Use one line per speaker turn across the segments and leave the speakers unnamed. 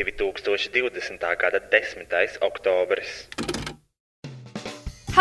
2020. gada 10. oktobris.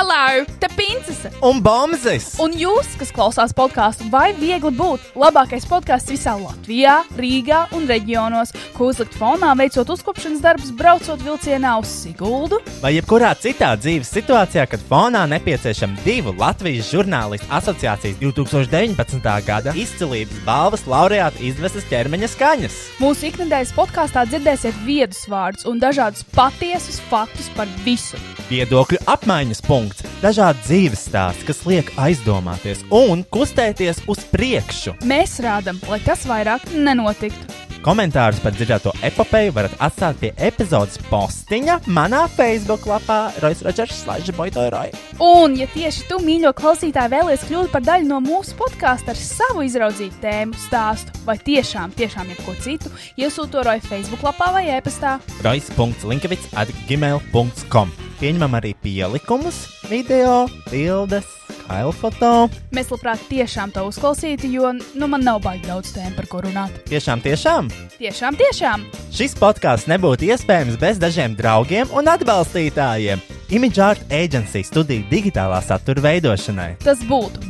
Hello, te princese!
Un bombzis!
Un jūs, kas klausās podkāstu, vai viegli būt labākais podkāsts visā Latvijā, Rīgā un reģionos, ko uzlikt fonā, veicot uzkopšanas darbus, braucot vilcienā uz Siguldu?
Vai jebkurā citā dzīves situācijā, kad fonā nepieciešama divu Latvijas žurnālistu asociācijas 2019. gada izcilības balvas laureāta izvestas ķermeņa skaņas?
Mūsu ikdienas podkāstā dzirdēsiet viedus vārdus un dažādus patiesus faktus par visu.
Viedokļu apmaiņas punkts, dažādi dzīves stāsti, kas liek aizdomāties un kustēties uz priekšu.
Mēs rādām, lai tas vairāk nenotiktu.
Komentārus par dzirdēto epopeju varat atstāt pie epizodes postiņa manā Facebook lapā Roisas Rodžers Slaidža Boitoroj.
Un, ja tieši tu, mīļo klausītāj, vēlies kļūt par daļu no mūsu podkāsta ar savu izraudzītu tēmu, stāstu vai tiešām, tiešām jebko citu, iesūto roju Facebook lapā vai e-pastā.
Roisas.linkavits at gmail.com Pieņemam arī pielikumus, video, bildes, kailfoto.
Mēs labprāt tiešām to uzklausītu, jo nu, man nav baigi daudz tēmu, par ko runāt.
Tiešām, tiešām!
Tiešām, tiešām!
Šis podkāsts nebūtu iespējams bez dažiem draugiem un atbalstītājiem. Image Art Agency studija digitālā satura veidošanai.
Tas būtu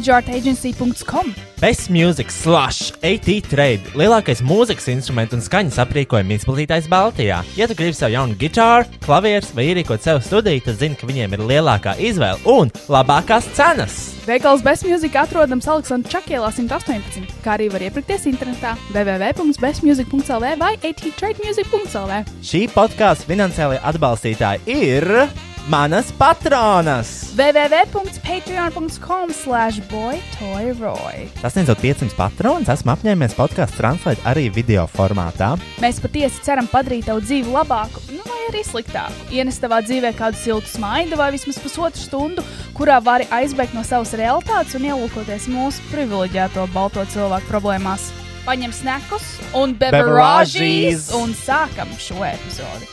www.imageartagency.com.
Best Music Slash AT Trade - lielākais mūzikas instrumentu un skaņas aprīkojuma izplatītājs Baltijā. Ja tu gribi sev jaunu gitāru, klavierus vai ierīkot sev studiju, tad zini, ka viņiem ir lielākā izvēle un labākās cenas.
Veikals Bestmusic atrodams Aleksandra Čakielā 118, kā arī var iepirkties internetā www.bestmusic.lv vai attrademusic.lv.
Šī podkāstu finansiālajie atbalstītāji ir manas patronas!
www.patreon.com slash boytoyroy.
Sasniedzot 500 patronus, esmu apņēmies podkāstu translēt arī video formātā.
Mēs patiesi ceram padarīt tavu dzīvi labāku, nu vai arī sliktāku. Ienest tavā dzīvē kādu siltu smaidu vai vismaz pusotru stundu, kurā vari aizbēgt no savas realitātes un ielūkoties mūsu privileģēto balto cilvēku problēmās. Paņem snekus un beverāžīs
Beverāžīs!
un sākam šo epizodi.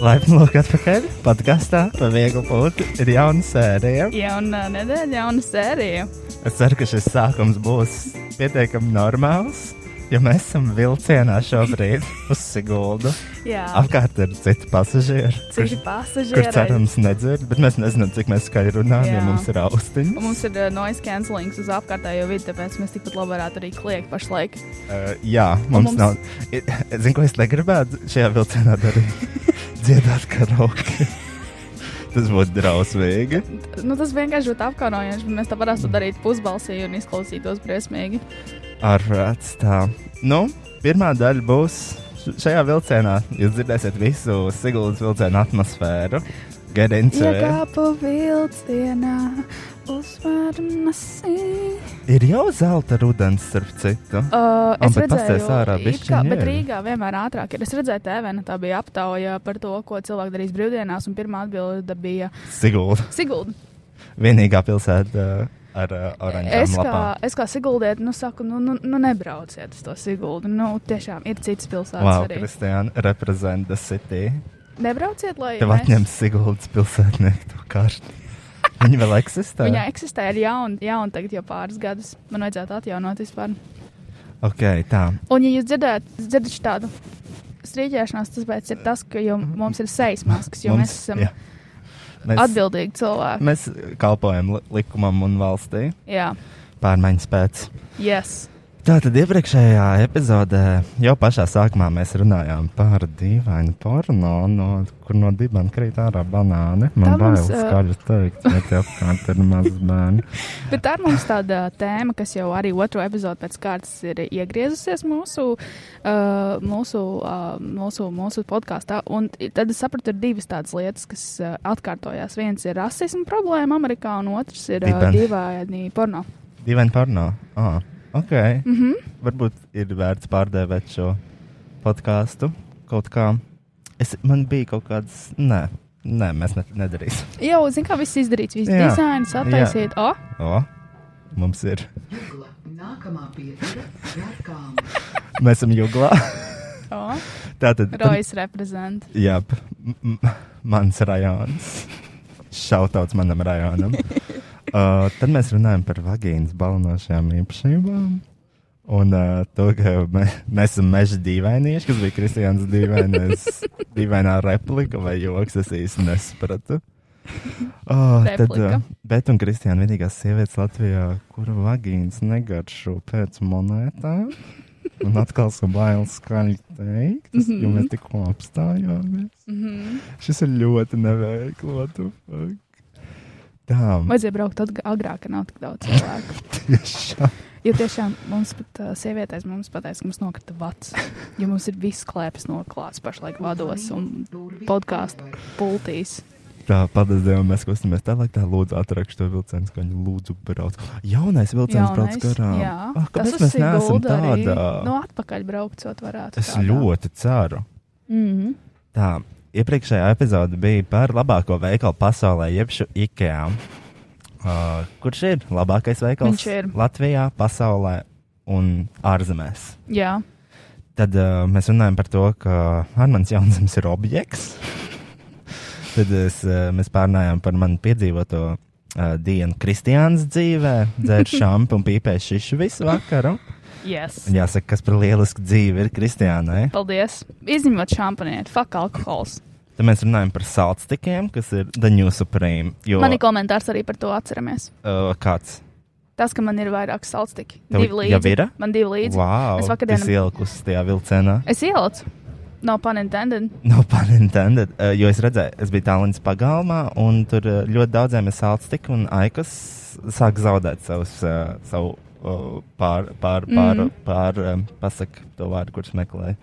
Laipni lūk, atpakaļ podkāstā par vieglu būtu. Ir jauna sērija.
Jauna nedēļa, jauna sērija.
Es ceru, ka šis sākums būs pietiekami normāls. Jo mēs esam vilcienā šobrīd uz Siguldu.
Jā,
Apkārt ir citi pasažieri, kurš,
citi pasažieri.
kurš cerams nedzird, bet mēs nezinām, cik mēs skaļi runājam,
Jā.
ja mums ir austiņas.
Un Mums ir uh, noise cancelings uz apkārtējo vidi, tāpēc mēs tikpat labi varētu arī kliegt pašlaik.
Uh, jā, mums,
mums-
mums nav. I- Zinu, ko es negribētu šajā vilcienā darīt? Dziedāt karaoke. Tas būtu drausmīgi.
Nu, tas vienkārši būtu apkaunojoši, bet mēs tā varētu darīt pusbalsī un izklausītos briesmīgi.
Arāķis tā. Nu, pirmā daļa būs š- šajā vilcienā. Jūs dzirdēsiet visu Sigūdas vilcienu atmosfēru. eh, Get into it.
Iekāpu vilcienā uz Vārnasī.
Ir jau zelta rudens, starp citu.
Uh,
Ah,
es
bet
redzēju,
pasties ārā
it
bišķiņ,
kā-
jā.
bet Rīgā vienmēr ātrāk ir. Es redzēju, tēvena tā bija aptauja par to, ko cilvēki darīs brīvdienās, un pirmā atbilde bija
Sigūda.
Sigulda.
Vienīgā pilsēta uh, ar uh,
Es
oranžām
kā,
lapām.
es kā Siguldiet, nu saku, nu, nu, nu nebrauciet uz to Siguldu. Nu, tiešām ir citas pilsētas
Wow,
arī.
Kristiāna, reprezent the city.
Nebrauciet, lai
Tev
mēs-
atņems Sigūdas pilsētnieku to karti. Viņa vēl eksistē.
Viņa eksistē ir jauna, jaun tagad jau pāris gadus. Man vajadzētu atjaunot vispār.
Ok, tā.
Un, ja jūs dzirdat, dzirdat tādu strīdēšanos, tas pēc ir tas, ka jau mums ir sejas maskas, jo mums, mēs esam
jā.
jā.
Mēs-
atbildīgi cilvēki.
Mēs kalpojam li- likumam un valstī
Jā,
pārmaiņas pēc.
yes.
Tātad iepriekšējā epizodē jau pašā sākumā mēs runājām par dīvainu porno, no, kur no dibana krīt ārā banāni. Man
Tā mums,
bailes
eh,
skaļi teikt, bet jau kāda ir maz bērni.
Bet tā ir mums tāda tēma, kas jau arī otro epizodu pēc kārtas ir iegriezusies mūsu, uh, mūsu, uh, mūsu, mūsu podkāstā. Un tad es sapratu, ir divas tādas lietas, kas uh, atkārtojās. Viens ir rasisma problēma Amerikā, un otrs ir uh,
Dibeni.
divaini porno.
Dīvainu porno. Ah, ok.
Mm -hmm.
Varbūt ir vērts pārdēvēt šo podkāstu kaut kā. Es, man bija kaut kāds. Nē, nē mēs ne, nedarīsim.
Jau, zin kā, viss izdarīts, viss
Jā.
dizains, attaisiet. O,
O, mums ir.
Jūgla nākamā pietiekama reklāma.
Mēs esam jūglā.
o,
Tātad.
Rojas reprezent.
Jā, mans rajons. Šautauts manam rajonam. Uh, tad mēs runājam par vagīnas balnošajām īpašībām. Un uh, to, ka me, mēs esam meža dīvainieši, kas bija Kristians dīvainais, dīvainā replika vai joks, es īsti nesapratu. Oh, tad, uh,
Replika.
bet un Kristiāna vienīgā sieviete Latvijā, kura vagīnas negaršo pēc monētām. Un atkal esmu bails skaļi teikt, mm -hmm. jo mēs tikko apstājāmies. Mm -hmm. Šis ir ļoti neveikli. what the fuck. Tā,
Vajadzēja braukt atg- agrāk, kad nav tik daudz cilvēku.
tiešām.
Jo tiešām mums pat uh, sievietēs mums pateica, ka mums nokrita vats. Jo mums ir viss klēpes noklāts pašlaik vados un podkāstu pultīs.
Tā, paldies Dievam, mēs kustamies tālāk. Tā lūdzu, atrakstu to vilcienu, ka viņi lūdzu brauc. Jaunais vilciens brauc garām.
jā.
ah,
tas
kāpēc mēs neesam
arī. Nu,
tādā?
No atpakaļ braukcot varētu.
es ļoti ceru.
Mm -hmm.
Tā, iepriekšējā epizode bija par labāko veikalu pasaulē, jeb šo IKEA. Uh, kurš ir labākais veikals
Viņš ir.
Latvijā, pasaulē un ārzemēs?
Jā,
Tad uh, mēs runājam par to, ka Armāns Jansons ir objekts. Tad es, uh, mēs pārnājām par manu piedzīvoto uh, dienu Kristiānas dzīvē, dzēru šāpu un pīpēju šišu visu vakaru.
yes.
Un jāsaka, kas par lielisku dzīvi ir Kristiānai.
Paldies. Izņemot šampanieti, fuck alkohols.
Tad mēs runājam par salctikiem, kas ir The New Supreme. Jo,
Man ir komentārs arī par to atceramies.
uh, kāds?
Tas, ka man ir vairāk salstiki.
Tev
Divi līdzi.
jau ir?
Man divi līdzi.
Wow,
Es
tas
vakardienu.
ielikus tajā vilcienā.
Es ielicu. No panintended.
No panintended, uh, jo es redzēju, es biju tālrunis pagalmā, un tur uh, ļoti daudziem ir sālstika, un aikas sāk zaudēt savus, uh, savu uh, pār, pār, pār, mm. pār um, pasak to vārdu, kurš meklē,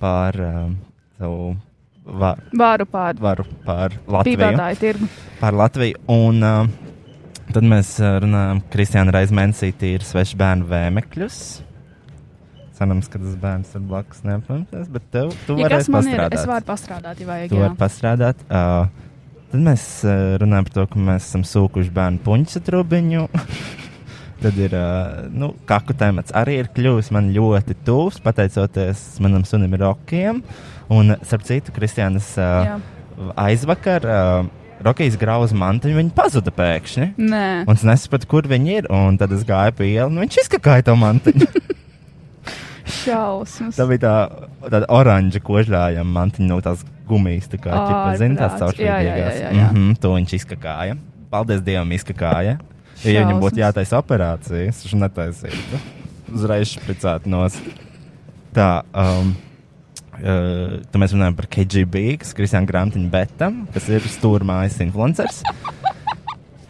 pār um, savu va-
Vāru pār
varu, pār Latviju.
pīpētāju tirgu.
Pār Latviju un, um, tad mēs uh, runājam, Kristiāna Raizmensī ir svešu bērnu vēmekļus. Cerams, ka tas bērns ir blakus neapmaksās, bet tev, tu
Ja kas
varēsi
man ir,
pastrādāt.
es varu pastrādāt, ja vajag.
Tu vari
Jā.
pastrādāt. Uh, tad mēs uh, runājam par to, ka mēs esam sūkuši bērnu puņu trubiņu. tad ir uh, nu, kaku temats. Arī ir kļuvis man ļoti tuvs, pateicoties manam sunim Rokiem. Un, uh, starp citu, Kristiānas uh,
Jā.
aizvakar uh, Rokijas grauza mantiņa viņa pazuda pēkšņi.
Nē,
Un es nesapratu, kur viņi ir. Un tad es gāju pa ielu, un viņš izkakāja to mantiņu.
šausmas.
Tā bija tā, tāda oranža kožģēja mantiņa no tās gumijas, tā kā
Ārprāts.
zina,
Jā, jā,
tās
jā,
caurspīdīgās.
jā, jā.
Mhm, to viņš izkakāja. Paldies Dievam, izkakāja. Ja, ja viņam būtu
Šausmas.
jātaisa operācija, es viņš netaisītu. Uzreiz spricētu nos. Tā, um, uh, tad mēs runājam par KGB, kas ir Kristiāna Grantiņa Betam, kas ir stūrmājas influenceris.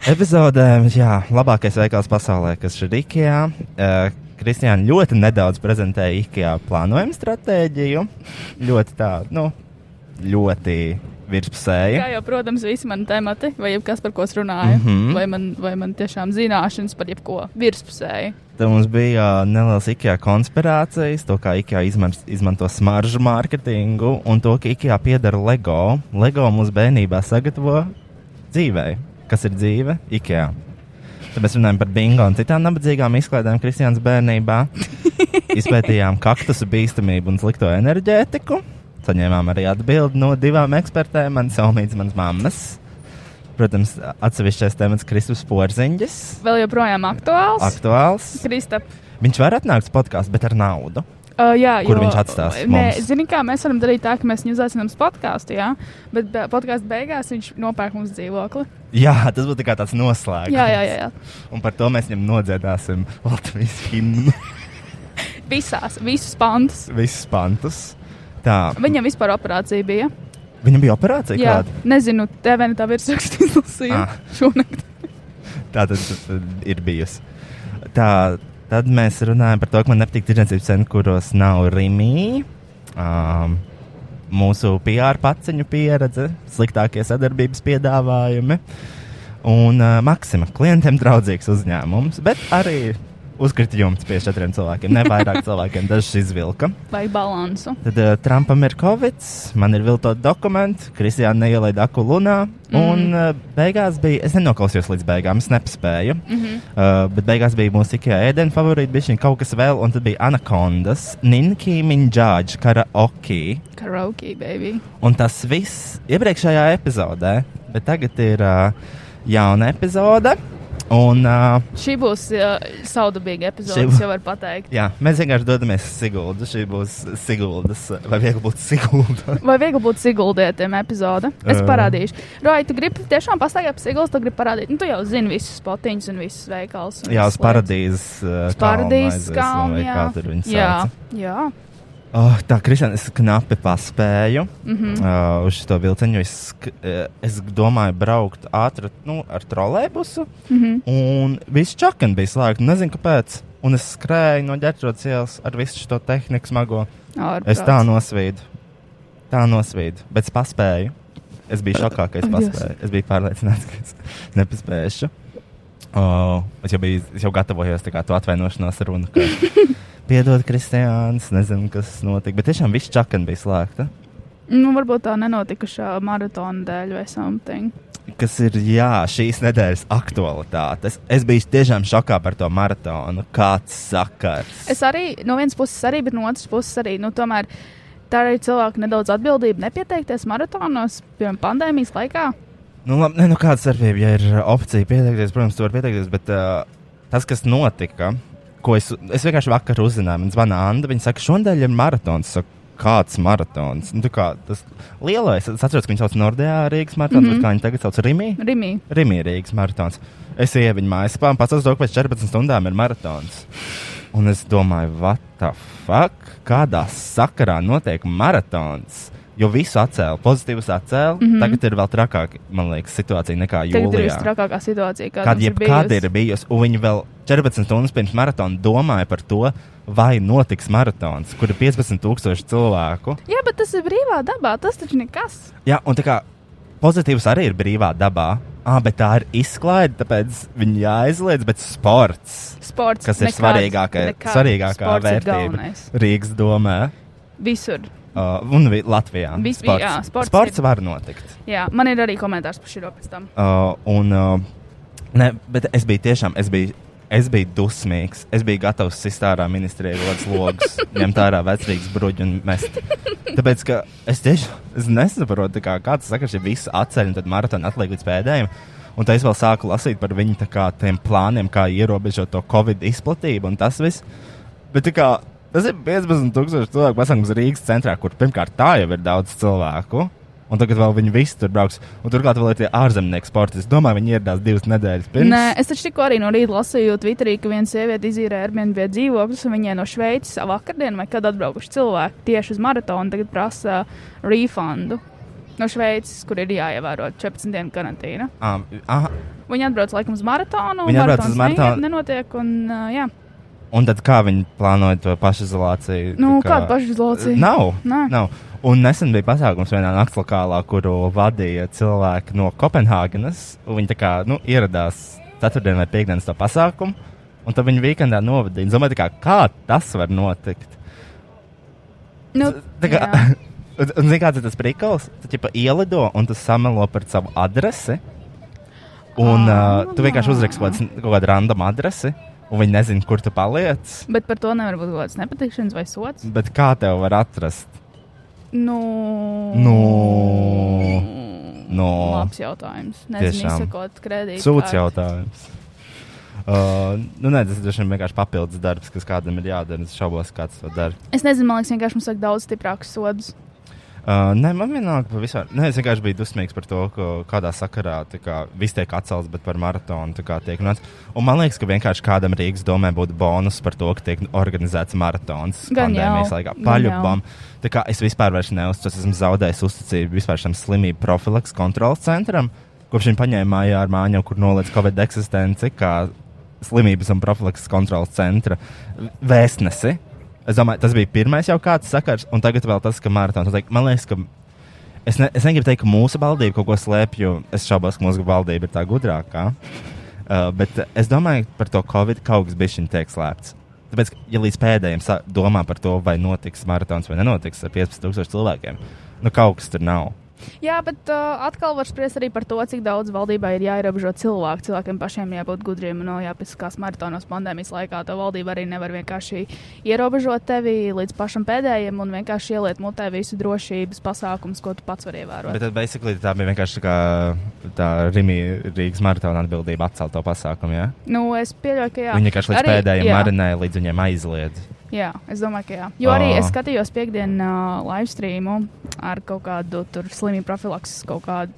Epizodē, jā, labākais veikals pasaulē, kas ir IKEA. Uh, Kristiāna ļoti nedaudz prezentēja IKEA plānojumu stratēģiju. Ļoti tā, nu, ļoti virspusēja.
Kā jau, protams, visi mani temati, vai jebkas, par ko es runāju, mm
Mhm.
-hmm. vai, man, vai man tiešām zināšanas par jebko virspusēji.
Tad mums bija uh, neliels IKEA konspirācijas, to kā IKEA izmars, izmanto smaržu mārketingu un to, ka IKEA piedara LEGO. LEGO mums bērnībā sagatavo dzīvē. Kas ir dzīve? IKEA. Tad mēs runājam par bingo un citām nabadzīgām izklaidēm Kristiānas bērnībā. Izpētījām kaktusu bīstamību un slikto enerģētiku. Saņēmām arī atbildi no divām ekspertēm, manas omīdas, manas mammas. Protams, atsevišķais temats Kristus Porziņģis.
Vēl joprojām aktuāls. Ak
Aktuāls.
Kristap,
Viņš var atnākt uz podkāstu, bet ar naudu.
Uh, jā,
Kur
jo,
viņš atstās
Nē,
mums?
zini, kā mēs varam darīt tā, ka mēs viņu uzaicinām uz podkāstu, jā, bet be, podkāstu beigās viņš nopērk mums dzīvokli.
Jā, tas būtu tā kā tāds noslēgums.
Jā, jā, jā. jā.
Un par to mēs viņam nodziedāsim Latvijas himnu,
Visās, visus pantus.
visus pantus. Tā,
Viņam vispār operācija bija.
viņam bija operācija
Jā,
kāda.
nezinu, nu TV tā virsrakstu izlasīju
Ah.
šonakt.
Tā tad uh, ir bijusi. Tā, tad mēs runājam par to, ka man nepatīk tirdzniecības centri, kuros nav rīmi. Um, mūsu PR paciņu pieredze, sliktākie sadarbības piedāvājumi. Un uh, Maksima klientiem draudzīgs uzņēmums, bet arī uzkrita jumts pie četriem cilvēkiem. Ne vairāk cilvēkiem, dažs izvilka.
Vai balansu.
Tad uh, Trumpam ir covid, man ir viltot dokumenti, Kristiāna neielaida aku lunā. Mm. Un uh, beigās bija, es nenoklausījos līdz beigām, es nespēju. Mm -hmm. uh, bet beigās bija mūsu IKEA ēdienu favorīti, bija šī kaut kas vēl, un tad bija Anakondas, Ninki Minjāģa, Karaoke.
Karaoke, baby.
Un tas viss iepriekšējā epizodē, bet tagad ir uh, jauna eh, epizode. Un, uh,
Šī būs uh, saudabīga epizode,
Šī bū-
jau var pateikt.
jā, mēs vienkārši dodamies uz Siguldu. Šī būs Siguldas, vai viegli būt Sigulda?
Vai viegli būt siguldētiem epizode? Es
Ā.
parādīšu. Rai, tu gribi tiešām pastāstīt par siguldu, tu gribi parādīt. Nu, tu jau zini visus potiņus un visus veikals. un
jā,
visas
uz paradīzes. Uh,
lietas. Paradīzes
kalnu
kalnu.
aizies, vai
Jā,
kā tur viņi
jā,
sauc.
jā.
Oh, tā, Kristian, es knapi paspēju mm
Mhm.
-hmm. uh, uz šo vilcienu. jo Es, sk- eh, es domāju, braukt ātri nu, ar trolēbusu. Mm
Mhm,
-hmm. Un viss čakani bija slēgts. Nezinu, kāpēc. Un es skrēju no ģērbšanas ielas ar visu šo tehniku smago.
Ārprāts.
Es tā nosvīdu. Tā nosvīdu. Bet es paspēju. Es biju šokā, ka es
Ak, Dievs.
paspēju. Es biju pārliecināts, ka es nepaspēšu. Oh, es, jau biju, es jau gatavojos tā kā to atvainošanās runu. ka- Piedod, Kristiāns, nezinu, kas notika. Bet tiešām viss čakani bija slēgta.
Nu, varbūt tā nenotikušā maratona dēļ vai something.
Kas ir jā, šīs nedēļas aktualitātes. Es biju tiešām šokā par to maratonu. Kāds sakars?
Es arī no vienas puses, arī, bet no otras puses arī. Nu, tomēr tā arī cilvēka nedaudz atbildība nepieteikties maratonos, piemēram, pandēmijas laikā.
Nu, labi, ne, nu kāda starpība, ja ir opcija pieteikties, protams, tu vari pieteikties, bet uh, tas, kas notika, ko es, es vienkārši vakar uzzināju, man zvana Anna, viņa saka, šodien ir maratons. Es Saku, Kāds maratons? Nu, tā kā, tas lielais, es atceros, ka viņu sauc par Nordeā Rīgas maratonu, mm -hmm. bet kā viņi tagad sauc Rimī?
Rimī.
Rimī Rīgas maratons. Es ieju viņa mājaslapā un pats to, ka pēc 14 stundām ir maratons. Un es domāju, what the fuck? Kādā sakarā notiek maratons? Jo visu atcēla, pozitīvus atcēla. Mm -hmm. Tagad ir vēl trakāka, man liekas, situācija nekā
Mhm. Tagad ir
jūlijā.
visstrakākā situācija, kāda
Kad
mums ir
jebkad
bijusi.
ir bijusi, un viņi vēl 14 stundas pirms maratona domāja par to, vai notiks maratons, kur ir 15,000 cilvēku.
Jā, bet tas ir brīvā dabā. Tas taču nekas.
Jā, un tā kā pozitīvs arī ir brīvā dabā. Ah, bet tā ir izklaide, tāpēc viņi jāizliedz, bet sports.
Sports
kas ir
nekāds,
svarīgākā,
nekāds.
svarīgākā
Sports ir
vērtība
galvenais.
Rīgas domē
Visur.
uh, un vi- Latvijā.
Vis- jā, sports
sports
ir-
var notikt.
Jā, man ir arī komentārs par šo pēc tam.
Uh, un, uh, ne, bet es biju tiešām, es biju, es biju dusmīgs. Es biju gatavs sist ārā ministrijai kaut kādas logus, ņemt ārā vecrīgas bruģu un mest. Tāpēc, ka es tiešām es nesaprotu, tā kā, kāds sakars ir viss atceļ un tad maratona atliek līdz pēdējiem. Un tā es vēl sāku lasīt par viņu tā kā, tiem plāniem, kā ierobežot to covid izplatību un tas viss. Bet tā kā, tas ir 15,000 cilvēku pasākums Rīgas centrā, kur pirmkārt tā jau ir daudz cilvēku. Un tagad vēl viņi visi tur brauks. Un turklāt vēl ir tie ārzemnieki sportisti. Es domāju, viņi ieradās divas nedēļas pirms.
Nē, es taču tikko arī no rīta lasīju Twitterī, ka viena sieviete izīrēja Airbnb dzīvokli, un viņai no Šveices vakardienā vai kad atbraukuši cilvēki tieši uz maratonu, tagad prasa refundu. No Šveices, kur ir jāievēro 14 dienu karantīna.
Ah, ah,
Viņi atbrauc laikam uz maratonu.
Viņi atbrauc uz
maratons
maratonu.
ne- Nenotiek, un uh, jā,
un tad kā viņi plānoja to pašizolāciju?
nu,
Tā kā-
kāda pašizolācija?
Nav.
Nē.
Nav. Un nesen bija pasākums vienā naktslokālā, kuru vadīja cilvēki no Kopenhāgenes. un Viņi tā kā nu, ieradās ceturtdien vai piekdienas to pasākumu, un tad viņi weekendā novadīja. Es domāju, tā kā, kā tas var notikt?
Nu,
Tā kā,
jā.
un, un zini, kāds ir tas prikals? Tu ķipa, ielido un tu samelo par savu adresi. Un
Ā.
uh, tu vienkārši uzraksti kaut, kāds- kaut kādu random adresi, un viņi nezina, kur tu paliec.
Bet par to nevar būt kaut kāds nepatikšanas vai sots.
Bet kā tev var atrast?
Nu,
Nu. Nu.
Labs jautājums. Nezinu,
Tiešām.
izsakot kredītu.
Sūds jautājums. Uh, nu, nē, tas droši vien vienkārši papildus darbs, kas kādam ir jādara. Es šaubos, kāds to dara.
Es nezinu, man liekas, vienkārši mums vajag daudz stiprākus sodus.
Uh, nē, man vienalga, pa vispār. Nē, es vienkārši biju dusmīgs par to, ka kādā sakarā tā kā, viss tiek atcelts, bet par maratonu tā kā tiek runāts. Un man liekas, ka vienkārši kādam Rīgas domē būtu bonus par to, ka tiek organizēts maratons
Gan
pandēmijas
jau,
laikā.
gan
Paļupam. Tā kā es vispār vairs neuzticos, esmu zaudējis uzticību vispār šim slimību profilaks kontrols centram, kopš viņi paņēma mājā ar māņu, kur noliec Covid eksistenci, kā slimības un profilaks kontrols centra vēstnesi. Es domāju, tas bija pirmais jau kāds sakars, un tagad vēl tas, ka maratons. Notiek. Man liekas, ka es, ne, es negribu teikt, ka mūsu valdība kaut ko slēpj, jo es šaubos, ka mūsu valdība ir tā gudrākā. Uh, bet uh, es domāju, ka par to Covid kaut kas bija tiek slēpts. Tāpēc, ka, ja līdz pēdējiem sa- domā par to, vai notiks maratons vai nenotiks ar 15,000 cilvēkiem, nu kaut kas tur nav.
Jā, bet uh, atkal var spriest arī par to, cik daudz valdībai ir jāierobežo cilvēku. Cilvēkiem pašiem jābūt gudriem. No, jā, pēc kā maratonas pandēmijas laikā to valdība arī nevar vienkārši ierobežot tevi līdz pašam pēdējiem un vienkārši ieliet mutē visu drošības pasākumus, ko tu pats vari
Bet
ievērot.
tad, basically, tā bija vienkārši tā, kā tā Rīgas Rīgas maratona atbildība atcelt to pasākumu. Ja?
Nu, es pieļauju, ka jā.
Viņi vienkārši līdz
Arī-
pēdējiem
jā.
marinēja, līdz viņiem aizliedz.
Jā, es domāju, ka jā. Jo arī
Ā.
es skatījos piekdienas uh, live streamu ar kaut kādu tur slimību profilakses kaut kādu.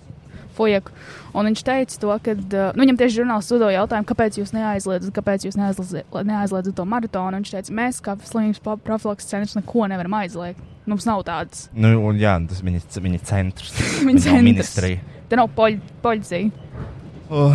Fujeku. Un viņš teica, to, ka uh, nu, viņam tieši žurnālists uzdeva jautājumu, kāpēc jūs neaizliedzat, kāpēc jūs neaizliedzat, neaizliedzat to maratonu. Un Viņš teica, mēs kā slimības pa- profilakses centrs neko nevaram aizliegt. Mums nav tādas.
Nu, un, jā, tas viņa, viņa centrs.
Viņa
nav
centrs.
ministrija.
Te nav poļ, poļcija.
Uh,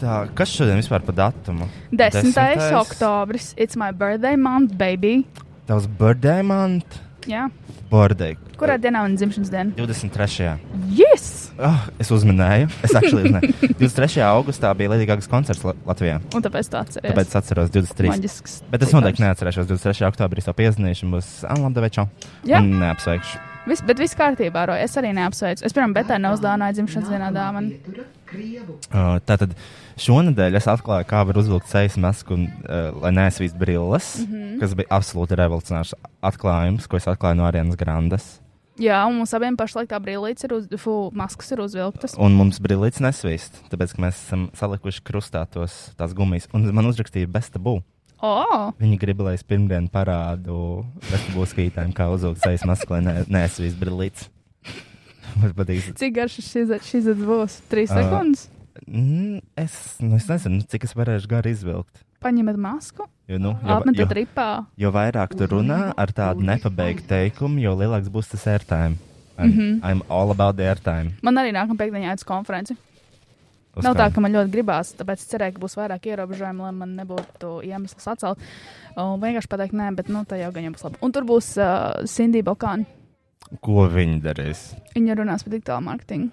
tā, kas šodien vispār par datumu?
10.
10.
oktobris, it's my birthday month, baby.
Tavs birthday month?
Jā.
Birthday.
Kurā dienā man ir dzimšanas diena?
23.
Yes!
Oh, es uzminēju. Es actually uzminēju. 23. augustā bija Latvijas koncerts La- Latvijā.
Un tāpēc tā atceries.
Tāpēc es atceros 23.
Maģisks.
Bet es noteikti neatcerēšos 23. oktobrī savu piezīmēšanu. Būs ah, Anlanda Večo.
Jā.
Un eh, Neapsveikšu.
Vis, bet viss kārtībā, Ro. Es arī neapsveicu. Es, piemēram, Betai neuzdāvināju dzimšanas dienā
Nākamā
dāvanu.
pietura - Krievu
Uh, Tātad šonadēļ es atklāju, kā var uzvilkt sejas masku, un, uh, lai nesvīst brilles, mm -hmm. kas bija absolūti revolucionārs atklājums, ko es atklāju no Arienas Grandes.
Jā, un mums abiem pašlaik tā brīvlīca ir, uz, fu, maskas ir uzvilktas.
Un mums brilles nesvīst, tāpēc ka mēs esam salikuši krustā tos tās gumijas. Un man uzrakstīja bestabū.
O,
Viņi grib, lai es pirmdien parādu bestabū skatītājiem, kā uzvilkt sejas masku, lai ne- nesvīst brilles. Man patīk.
cik garš šis šis būs? Trīs
Ā.
sekundes.
Mm, es, nu, es nezinu, cik es varēšu garu izvilkt.
Paņemiet masku,
Jo, nu, jo- jo-
apmetiet ripā.
Jo vairāk tu runā ar tādu nepabeigtu teikumu, jo lielāks būs tas airtime. I'm, mm
Mhm.
-hmm. I'm all about the airtime.
Man arī nākamā pēkdienā jāiet uz konferenci.
Uz
Nav tā,
kā-
ka man ļoti gribās, tāpēc es cerēju, ka būs vairāk ierobežojumu, lai man nebūtu iemesls atcelt. Un vienkārši pateikt, nē, bet nu, tā jau gan jau būs labi. Un tur būs uh, Cindy Bokāna.
Ko viņi darīs?
Viņa runās par digitālu mārketingu.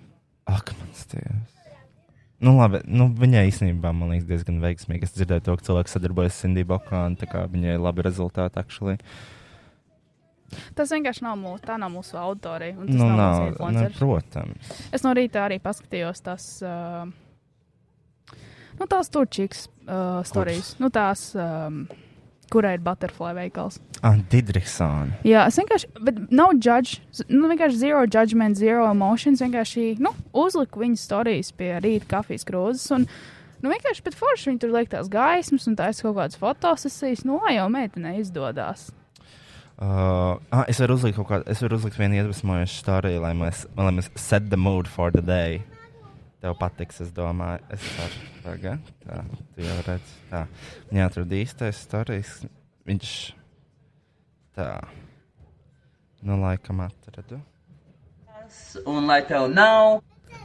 Ak, mans dievs. Nu, labi, nu, viņai īstenībā, man liekas, diezgan veiksmīgi. Es dzirdēju to, ka cilvēks sadarbojas ar Cindy Bokānu, tā kā viņai ir labi rezultāti, actually.
Tas vienkārši nav mūsu, tā nav mūsu auditorija. un Tas
Nu,
nav,
nav,
mūsu
nu,
influenceri.
protams.
Es no rīta arī paskatījos tās, uh, nu, tās turčīgas uh, stāstījus, nu, tās, um, kurai ir butterfly veikals.
Ah, Didriksona.
Jā, es vienkārši, bet nav judge, z- nu, vienkārši zero judgment, zero emotions. Vienkārši nu, uzliku viņas stāstījus pie rīta kafijas krūzes. Un, Nu, vienkārši pēc foršas viņa tur liek tās gaismas un taisa kaut kādas fotosesijas. Nu, lai jau meitenei izdodas.
Uh, ah, es varu uzlikt kaut kādu, es varu uzlikt vienu iedvesmojošu stāstu, lai mēs, lai mēs set the mood for the day. Tev patiks, es domāju, es ceru, ka tā, tu jau redz, tā. Viņa atrada īstais stāsts, viņš tā, nu laikam atradu.
un lai tev nav,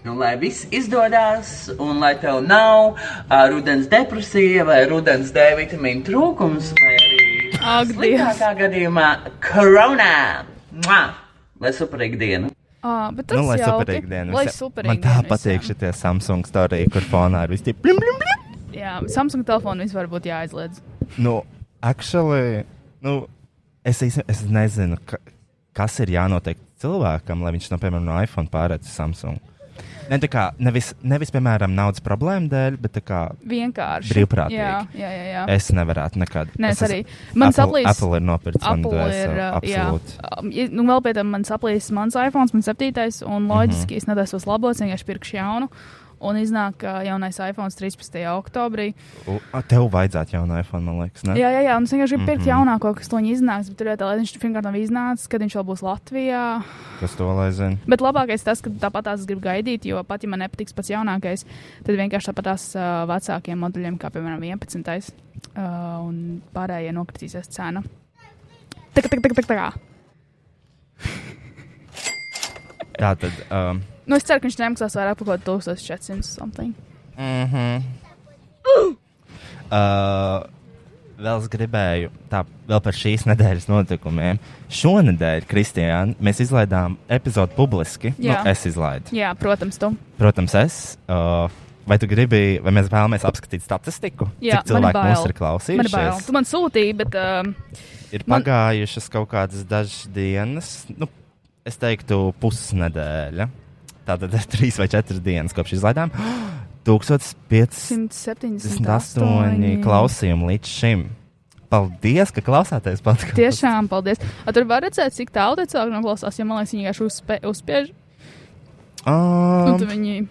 un lai viss izdodas, un lai tev nav uh, rudens depresija vai rudens D vitamīna trūkums, vai arī
Ak, Dievs!
sliktākā gadījumā korona. Mua! Lai superīga diena!
Ah, bet tas
Nu, lai
jauki.
superīgi diena.
Lai
visiem.
superīgi
Man tā
diena
patīk
visiem.
šitie Samsung stāstī, kur fonā ir visi tie blim, blim, blim.
Jā, Samsung telefonu vispār būtu jāizliedz.
Nu, actually, nu, es īstenībā es nezinu, ka, kas ir jānotiek cilvēkam, lai viņš, nu, piemēram, no iPhone pārēc uz Samsung. Ne, tā kā, nevis, nevis, piemēram, naudas problēmu dēļ, bet tā kā
Vienkārši.
Brīvprātīgi.
Jā, jā, jā. jā.
es nevarētu nekad.
Nē, es
esmu-
arī. Man
Apple,
saplīst.
Apple ir nopircis manu
Apple ir.
dvēseli.
uh, Jā,
Absolūti.
Um, i- nu, vēl pēc tam man saplīs mans iPhone, man septītais,
Mhm.
un loģiski es nedēļos labos, vienkārši pirkšu jaunu. Un iznāk uh, jaunais iPhone 13. oktobrī.
U- a, Tev vajadzētu jaunu iPhone, man liekas. Ne?
Jā, jā, jā. Un es vienkārši gribu pirkt
Mhm.
jaunāko, kas to iznāks. Bet tur jau tā, lai viņš pirmkārt nav iznācis, kad viņš vēl būs Latvijā.
Kas to lai zina?
Bet labākais tas, ka tāpat tās es gribu gaidīt, jo pat ja man nepatiks pats jaunākais, tad vienkārši tāpat tās uh, vecākiem modeļiem, kā piemēram 11. Uh, un pārējie nokritīsies cena. Tā kā tā, kā, tā, kā, tā kā.
Tā tad. Um,
Nu, es ceru, ka viņš nemaksās vairāk par kaut ko 1400 something.
Mm -hmm. uh, vēl es gribēju, tā vēl par šīs nedēļas notikumiem. Šonadēļ, Kristija, mēs izlaidām epizodi publiski.
Jā.
Nu, es izlaidu.
Jā, protams, tu.
Protams, es. Uh, vai tu gribi, vai mēs vēlamies apskatīt statistiku?
Jā,
Cik cilvēki
man ir bail.
mūs ir
Man ir bail.
klausījušies?
Tu man sūtīji, bet um,
Ir
Man-
pagājušas kaut kādas dažas dienas, nu, es teiktu, pusnedēļa. Tātad trīs vai četras dienas kopš izlaidām. 1500 68
178
klausījumi līdz šim. Paldies, ka klausāties podkāstu.
Tiešām, paldies. A, tur var redzēt, cik tālu tie cilvēki noklausās, jo man liekas, viņi vienkārši uzspē, uzspiež. Um,
Um,
un tad viņi,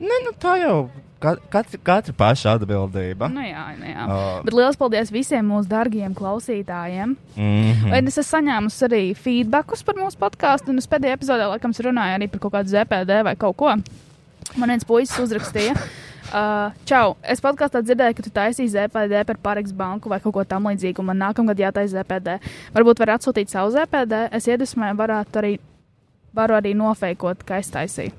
nē, nu tā jau ka- katra, katra paša atbildība.
nu jā, nu jā.
Ah.
Bet liels paldies visiem mūsu dārgajiem klausītājiem.
Mm -hmm.
Mm. Es esmu saņēmusi arī feedbackus par mūsu podkāstu, un es pēdējā epizodē, laikam, es runāju arī par kaut kādu ZPD vai kaut ko. Man viens puisis uzrakstīja. Uh, čau, es podkāstā dzirdēju, ka tu taisīji ZPD par Pāriks banku vai kaut ko tamlīdzīgu. un Man nākamgad jātaisa ZPD. Varbūt var atsūtīt savu ZPD. Es iedvesmēju, varētu arī, varu arī nofeikot, ka es taisīju.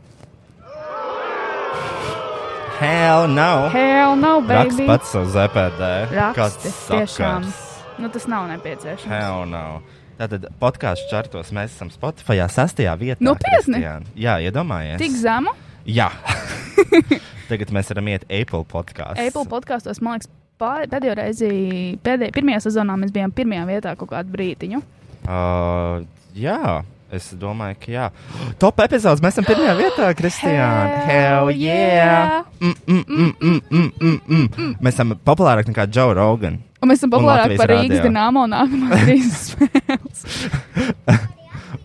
Hell no!
Hell, nav
Raksts
baby!
pats savu ZPD.
Raksti,
Kāds
tiešām.
sakars?
Nu, tas nav nepieciešams.
Hell no! Tātad podkāstu čartos mēs esam Spotify sastajā vietā.
Nopietni?
Kristiāna. Jā, iedomājies.
Tik zemu.
Jā. Tagad mēs varam iet Apple podkāstu.
Apple podkāstos, man liekas, pār- pēdējo reizi, pēdējā, pirmajā sezonā mēs bijām pirmajā vietā kaut kādu brīdiņu.
Uh, jā, es domāju, ka jā. Top epizodes mēs esam pirmajā vietā, Kristiāna.
Hell yeah!
Mm, mm, mm, mm, mm, mm, mm. Mēs esam populārāki nekā Joe Rogan.
Un mēs esam populārāki
Latvijas
par Rīgas
radio.
dīnāmo nākamās trīs spēles.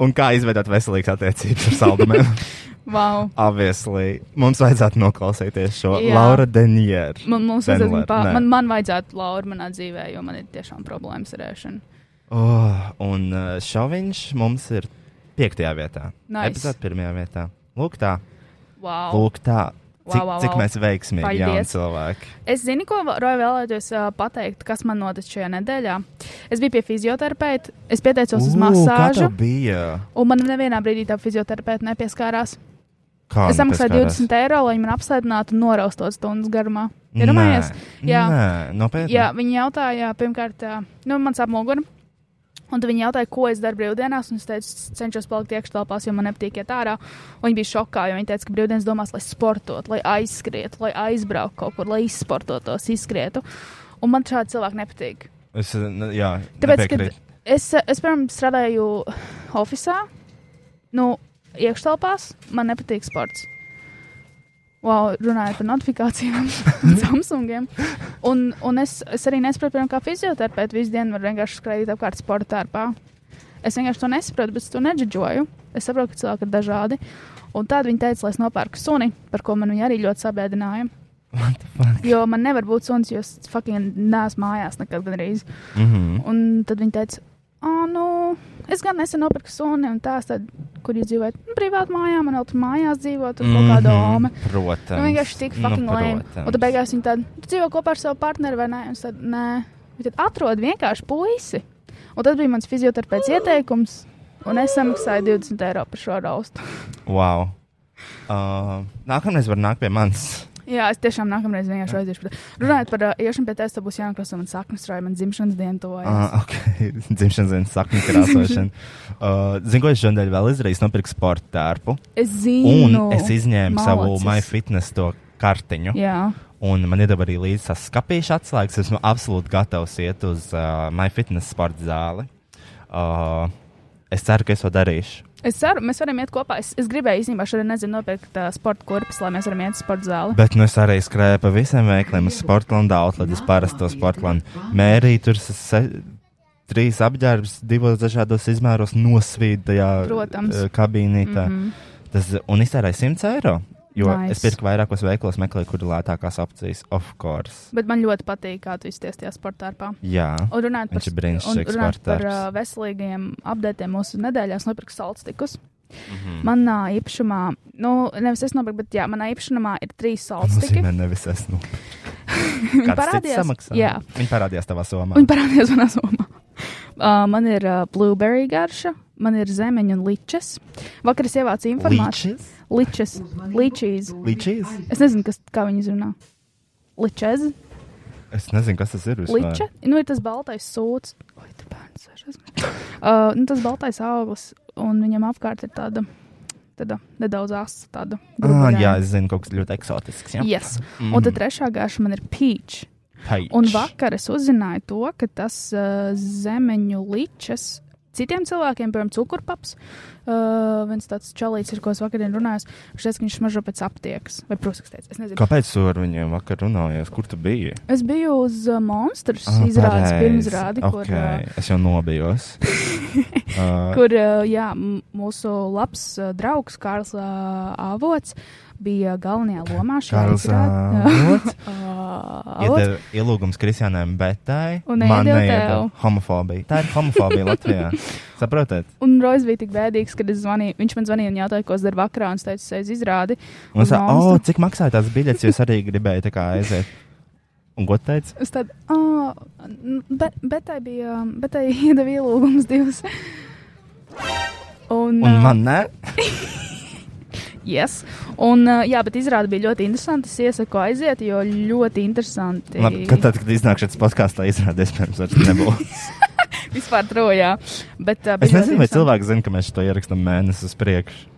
Un kā izveidot veselīgas attiecības ar saldumiem?
Wow.
Obviously, mums vajadzētu noklausīties šo
Jā.
Laura Denieru.
Man, mums vajadzētu
Denver,
viņu pār...
nē.
man, man vajadzētu Laura manā dzīvē, jo man ir tiešām problēmas ar ēšanu.
Oh, un uh, šoviņš mums ir piektajā vietā.
Nice.
Epizode pirmajā vietā. Lūk tā,
Wow.
lūk tā. Cik,
Wow, wow,
cik
wow.
mēs veiksmīgi jauni
Paldies.
cilvēki.
Es zinu, ko vēl- Roja vēlētos uh, pateikt, kas man notic šajā nedēļā. Es biju pie fizioterapeita, es pieteicos uz
Ū, Kā
masāžu,
tev bija?
un man nevienā brīdī tā fizioterapeita nepieskārās.
Kā
Es samaksāju
nepaskārās?
20 eiro, lai viņi man apsēdinātu un noraustot stundas garumā. Iedomājies?
Nē,
Jā.
Nē, nopietni.
Jā, viņi jautāja, pirmkārt, ā, nu, man sāp mugura. Un tad viņi jautāja, ko es daru brīvdienās. un Es teicu, "Es cenšos palikt iekšā telpās, jo man nepatīk iet ārā. Un viņi bija šokā, jo viņi teica, ka brīvdienas domās, lai sportot, lai aizskrietu, lai aizbrauktu kaut kur, lai izsportotos, izskrietu. Un man šādi cilvēki nepatīk.
Es, ne, jā,
Tāpēc,
nepiekrītu.
kad es, es piemēram, strādāju oficiālā, nu, iekšā telpās, man nepatīk sports. Wow, runājot par notifikācijām, Samsungiem. Un, un es, es arī nesaprotu, piemēram, kā fizioterapeits visu dienu var vienkārši skraidīt apkārt sporta tērpā. Es vienkārši to nesaprotu, bet es to neģeģoju. Es saprotu, ka cilvēki ir dažādi. Un tad viņi teica, lai es nopērku suni, par ko man viņa arī ļoti sabiedrināja. Jo man nevar būt suns, jo es fucking neesmu mājās nekad gandrīz.
Mhm.
Un tad viņi teica, ah, nu, es gan nesen nopirku suni, un tās, tad, kur jūs dzīvojat, nu, privāti mājā, man vēl tur mājās dzīvo, tur kaut kāda doma.
Mhm. Protams.
Nu, vienkārši tik fucking nu, lēma. Un tad beigās viņa tāda, tu dzīvo kopā ar savu partneri vai nē? Un es tādu, nē. Viņa tad atrod vienkārši puisi. Un tad bija mans fizioterapeits ieteikums, un es samaksāju 20 eiro par šo raustu.
Wow. Uh, nākamreiz var nākt pie manis.
Jā, es tiešām nākamreiz vienkārši aiziešu. par to. Runājot par uh, iešanu pie testa, būs jānokrāso man saknes, vai man dzimšanas diena tuvojas.
Uh, ok, dzimšanas dienas sakņu krāsošana. Uh, Zinu, ko es šodien vēl izdarīju, Es nopirku sporta tērpu.
Es
Un
zinu,
es izņēmu savu
Malacis.
MyFitness to kartiņu.
Jā,
Un man iedeva arī līdzi tas skapīšu atslēgas. Esmu absolūti gatavs iet uz uh, MyFitness sporta zāli. Uh, es ceru, ka es to darīšu.
es ceru, mēs varam iet kopā. Es, es gribēju īstenībā šodien nezinu, nopirkt uh, sporta kurpes, lai mēs varam iet uz sporta zāli. Bet...
Bet nu, es arī skrēju pa visiem veikaliem, uz Sportlandu, Outlandu, uz parasto Sportlandu. Mērīju tur se- se, trīs apģērbus, divos dažādos izmēros, nosvīdu tajā
Protams. Mhm.
eh, kabīnītā. Mm -hmm. Tas, un iztērēju 100 eiro. Jo nice.
Nice.
es pirku vairākos veikalos, meklēju, kur ir lētākās opcijas, of course.
Bet man ļoti patīk, kā tu izties tajā sporta tērpā.
Jā,
Un runājot par,
Viņš ir brīnišķīgs
un runājot par uh,
sportērs.
veselīgiem apdētiem mūsu nedēļās, nopirku salstikus. Mm
Mhm.
-hmm. Manā īpašumā, nu, nevis es nopirku, bet jā, manā īpašumā ir trīs salstiki.
nozīmē nevis es. Nu.
Viņi
Kāds cits samaksā?
jā,
Viņi parādījās tavā somā.
viņi parādījās manā somā. Uh, man ir uh, blueberry garša, man ir zemeņa un ličes. Vakar es ievācu informāciju.
Līčis?
Ličes, ličīs.
Līčīs?
Es nezinu, kas, kā viņi izrunā. Ličes,
Es nezinu, kas tas ir. vispār.
liča. Nu, ir tas baltais sūds. Oi, tu bērns, sešas. Uh, nu, tas baltais auglis, un viņam apkārt ir tāda, tāda nedaudz asa. Tāda,
Ah,
grubaļaina.
jā, es zinu, kaut kas ļoti eksotisks. Jā,
yes. mm. Un tad trešā gārša man ir peach.
Paič.
Un vakar es uzzināju to, ka tas uh, zemeņu ličas Citiem cilvēkiem, piemēram, cukurpaps, uh, viens tāds čalīts ir, ko es vakarā runāju, viņš teica, ka viņš smaržo pēc aptiekas vai prusakstēs. Es nezinu,
Kāpēc tu ar viņiem vakar runājies? Kur tu biji?
Es biju uz uh, Monstras ah, izrādes, pirmizrādi, okay. kur,
Okay.
uh,
Es jau nobijos. uh,
kur uh, jā, m- mūsu labs uh, draugs Kārls uh, Avots bija galvenajā lomā šajā
Kārls
izrādē.
Avots?
Uh, Avots.
Iedeva ielūgums Kristianam Betai.
Un
man
neiedeva
neiedeva.
tev.
homofobija. Tā ir homofobija Latvijā. Saprotiet?
Un Rojas bija tik bēdīgs, kad es zvanīju, viņš man zvanīja un jautāja, ko es daru vakarā, un es teicu, es aiz izrādi.
Un es
uz
saku, oh,
Monstru."
cik maksāja tās biļetes, jūs arī gribējāt tā kā aiziet. Un ko teica?
Es tādu, ah, bet, bet tai bija, um, bet tai iedeva ielūgums divas. Un,
Un
uh,
man nē,
Yes. Un, uh, jā, bet izrāda bija ļoti interesanti. Es iesaku aiziet, jo ļoti interesanti.
Labi, ka tad, kad iznāk šis podkāsts, tā izrādās, pirms vairs nebūs.
Vispār trojā. Bet, uh,
Es nezinu, vai cilvēki zina, ka mēs to ierakstām mēnesi uz priekšu.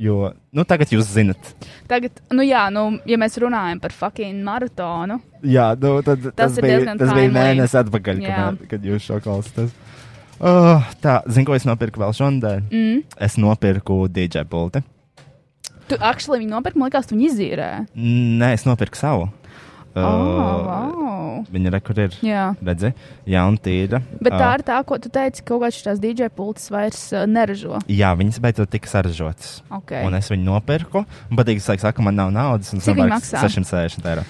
Jo, nu, tagad jūs zinat.
Tagad, nu jā, nu, ja mēs runājam par fucking maratonu,
Jā, nu, tad, tas,
Tas
tas
ir
bija,
diezgan
tas bija
timely.
mēnesis atpakaļ,
Jā.
kad, kad jūs šo klausāties. Oh, tā, zinu, ko es nopirku vēl šodien.
mm,
Es nopirku DJ pulti.
tu akšli viņu nopirki, man liekas, tu viņu izīrē.
Nē, es nopirku savu.
Oh,
Uh,
wow.
Viņa rekur ir.
Jā,
Redzi, jauna tīra.
bet tā ir tā, ko tu teici, ka kaut kāds šīs DJ pults vairs uh, neražo.
Jā, viņas beidzot tika saražotas.
Okay.
Un es viņu nopirku. Un patīk, ka saka, man nav naudas. Un
Cik viņi
savāks
maksā?
660 eiro.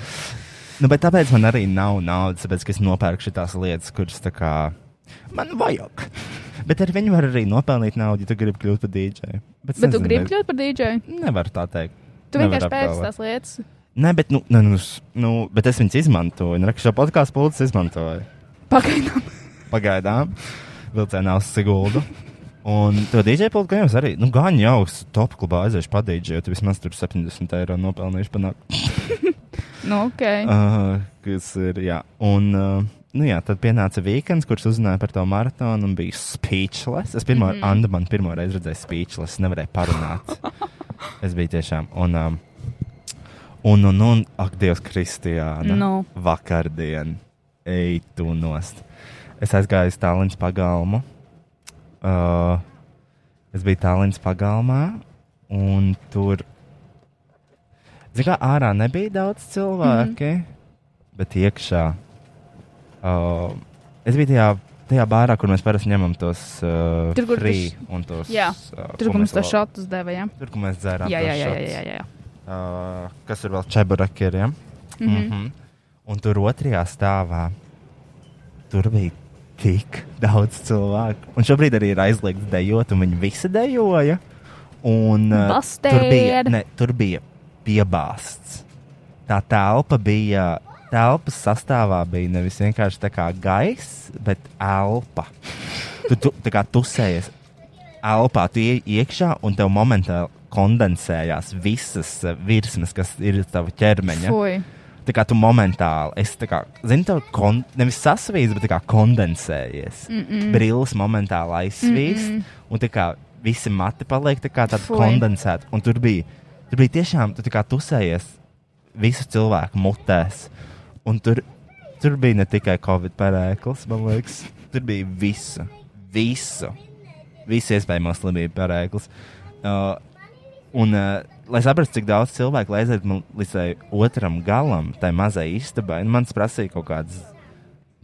Nu, bet tāpēc man arī nav naudas, tāpēc ka es nopērku šīs lietas, kuras tā kā man vajag. Bet ar viņu var arī nopelnīt naudu, ja tu gribi kļūt par dīdžeju. es
Bet tu
nezinu,
gribi
vai-
kļūt par DJ?
Nevar tā teikt.
Tu
Nevar
vienkārši pēc
apgalvot.
tās lietas.
Nē, bet, nu, nu, nu, s- nu, bet es viņas izmantoju. Un rakstu šo podkāstu pulcis izmantoju.
Pagaidām.
Pagaidām, vilcienā uz Siguldu. Un to DJ pultu gan jau es arī, nu, gan jau uz top klubā aiziešu padīdžē, jo tu vismaz tur 70 eiro nopelnīšu panākt.
Nu, okay.
Uh, kas ir, jā. Un, uh, nu jā, tad pienāca weekends, kurš uzzināja par to maratonu un bija speechless. Es pirmo, mm -hmm. Anna man pirmo reizi redzēju speechless, nevarēju parunāt. es biju tiešām. Un, um, un, un, un ak, Dievs, Kristiāna.
Nu.
Vakardien, ej, tu nost. Es aizgāju uz Tallinas pagalmu. Uh, es biju Tallinas pagalmā un tur Zini, kā ārā nebija daudz cilvēku, mm -hmm.
Mhm.
bet iekšā. Uh, es biju tajā, tajā bārā, kur mēs parasti ņemam tos uh,
Tur, kur tu
free
š-
un tos.
Jā.
uh,
Tur,
ko
kur mums
mēs
to
vēl-
šotus deva, jā?
Tur, kur mēs dzērām.
Jā, jā,
tos
jā, jā,
shots.
jā, jā.
Uh, kas ir vēl čeburekiem? Mm -hmm. mm -hmm. Un tur otrajā stāvā tur bija tik daudz cilvēku. Un šobrīd arī ir aizliegts dejot, un viņi visi dejoja. Un, uh, tur bija,
Bastēr!
ne, tur bija piebāsts. Tā telpa bija. Telpas sastāvā bija nevis vienkārši tā kā gaisa, bet elpa. Tu, tu tā kā tusējies elpā, tu ej iekšā un tev momentā kondensējās visas eh, virsmas, kas ir tava ķermeņa.
Fui.
Tā kā tu momentāli, es tā kā, zinu, tev kon, nevis sasvīst, bet tā kā kondensējies. Mm -mm. Brilles momentāli aizsvīst, mm -mm. un tā kā visi mati paliek tā kā tādi
Fui.
kondensēti. Un tur bija, tur bija tiešām, tu tā kā tusējies visu cilvēku mutēs. Un tur, tur bija ne tikai Covid parēklis, man liekas, tur bija visu, visu, visu iespējamo slimību parēklis. Uh, Un, uh, lai saprastu, cik daudz cilvēku, lai aizietu man līdz tai otram galam, tai mazai istabai, nu, man tas prasīja kaut kādas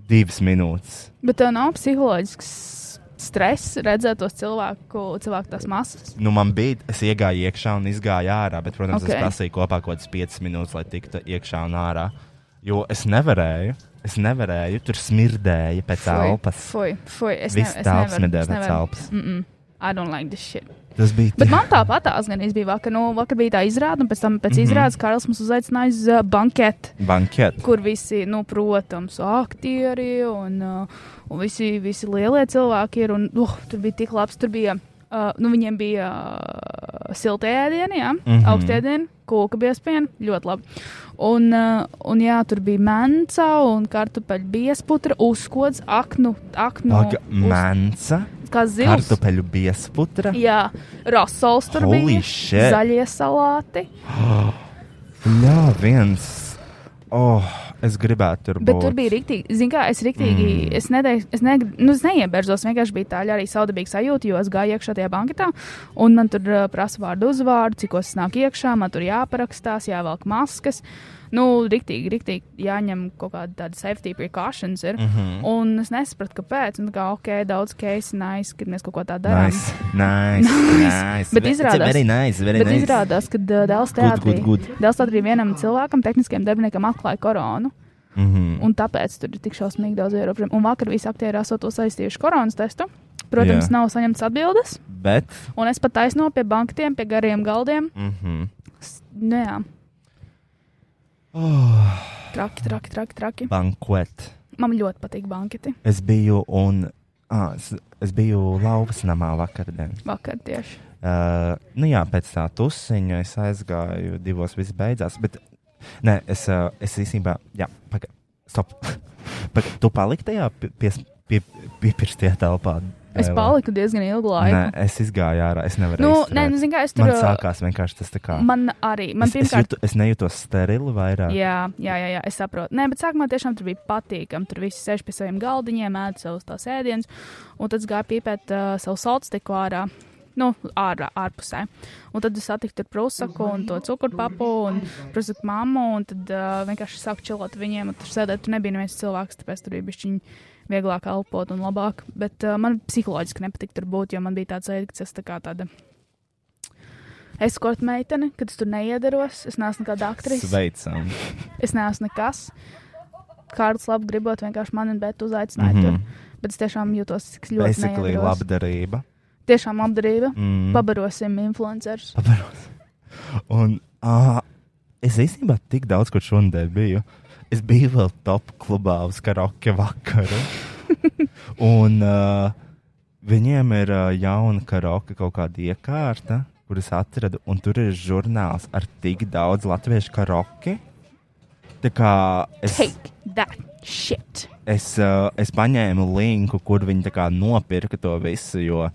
divas minūtes.
Bet tev nav psiholoģisks stress redzēt tos cilvēku, cilvēku tās masas.
Nu, man bija, es iegāju iekšā un izgāju ārā, bet, protams, okay.
Ok.
es prasīju kopā kaut kādas piecas minūtes, lai tiktu iekšā un ārā. Jo es nevarēju, es nevarēju, tur smirdēja pēc elpas.
Fui, fui. Es, ne,
Viss
es
telpas
nevaru.
nedēļ
Es
pēc
nevaru.
elpas.
Mm -mm. I don't like this shit.
Tas bija
Bet man tāpat tās gan bija vakar. Nu, vakar bija tā izrāde, un pēc tam
Mhm.
pēc mm -hmm. izrādes Karls mums uzaicināja uz uh, banketu.
bankets.
Kur visi, nu, protams, aktieri un, uh, un visi, visi lielie cilvēki ir. Un, uh, tur bija tik labs, tur bija. Uh, nu, viņiem bija uh, silta ēdiena, jā, mm
Mhm.
-hmm. augsta ēdiena, koka biespiena, ļoti labi. Un, uh, un jā, tur bija menca un kartupeļu biesputra, uzkods, aknu, aknu,
Paga, manca,
uz, kā zivs.
kartupeļu biesputra.
Jā, rasols tur
Holy
bija,
shit.
zaļie salāti.
Jā, viens. Oh, Es gribētu tur
Bet
būt.
tur bija rīktīgi, zinu, kā es rīktīgi, mm. es, nedēļ, es, ne, nu, es neiebērzos, vienkārši bija tā arī saudabīga sajūta, jo es gāju iekšā tajā banketā, un man tur ā, prasa vārdu uzvārdu, cik es nāku iekšā, man tur jāparakstās, jāvelk maskas. Nu, rīktīgi, rīktīgi jāņem kaut kāda tāda safety precautions ir. Mm
Mhm.
-hmm. Un es nesapratu, kāpēc. Un tā kā, ok, daudz case, nice, kad mēs kaut ko tādu darām.
Nice, nice, nice.
Bet
Ve- it's
izrādās-
Very nice, very
Bet
nice.
izrādās, ka ā, Dēls teātrī,
good, good.
Dēls teātrī vienam cilvēkam, tehniskajam darbiniekam, atklāja koronu.
Mm -hmm.
Un tāpēc tur ir tik šausmīgi daudz ierobežojumu. Un vakar visi aktieri esot to saistījuši koronas testu. Protams, yeah.
Jā.
nav saņemts atbildes.
Bet,
Un es pat taisno pie banktiem, pie gariem galdiem.
mm -hmm.
S- Nu, jā.
Oh.
Traki, traki, traki, traki.
bankuet.
Man ļoti patīk banketi.
Es biju un. Ah, es, es biju Lauvas namā vakardien.
Vakar tieši.
Uh, nu jā, pēc tā tusiņa es aizgāju, divos viss beidzās. Bet, nē, es, uh, es īstenībā, jā, pagaidi, stop. Paga, tu paliki tajā pi- pies- pie, pie, piepirstajā telpā?
Es
Daila?
paliku diezgan ilgu laiku.
Nē, es izgāju ārā, es nevarēju.
nu,
izturēt.
nē, nu, zini, kā es tur
Man sākās vienkārši tas tā kā.
Man arī. Man
es, es,
pirmkārt,
jūtu, es nejūtos sterili vairāk.
Jā, jā, jā, jā, es saprotu. Nē, bet sākumā tiešām tur bija patīkami. Tur viss sēž pie saviem galdiņiem, ēd savus tās ēdienus, un tad es gāju pīpēt uh, savu salcetiku ārā. Nu, ārā, ārpusē. Un tad es satiku tur prusaku un to cukurpapu un prusaku mammu, un tad uh, vienkārši sāku čilot ar viņiem, un tur sēdēt, tur nebija neviens cilvēks, tāpēc tur bija bišķiņi vieglāk elpot un labāk. Bet uh, man psiholoģiski nepatika tur būt, jo man bija tāds veids, ka es tā kā tāda eskorta meitene, kad es tur neiedaros, es neesmu nekāda aktrise.
Sveicam.
Es neesmu nekas. Kārlis labi gribot, vienkārši mani un Bētu uzaicināja. Mm -hmm. Bet es tiešām jūtos cik ļoti
Mhm. Basically
labi.
labdarība.
Tiešām labdarība.
Mm.
Mm. Pabarosim influencerus.
Pabaros. Un uh, es īstenībā tik daudz, kur šonadēļ biju. Es biju vēl top klubā uz karaoke vakaru. Un uh, viņiem ir uh, jauna karaoke kaut kāda iekārta, kuras atradu. Un tur ir žurnāls ar tik daudz latviešu karaoke. Tā kā es.
Take that shit.
es, uh, es paņēmu linku, kur viņi tā kā nopirka to visu. Jo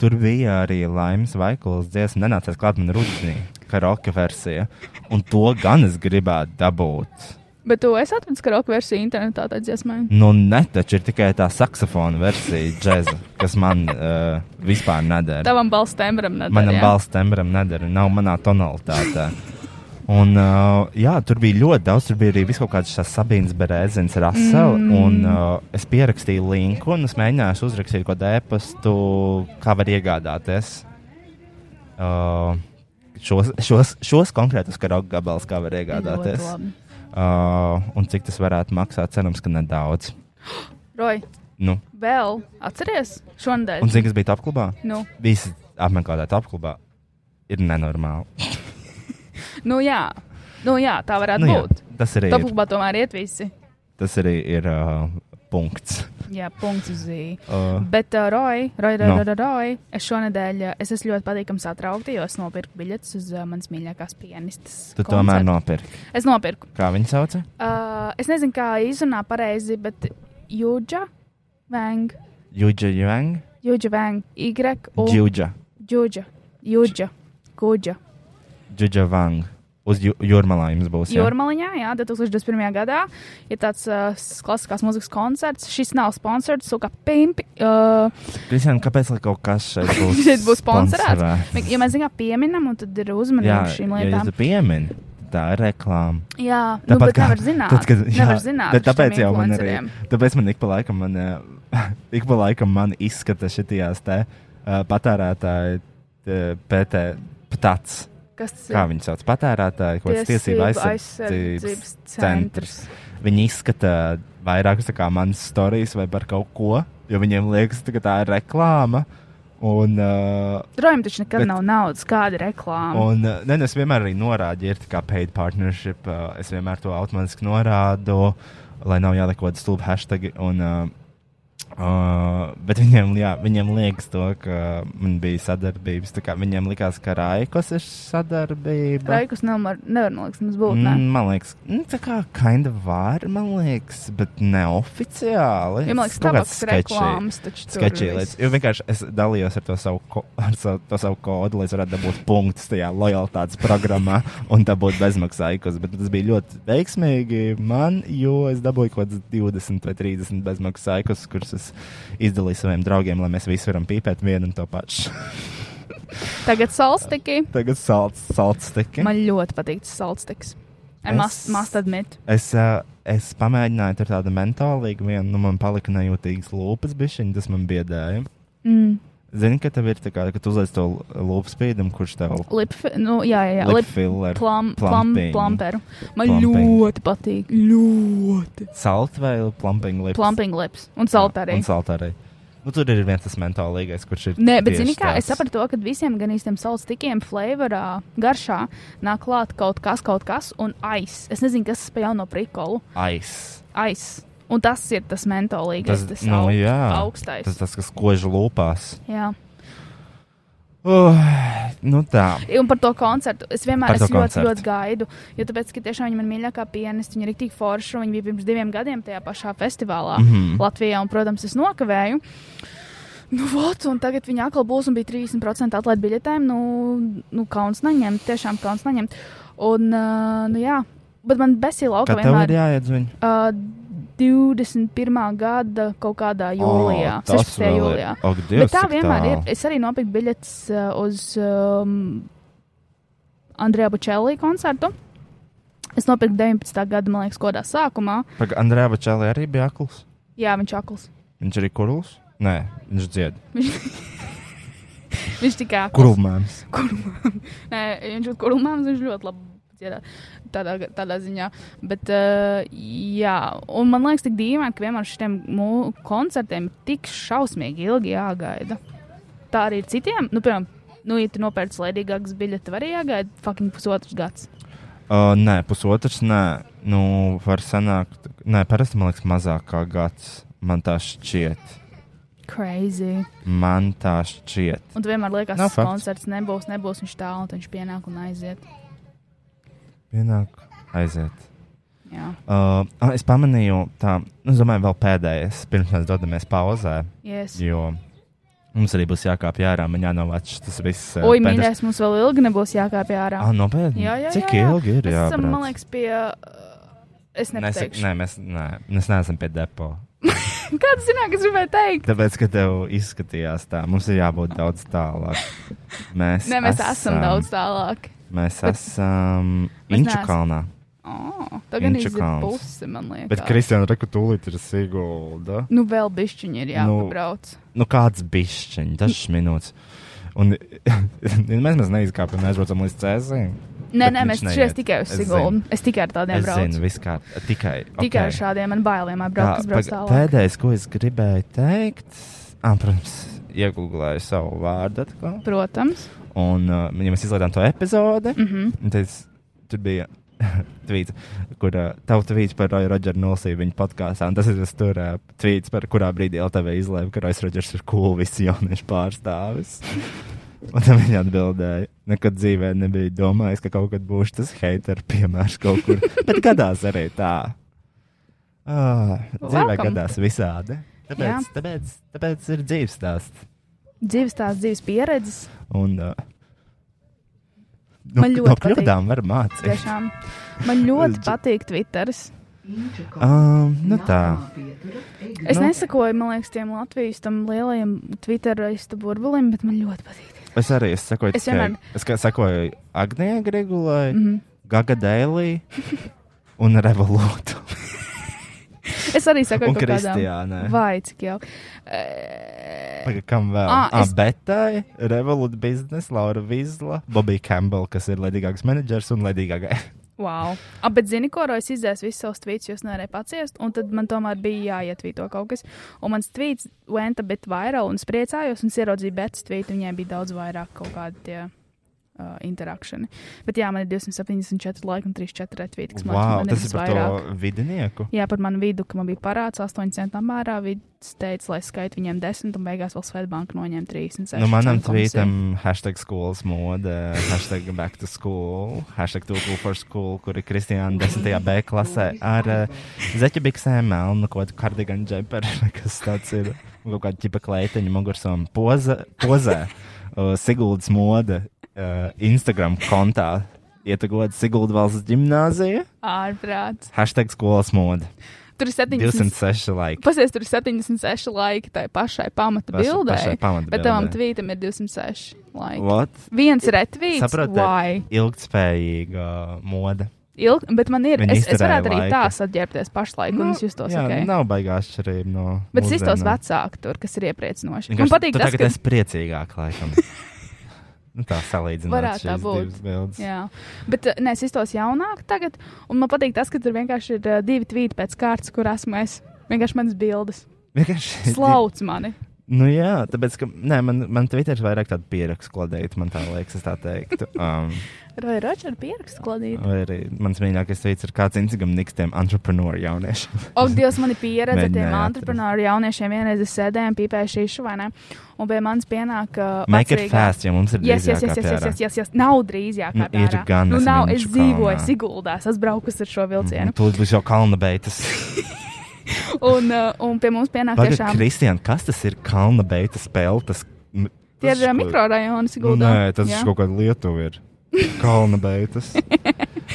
tur bija arī Laimas Vaikolas dziesma, nenācās klāt man rudenī, karaoke versija. Un to gan es gribētu dabūt.
Bet tu esi atradis karaoke versiju internetā, tā dziesmā.
Nu, ne taču ir tikai tā saksofona versija, džēza, kas man uh, vispār nedara.
Tavam balss tembram nedara.
Manam
jā.
balss tembram nedara, nav manā tonalitātē. Un, uh, jā, tur bija ļoti daudz. Tur bija arī viss kaut kāds šāds Sabīnas Berēzins, Rasela. Mm. Un uh, es pierakstīju linku, un es mēģināju uzrakstīt kaut kādu e-pastu, kā var iegādāties uh, šos, šos, šos konkrētus karaoke gabalus, kā var
Ļoti
iegādāties.
labi.
Uh, un cik tas varētu maksāt? Cerams, ka nedaudz.
Roj,
Nu.
vēl atceries šonadēļ?
Un cik tas bija apklubā?
Nu,
Visi apmeklētāji apklubā ir nenormāli.
nu, jā. nu jā, tā varētu
Nu,
nu,
jā,
būt.
tas arī ir.
Topā tomēr iet visi.
Tas arī ir uh, punkts.
Jā, punkts uz zīmē.
Uh,
Bet, uh, Roja, Roja, Roja,
No.
no. Roja, es šonadēļ uh, es esmu ļoti patīkami satraukta, jo es nopirku biļetes uz uh, manas mīļākās pianistas.
tu
koncertu.
tomēr nopirki.
Es nopirku.
Kā viņi sauc?
Uh, es nezinu, kā izrunā pareizi, bet Jūģa, Vang,
Juģa Jung.
Jūģa, Vang, Y,
Džuģa.
Jūģa, Jūģa, Kuģa.
Džuģa Vang. Uz Ju- jūrmalā jums būs. jā?
Jūrmaliņā, jā, 2021. gadā ir tāds uh, s- klasiskās muzikas koncerts. Šis nav sponsors, sūka pimpi. Uh,
Kristian, kāpēc lai kaut kas šeit būs?
šeit būs sponsorēts.
sponsorēts?
Ja mēs zinām, pieminam, un tad ir
Jā,
uzmanība šīm
ja
lietām.
jūs piemini, tā ir reklāma.
Jā, nu, bet kā, nevar zināt,
Tad, kad,
nevar zināt
tad,
ar
tāpēc
šiem
jau man arī,
influenceriem.
tāpēc man ik pa laikam, man, eh, ik pa laikam man izskata šitās te eh, patērētāji eh, PT, ptats.
Kas tas
Kā
ir?
viņi sauc? Patērētāji, ko tas tiesība aizsardzības centrs. Viņi izskata vairākas tā kā manas stāstus vai par kaut ko, jo viņiem liekas, tā, ka tā ir reklāma. Un, uh,
Rojam taču nekad
Bet-
bet... nav naudas, kāda reklāma.
un uh, ne, nu, es vienmēr arī norādu, ja ir tā kā paid partnership, uh, es vienmēr to automātiski norādu, lai nav jāliek kaut kāda stulba hashtag. Un, uh, Uh, bet viņiem, jā, viņiem liekas, to, ka uh, man bija sadarbības. tā kā Viņiem likās, ka Raikos ir sadarbība.
Raikus nevar, nevar man liekas, mums būt.
Mm,
Mm.
Man liekas, nu, tā kā kinda var, man liekas, bet neoficiāli.
Ja man liekas,
Kaut
tabaks
kāds sketchy-
reklāmas taču tur
sketchy
viss.
lietas. Jo vienkārši es dalījos ar to savu, ko, ar savu, to savu kodu, lai es varētu dabūt punktus tajā lojalitātes programmā un dabūt bezmaksājumus. Bet tas bija ļoti veiksmīgi man, jo es dabūju kaut kāds 20 vai 30 bezmaksājumus, kurus es izdalīju saviem draugiem, lai mēs visi varam pīpēt vienu un to pašu.
Tagad salstiki.
Tagad salds, salds tiki.
Man ļoti patīk tas salstiks. I
Es-
must, must admit.
Es, uh, es pamēģināju tur tādu mentālīgu vienu, nu man palika nejūtīgas lūpas, bišķiņ, tas man biedēja.
Mm.
Zini, ka tev ir tā kā, ka tu uzliec to lūpas spīdumu, kurš tev
Lip, nu, jā, jā, jā.
Lip
Lip
filler,
plum, plum,
plumping.
plumperu. Man
Plumping.
ļoti patīk. Ļoti.
salt vai plumping lips.
Plumping lips un
Un
saltpērī.
salt arī. Nu, tur ir viens tas mentālīgais, kurš ir.
Nē, bet
tieši
zini, kā
tāds.
es sapratu, to, ka visiem gan īstiem salstikiem, flavorā, garšā nāk klāt kaut kas, kaut kas un aiz. Es nezinu, kas tas pa jauno prikolu.
Aiz.
Aiz. Un tas ir tas mentolīgais, tas, tas nu, aug, jā, augstais.
Tas tas, kas kož lūpās.
Jā.
Uh, nu tā.
Un par to koncertu. Es vienmēr
Par to
esmu ļoti,
koncertu.
ļoti gaidu. Jo tāpēc, ka tiešām viņa ir mīļākā pianiste, viņa ir tik forša. un Viņa bija pirms diviem gadiem tajā pašā festivālā mm
Mhm.
-hmm. Latvijā. Un, protams, es nokavēju. Nu, vot, un tagad viņa atkal būs un bija 30% atlaide biļetēm. Nu, nu kauns neņemt, tiešām kauns neņemt. Un, uh, nu, jā. Bet man besīla auga
Kā tev ir
vienmēr
jāiedz viņu?
uh, 21. gada kaut kādā jūlijā,
O, tas
16.
vēl ir.
jūlijā.
Ak,
Bet
Dievs,
tā
cik
vienmēr ir.
tālu.
Es arī nopirku biļetes uh, uz um, Andrija Bučelī koncertu. Es nopirku 19. gada, man liekas, kodā sākumā.
Paga- Andrejā Bačēlē arī bija akls.
Jā, viņš ir akls.
Viņš arī kurls? Nē, viņš dzied.
Viņš tikai akls.
Kurlmēms.
Nē, viņš ir kurlmāms, viņš ļoti labi. dziedā. Tādā, tādā ziņā. Bet, uh, jā, un man liekas, tik dīvaini, ka vienmēr šiem koncertiem ir tik šausmīgi ilgi jāgaida. Tā arī ir citiem. Nu, piemēram, nu, ja tu nopērci slēdīgākas biļetes, var arī jāgaida fucking pusotrs gads.
Uh, nē, pusotrs, nē, nu, var sanākt. Nē, parasti man liekas, mazāk kā gads. Man tā šķiet.
Crazy.
Man tā šķiet.
Un tu vienmēr liekas,
Nav
ka
fakts.
koncerts nebūs, nebūs viņš tālu, un viņš pienāk un aiziet.
Pienāk, aiziet.
Jā,
Uh, ah, es pamanīju, tā, nu, es domāju, vēl pēdējais, pirms mēs dodamies pauzē,
yes.
jo mums arī būs jākāpj ārā, man jānovāc tas viss. eh,
Oi,
pēdējais-
mīļais, mums vēl ilgi nebūs jākāpj ārā.
Ah, nopietni.
Jā, jā, jā,
Cik
jā.
ilgi ir?
Mēs
Jā,
esam, man liekas, pie. uh, Es
Nesaka,
nepateikšu.
nē, mēs, nē, mēs neesam pie depo.
Kāds zināja, kas gribēja teikt?
Tāpēc, ka tev izskatījās tā, mums ir jābūt daudz tālāk. Mēs,
Nē, mēs esam, esam daudz tālāk.
Mēs esam
Mēs
Inču
neesam.
kalnā.
Oh, tā gan ir
Inču kalns.
pusi, man liekas.
Bet Kristiāna Rekutūlīt ir Sigulda.
Nu, vēl bišķiņi ir
Nu,
jāpabrauc. Nu.
Nu, kāds bišķiņ, dažas minūtes. Un mēs, mēs neizkāpjam, aizbraucam līdz Cēzim.
Nē,
bet
nē,
viņš
mēs
neiet.
šeit tikai uz
Es
Sigūnu.
zinu.
Es tikai ar tādiem
Es
braucu.
zinu, viss kā tikai.
Tikai ar
okay.
šādiem man bailēm
Tā,
apbraukt, kas brauc
paga-
tālāk.
Pēdējais, ko es gribēju teikt, ah, protams, iegūlēju savu vārdu atkal.
Protams.
Un, uh, ja mēs izlaidām to epizodi,
Mm -hmm.
Un Tas, tur bija tvīts, kur uh, tavs tvīts par Roju Rodžeru nolasīja viņa podkāstā. un Tas ir tas tur uh, tvīts, par kurā brīdī LTV izlēma, ka Rojas Rodžers ir kūvis cool jauniešu pārstāvis. Un tam viņa atbildēja, nekad dzīvē nebija domājis, ka kaut kad būšu tas haitera piemērs kaut kur. Bet gadās arī tā. Ah, dzīvē
Welcome.
gadās visādi.
Jā.
Tāpēc, tāpēc, tāpēc ir dzīves stāsts.
Dzīves tās dzīves pieredzes.
Un, uh,
Man
no,
ļoti
no
patīk.
kļūdām var mācīties.
Tiešām. Man ļoti
Es-
patīk Twitteris.
Um, nu tā.
Nākamā pietura -
Nu.
Es nesakoju, man liekas, tiem Latvijas tam lielajiem Twitterista burbulim, bet man ļoti patīk.
Es arī es sekoju,
Es
es tikai,
vienmēr- Mhm.
es kā- sekoju Agnētai Grigulai, mm -hmm. Gaga Dēlī un Revolūtu.
Es arī saku,
Un
ka
Kristiānai.
Vai cik jau?
Paga, Kam vēl?
Ah,
Ah,
es-
ah, Betai, Revolūta biznesa, Laura Vizla, Bobija Campbell, kas ir ledīgāks menedžers un ledīgākais.
Wow. A, bet zini, ko es izdzēsu visus savus tvītus, jūs nevarēju paciest, un tad man tomēr bija jāietvīto kaut kas. Un mans tvīts went a bit viral, un es priecājos, un es ieraudzīju betas tvītu, viņai bija daudz vairāk kaut kādi tie uh, interakciju. Bet jā, man ir 274 laika un 34 retvīti, kas man,
Wow,
man
tas
ir
ir par
visvairāk.
to vidinieku.
Jā, par manu vidu, ka man bija parāds 8 centu apmērā. Vids teica, lai skaitu viņiem 10, un beigās vēl Svetbanka noņem 36.
Nu, manam
centu komisiju.
tvītam hashtag skolas mode, hashtag back to school, hashtag too cool for school, kur ir Kristiāna 10. B klasē ar uh, zeķu biksēm, melnu kaut kādu kardiganu džemperu, vai kas tāds ir, un kaut kādu ķipa kleiteņu mugursom poza, pozē, uh, Siguldas mode uh, Instagram kontā. Ietagot Sigulda valsts ģimnāzija,
Ārprāts.
hashtag skolas mode,
Tur ir 70.
206 laika.
Pasies, tur ir 76 laiki tai pašai pamata
Pašai-
bildē.
pašai pamata
bet tavam
bildei.
tvītam ir 206 laiki.
What?
Viens retvīts, vai
Saprotiet, ilgtspējīga uh, mode.
ilgi, bet man ir,
Viņi
es, es
izturēja
varētu arī
laiku.
tā saģērbties pašlaik, un es justos
jā, nu,
ok.
Nav baigā atšķirība no.
Bet es
mūsdienām.
iztos vecāku tur, kas ir iepriecinoši. Man
Vienkārši
patīk
tu
tas,
tagad
ka
esi priecīgāk, laikam. Nu, tā salīdzinot
Varētu tā
šīs
būt.
divas bildes.
Jā, bet eh, nē, es iztos jaunāk tagad, un man patīk tas, ka tur vienkārši ir eh, divi tvīti pēc kārtas, kur esmu es. Vienkārši manas bildes.
Vienkārši.
Slauc mani.
Nu jā, tāpēc, ka, nē, man, man Twitter ir vairāk tādu pierakstu kladēju, man tā liekas, es tā teiktu. Um,
Vai Ročers pierakstu kladīt?
vai arī mans mīļākais tweets ir kāds Instagram nikstiem entrepreneur jauniešiem.
Ak, Dievs, man ir pieredze ar tiem
Mēģināju atrast.
entrepreneuru jauniešiem. Vienreiz es sēdēju, pīpēju šīšu vai ne, un pie manis pienāk. Uh,
Make it fast, ja mums ir
Jā, jā,
drīzāk
jā,
jāpērā.
jā, jā, jā, nav drīzāk.
Nu, ir gan,
nu,
es
nav.
mīlu
Es
šo
dzīvoju
kalnā.
Siguldā, es braucu ar šo vilcienu.
Nu, Tūlīt būs jau kalna beitas. Mhm.
Un, uh, un pie mums pienāk
Pagaidiet,
tiešām
Kristian, kas tas ir kalna beitas spēle? Tas, m-
tie
tas
ir uh,
ko-
mikrorajoni
Nu,
Siguldā.
nē, tas
jā.
ir kaut kāda Lietuva. Ir. Kalna beigas.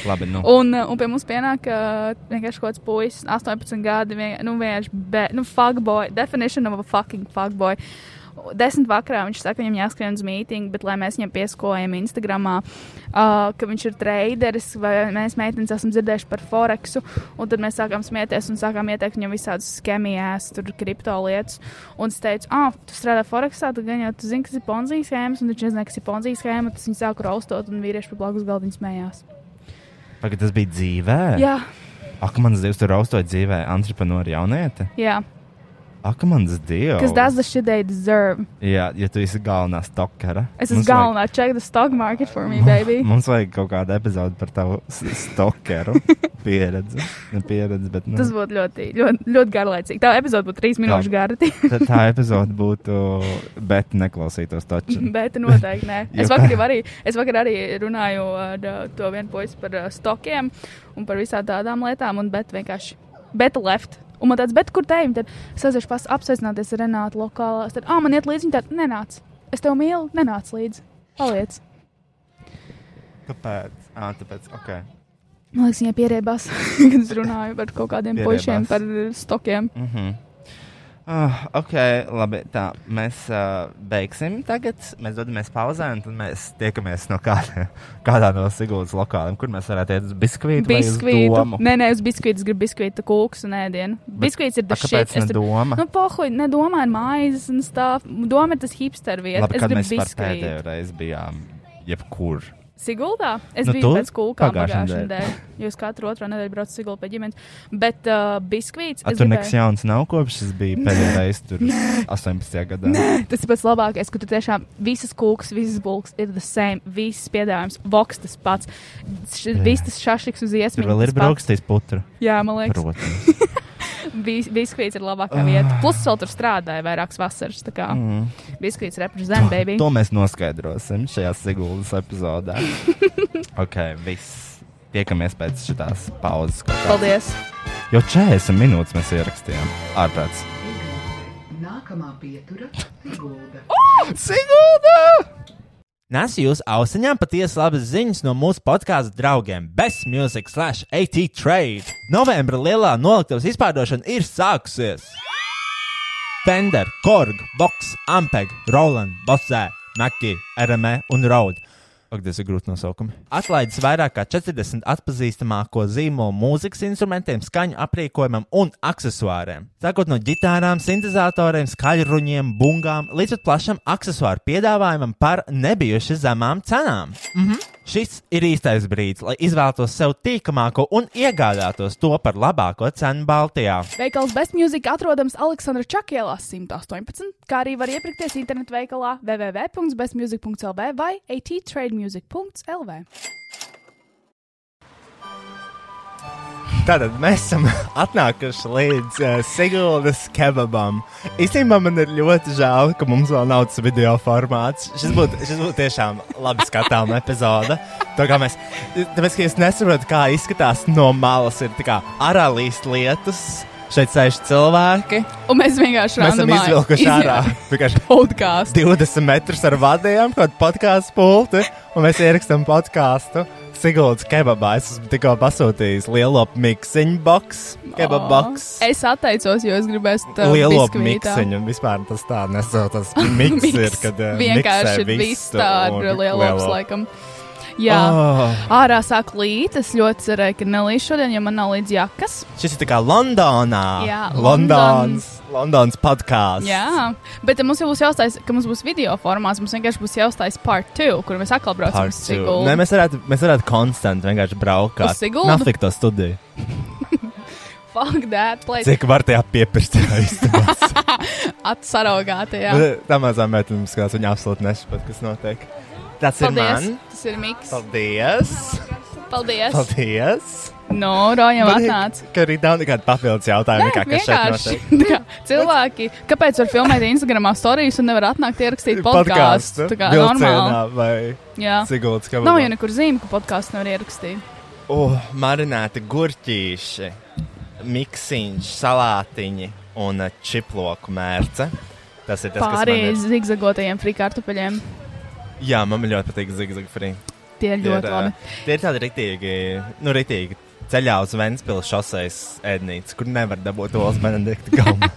Labi, nu.
Un, uh, un pie mums pienāk uh, vienkārši kaut kāds puisis, 18 gadi, vien, nu vienkārši, be, nu, fuckboy, definition of a fucking fuckboy. Desmit vakarā viņš saka, viņam jāskrien uz mītīnu, bet lai mēs viņam pieskojam Instagram, uh, ka viņš ir traderis, vai mēs meitenes esam dzirdējuši par Foreksu, un tad mēs sākām smieties un sākām ieteikt viņam visādus skemijas, tur kripto lietas. Un es teicu, ah, tu strādā Foreksā, tad gan jau tu zini, kas ir Ponzijas schēmas, un viņš nezināja, kas ir Ponzijas schēma, tad viņi sāka raustot, un vīrieši pa blakus galdiņu smējās.
Pagad, tas bija dzīvē.
Jā,
Ak, manas dievs, tur raustoja dzīvē, entreprenori jaunieti.
jā.
Ak, manas dievs.
Because that's the shit they deserve.
Jā, ja tu esi galvenā stokera.
Es esmu
Mums vajag-
galvenā. Check the stock market for me, baby.
Mums vajag kaut kādu epizodu par tavu s- stokeru pieredzi. Ne pieredzi, bet. Nu,
Tas būtu ļoti, ļoti, ļoti garlaicīgi. Tā epizode būtu trīs minūšu gara.
tā, tā epizode būtu, bet neklausītos taču.
Bet noteikti nē.
Jo
Es
tā-
vakar, jau arī, es vakar arī runāju ar uh, to vienu puisi par uh, stokiem un par visām tādām lietām, un bet vienkārši bet left. Un man tāds, bet kur te jām? Tad es aiziešu pas apsveicināties ar Renātu lokālā. Es Tad, ah, man iet līdzi, viņa tad nenāc. Es tev mīlu, nenāc līdzi. Paliec.
Kāpēc? Ā, tāpēc, ok.
Man liekas, viņa pierēbās, kad es runāju par kaut kādiem puišiem,
Pierēbās.
par uh, stokiem.
Mhm. Ah, ok, labi. Tā, mēs uh, beigsim tagad. Mēs dodamies pauzē, un tad mēs tiekamies no kāda, kādā no Sigūdas lokāliem, kur mēs varētu iet uz biskvītu. vai uz
Biskvītu.
domu?
Nē, nē, uz biskvītu es gribu biskvītu kūkus un ēdienu. Biskvīts ir
A,
tas
kāpēc ne doma?
Nu, pohuļ, nedomā ar maizes un stāv. Doma ir tas hipster vieta. es
labi, kad
gribu
mēs par
biskvītu.
pēdējo reizi bijām jebkur.
Siguldā? Es
Nu,
nu, biju
tu?
pēc kūkām
Pagājušajā
pagājušajā
nedēļā.
nedēļā. Jo es katru otro nedēļu braucu Siguldā pie ģimenes. Bet uh, biskvīts. es
A, tur
gribēju-
nekas jauns nav kopš tas bija pēdējā reize, tur 18. gadā.
Tas ir pats labākais, ka tu tiešām visas kūkas, visas bulgas ir the same. Visas piedāvājums, voks tas pats. Š,
Jā.
viss tas šašiks uz
Tur
iesmīgu.
vēl ir braukstīs putra.
Jā, man liekas.
Protams.
Bis- Biskvīts ir labākā
Ah.
vieta. Plus, es vēl tur strādāju vairākas vasaras. Tā kā mm.
Mhm.
biskvīts reprezentē, baby.
To mēs noskaidrosim šajā Sigūdas epizodē. ok, viss. Tiekamies pēc šitās pauzes. kaut kādas.
Paldies!
Jau 40 minūtes mēs ierakstījām. Ārprāts.
Nākamā pietura - Sigulda.
Sigūda!
Nesu jūs ausiņām patiesi labas ziņas no mūsu podkāstu draugiem Best Music slash AT Trade. Novembra lielā noliktavas izpārdošana ir sākusies! Fender, Korg, Vox, Ampeg, Roland, Bosē, Naki, RME E un Raud. Ak, tas ir grūti nosaukumi. Atlaides vairāk kā 40 atpazīstamāko zīmolu mūzikas instrumentiem, skaņu aprīkojumam un aksesuāriem. Sākot no gitārām, sintēzatoriem, skaļruņiem, bungām līdz pat plašam aksesuāru piedāvājumam par nebijuši zemām cenām. Mhm. Šis ir īstais brīdis, lai izvēlētos sev tīkamāko un iegādātos to par labāko cenu Baltijā.
Veikals Best Music atrodams Aleksandra Čakielā 118, kā arī var iepirkties internetu veikalā www.bestmusic.lv vai AT Trade Music.lv.
Tātad mēs esam atnākuši līdz uh, Sigūdas kebabam. Īstenībā man ir ļoti žēl, ka mums vēl nav tas video formāts. Šis būtu šis būtu tiešām labi skatām epizode. To, kā mēs, tāpēc, ka es nesaprotu, kā izskatās no malas, ir tā kā arālīs lietas. Šeit sēž cilvēki.
Un mēs vienkārši
Mēs esam
randomā
izvilkuši
izņem-
ārā vienkārši
Podkāstu.
20 metrus ar vadiem, kaut kādu podkāstu pulti, un mēs ierakstām podkāstu. Sigūdas kebabā es esmu tikko pasūtījis lielo miksiņu boxu, kebab boxu.
Oh. Es atteicos, jo es gribēju uh, to
Lielo miksiņu, un vispār tas tā nesaucās. Miks ir, kad eh, miksē
vienkārši viss
visu un
tāds lielops,
lielo.
laikam. Jā, oh.
Oh,
ārā sāk līt. Es ļoti cerēju, ka nelīdz šodien, ja man nav līdz jakas.
šis ir tā kā Londonā.
Jā,
Londons, Londons podkāsts.
Jā, bet eh, mums jau būs jāuztais, ka mums būs video formāts. Mums vienkārši būs jāuztais part 2, kur mēs atkal braucam uz Sigulu.
Nē, mēs varētu, mēs varētu konstanti vienkārši braukt.
Uz Siguldu?
Nafik to studiju.
Fuck that, play Cik...
Cik var tajā piepirst? īstenībā?
atsaraugātajā.
tā mazā meitene mums skatās, viņa absolūti nesaprot, kas notiek. Tas ir
Paldies,
man.
tas ir Miks.
Paldies!
Paldies. Paldies.
Paldies!
No, Rojam
Man ir-
atnāca.
Ka arī nav nekāda papildus jautājuma,
Nē,
kā, kas šeit notiek.
Tā kā Cilvēki, kāpēc var filmēt Instagram stāstus un nevar atnākt ierakstīt podkāstu? Tā kā normāli.
vilcienā vai
Jā.
ciguldas kabinā.
Nav jau nekur zīme, ka podkāstu nevar ierakstīt.
Uh, marināti gurķīši, miksiņš, salātiņi un uh, čiploku mērce. Tas ir tas,
Pārējais
kas man ir.
zigzagotajiem frīkārtupeļiem.
Jā, man ļoti patīk zigzag frī.
Tie ir
Tie ir,
ļoti
ā,
labi.
Tie ir tādi rītīgi, nu, rītīgi ceļā uz Ventspils šoseis ēdnīca, kur nevar dabūt olas benedikta galmu.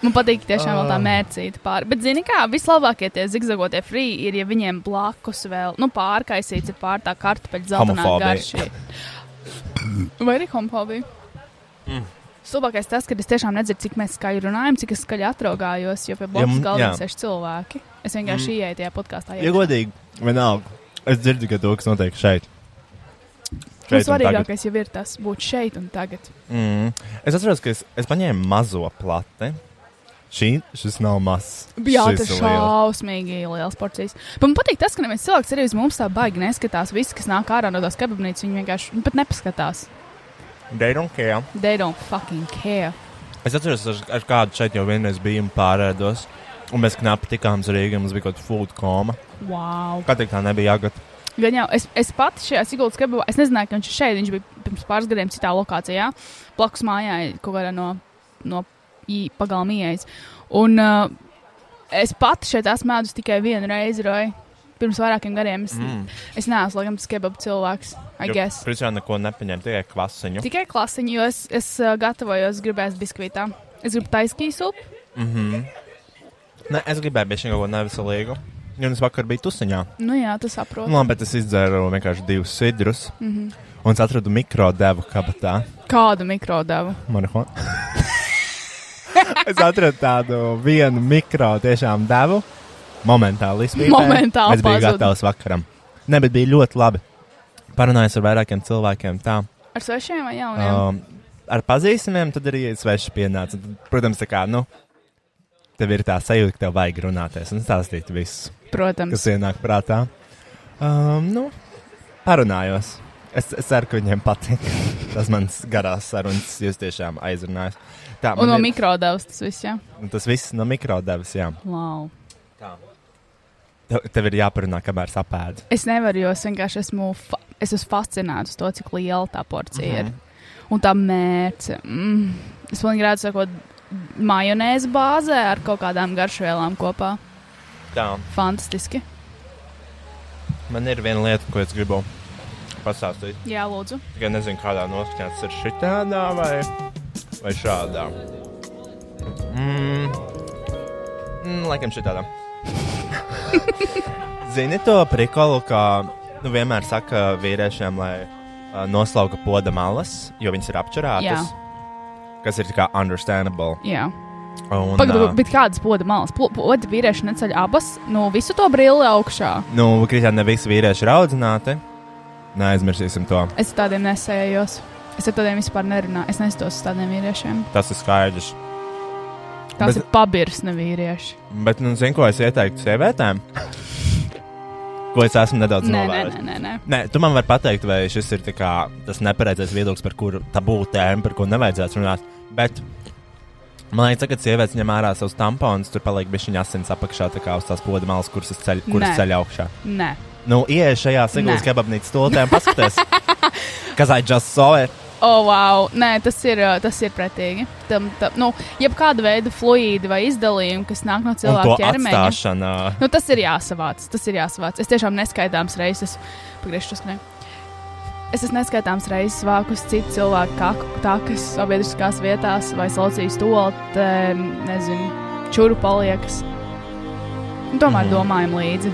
Man patīk tiešām vēl tā
Ah.
mērcīta pāri. Bet, zini, kā vislabākie tie zigzagotie frī ir, ja viņiem blakus vēl nu, pārkaisīts ir pār tā kartupeļu zeltainā
Homofobija.
garšī. Vai arī homofobija? Mm. Stulbākais tas, ka es tiešām nedzirdu, cik mēs skaļi runājam, cik es skaļi atraugājos, jo pie blakus
mums-
galda
jā.
sēž cilvēki. Es vienkārši mm. ieeju tajā podkāstā.
ja godīgi, vienalga, es dzirdu, ka to, kas notiek šeit.
Nu,
un tagad.
svarīgākais jau ir tas būt šeit un tagad.
Mm. Es atceros, ka es, es paņēmu mazo plati. Šī, šis nav mazs.
Jā, tas
šis
ir
ir liels.
šausmīgi liels porcijas. Bet man patīk tas, ka neviens cilvēks arī uz mums tā baigi neskatās. Visi, kas nāk ārā no tās kabinītes, viņi vienkārši nu, pat nepaskatās.
They don't care.
They don't fucking care.
Es atceros, ar, ar kādu šeit jau vienreiz biju un pārēdos. Un mēs knapi tikām uz Rīgā. Mums bija kaut kāda food koma.
Wow.
Kā teikt, tā nebija jāgat.
Gan jau es, es pati šajā Sigūdas kabinā, es nezināju, ka viņš ir šeit. Viņš bija pirms pāris gadiem citā lokācijā, blakus mājā, kaut kādā no, no pagalma ieejas. Un uh, es pati šeit esmu mēdus tikai vienu reizi, Roja. Pirms vairākiem gadiem es, mm. es neesmu laikam tas kebabu cilvēks, I guess.
Pēc tam neko nepaņēmu, tikai kvasiņu.
Tikai klasiņu, jo es, es ā, gatavojos, gribēju biskvītā. Es gribu taisnīgi sūp.
Ne, es gribēju bieži vien kaut ko neveselīgu. Jo es vakar biju tusiņā.
Nu jā, tu saproti.
Nu, labi, bet es izdzēru vienkārši divus sidrus. Mm -hmm. Un es atradu mikro devu kabatā.
Kādu mikrodevu?
Marihuana. es atradu tādu vienu mikro tiešām devu. Momentāli izpildīju.
Momentāli
Es biju
pazuda.
gatavs vakaram. Nē, bet bija ļoti labi. Parunājos ar vairākiem cilvēkiem. Tā,
Ar svešiem vai jauniem?
um, ar pazīstamiem, tad arī sveši pienāca. Tad, protams, tā kā, nu, tev ir tā sajūta, ka tev vajag runāties un stāstīt visu,
Uh, Protams.
kas ienāk prātā. Um, nu, parunājos. Es, es ceru, ka viņiem patīk. Tas mans garās sarunas, jūs tiešām aizrunājat. Tā,
Un no
man ir-
mikrodevas tas viss, jā.
Un Tas viss no mikrodevas, jā.
Wow.
Tev, tev ir jāparunā, kamēr sapēdi.
Es nevaru, jo es vienkārši esmu, fa es esmu fascinēts uz to, cik liela tā porcija mm -hmm. ir. Un tā mērce. Mm. Es pilnīgi redzu, sakot, majonēzes bāzē ar kaut kādām garšvielām kopā.
Tā,
Fantastiski.
man ir viena lieta, ko es gribu pastāstīt.
Jā, lūdzu.
Tikai nezinu, kādā noskaņā tas ir šitādā vai, vai šādā. Mm. Mm, laikam šitādā. Zini to prikolu, ka nu, vienmēr saka vīriešiem, lai uh, noslauka poda malas, jo viņas ir apčurātas.
Jā.
Kas ir tā kā understandable.
Jā.
Un, ā,
Pagaidiet, kādas poda malas? Po- Poda vīrieši neceļ abas no visu to brilli augšā.
Nu, Kristija, ne visi vīrieši ir audzināti. Neaizmirsīsim to.
Es ar tādiem nesējos. Es ar tādiem vispār nerunāju. Es nestos uz tādiem vīriešiem.
Tas ir skaidrs.
Tas
Bet-
ir pabirs, ne vīrieši.
Bet, nu, zinu, ko es ieteiktu sievietēm, ko es esmu nedaudz
Nē, nē,
novērojis.
nē, nē, nē.
Nē, tu man vari pateikt, vai šis ir tā kā, tas nepareizais viedoklis, par kuru tā būtu tēma, par ko nevajadzētu runāt. Bet man liekas, ka sievietes ņem ārā savus tamponus, tur paliek viņa asins apakšā, tā kā uz tās poda malas, kuras es ceļ, kuras
Nē.
ceļ augšā.
nē.
Nu, ieej šajā Sigūdas
Nē.
kebabnīcas stultē un paskaties, kas I just saw it.
Oh, wow. Nē, tas ir, uh, tas ir pretīgi. Tam, tam, nu, jebkāda veida fluīdi vai izdalījumi, kas nāk no
Un to
cilvēka ķermeņa.
atstāšana.
Nu, tas ir jāsavāc. Tas ir jāsavāc. Es tiešām neskaitāmas reizes pagriežos, ka ne. Es esmu neskaitāmas reizes vākus citu cilvēku kaku, takas, sabiedriskās vietās, vai salcījis to lietu, nezinu, čuru paliekas. Un tomēr
Mhm.
mm. domājam līdzi.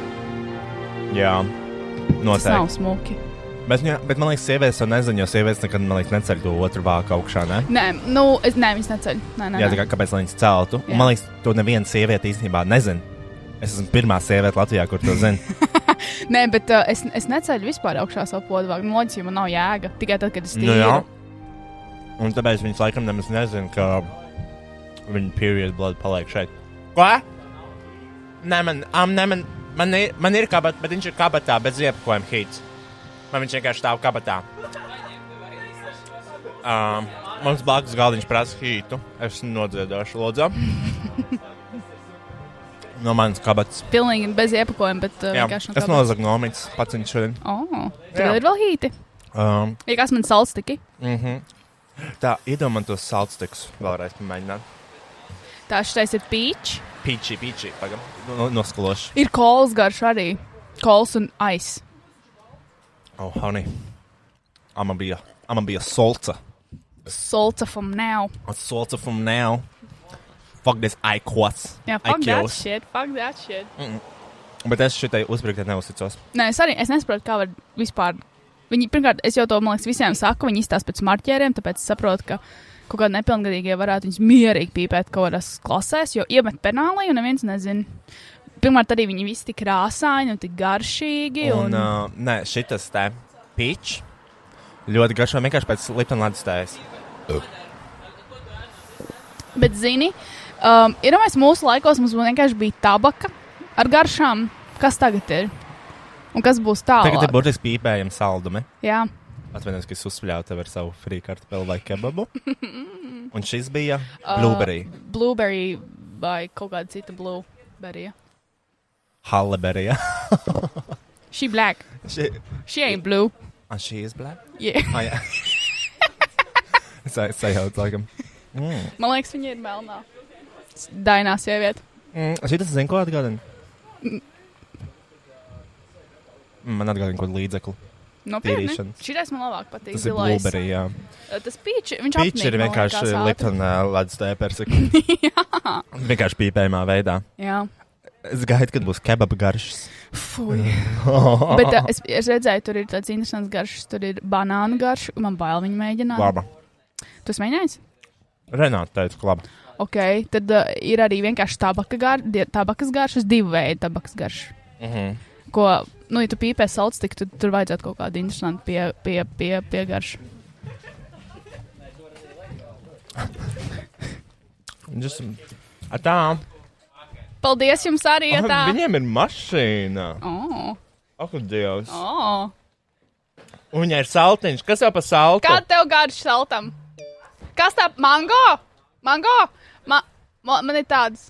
Jā,
Tas nav
noteikti.
smuki.
Bet, jā, bet man liekas, sievietes to nezina, jo sievietes nekad man liekas, neceļ to otru vāku augšā. Ne?
Nē, nu, es, nē viņas neceļ. Nē, nē,
Jā, tā
nē.
kā kāpēc lai viņas celtu?
Jā.
Un, man liekas, to neviena sieviete īstenībā nezina. Es esmu pirmā sieviete Latvijā, kur to zina.
nē bet uh, es, es neceļu vispār augšā savu podvāgu. Nu, loģiski, man nav jēga. Tikai tad, kad es
Nu,
tīru.
Un tāpēc viņas laikam nemaz nezina, ka viņa period blood paliek šeit. Ko? Nē, man, am, nē, man, man, ir, man ir kabatā, bet viņš ir kabatā bez iepakojuma hīts. Man viņš vienkārši stāv kabatā. Um, mums blakus galdiņš prasa hītu. Es nodziedošu, lūdzu. no manas kabatas.
Pilnīgi bez iepakojuma, bet uh,
Jā,
vienkārši
es nozagu nomīts pats viņš šodien.
Oh,
Jā.
tur ir vēl hīti.
Um,
Ja kas man sāls tikai?
mm -hmm. Tā, iedomājieties tos salcetikus vēlreiz pamēģināt.
Tā šitais ir pīčs.
Pīčī, pīčī, pagam, no, noskaloši.
Ir kols garš arī. Kols un ice.
Oh, honey. Ama bija, ama bija solca.
Solca from now.
A solca from now. Fuck this aikos.
Jā, fuck that shit, fuck that shit.
Bet es šitai uzbruktai neuzticos.
Nē, es arī es nesaprotu, kā var vispār. Viņi, pirmkārt, es jau to, man liekas, visiem saku, viņi izstāsta pēc marķieriem, tāpēc es saprotu, ka kaut kādi nepilngadīgie varētu viņus mierīgi pīpēt kaut kādās klasēs, jo iemet penālī un neviens nezina. Pirmkārt, arī viņi visi tik krāsaini un tik garšīgi. Un,
Un,
un,
uh, nē, šitas te pīč. Ļoti garšo vienkārši pēc Liptonlādes tējas.
uh... Bet, zini, um, ir jau mūsu laikos, mums vienkārši bija tabaka ar garšām. Kas tagad ir? Un kas būs tālāk?
Tagad ir burtiski pīpējami saldumi.
Jā,
Atvainojos, ka es uzspļāvu tev ar savu frīkartu pelu vai kebabu. Un šis bija blueberry, uh,
blueberry vai kaut kāda cita blueberry.
halleberry.
She black.
Šī
She ain't blue.
ah, šī ir black.
Yeah.
Ah, jā. Es ai- sajaucu, laikam. Mm.
Man liekas, viņa ir melnā. S- Dainā sieviete.
Mm, šitas zinu, ko atgādina. Mm, Man atgādina kaut kādu līdzekli.
Nopietni.
Tīrīšanas.
Šitais man labāk patīk.
Tas ir
zilais.
blueberry, jā.
Uh, Tas pīčs, viņš
Pīč
apnīk,
ir
man
vienkārši
liekas, ātri.
Liptona ledus tēpers. Vienkārši pīpējumā veidā.
Jā.
Es gaidu, kad būs kebabu garšas.
Fuj.
Uh-huh.
Bet uh, es, es redzēju, tur ir tāds interesants garš, tur ir banānu garš, un man bail viņu mēģināt.
Laba.
Tu esi mēģinājis?
Renāta teica, ka laba.
Ok, tad uh, ir arī vienkārši tabaka gar, die- tabakas garšas, divu veidu tabakas garšas.
Mhm.
Ko, nu, ja tu pīpē salds, tik tu, tur vajadzētu kaut kādu interesantu pie, pie, pie, piegaršu.
Just... Ar Tā.
Paldies jums arī, ja tā!
Ah, Viņiem ir mašīna.
Oh,
Ak, Dievs.
oh.
Un viņai ir saltiņš. Kas jau pa saltu?
Kā tev garš saltam? Kas tā? Mango? Mango? Ma, ma, man ir tāds.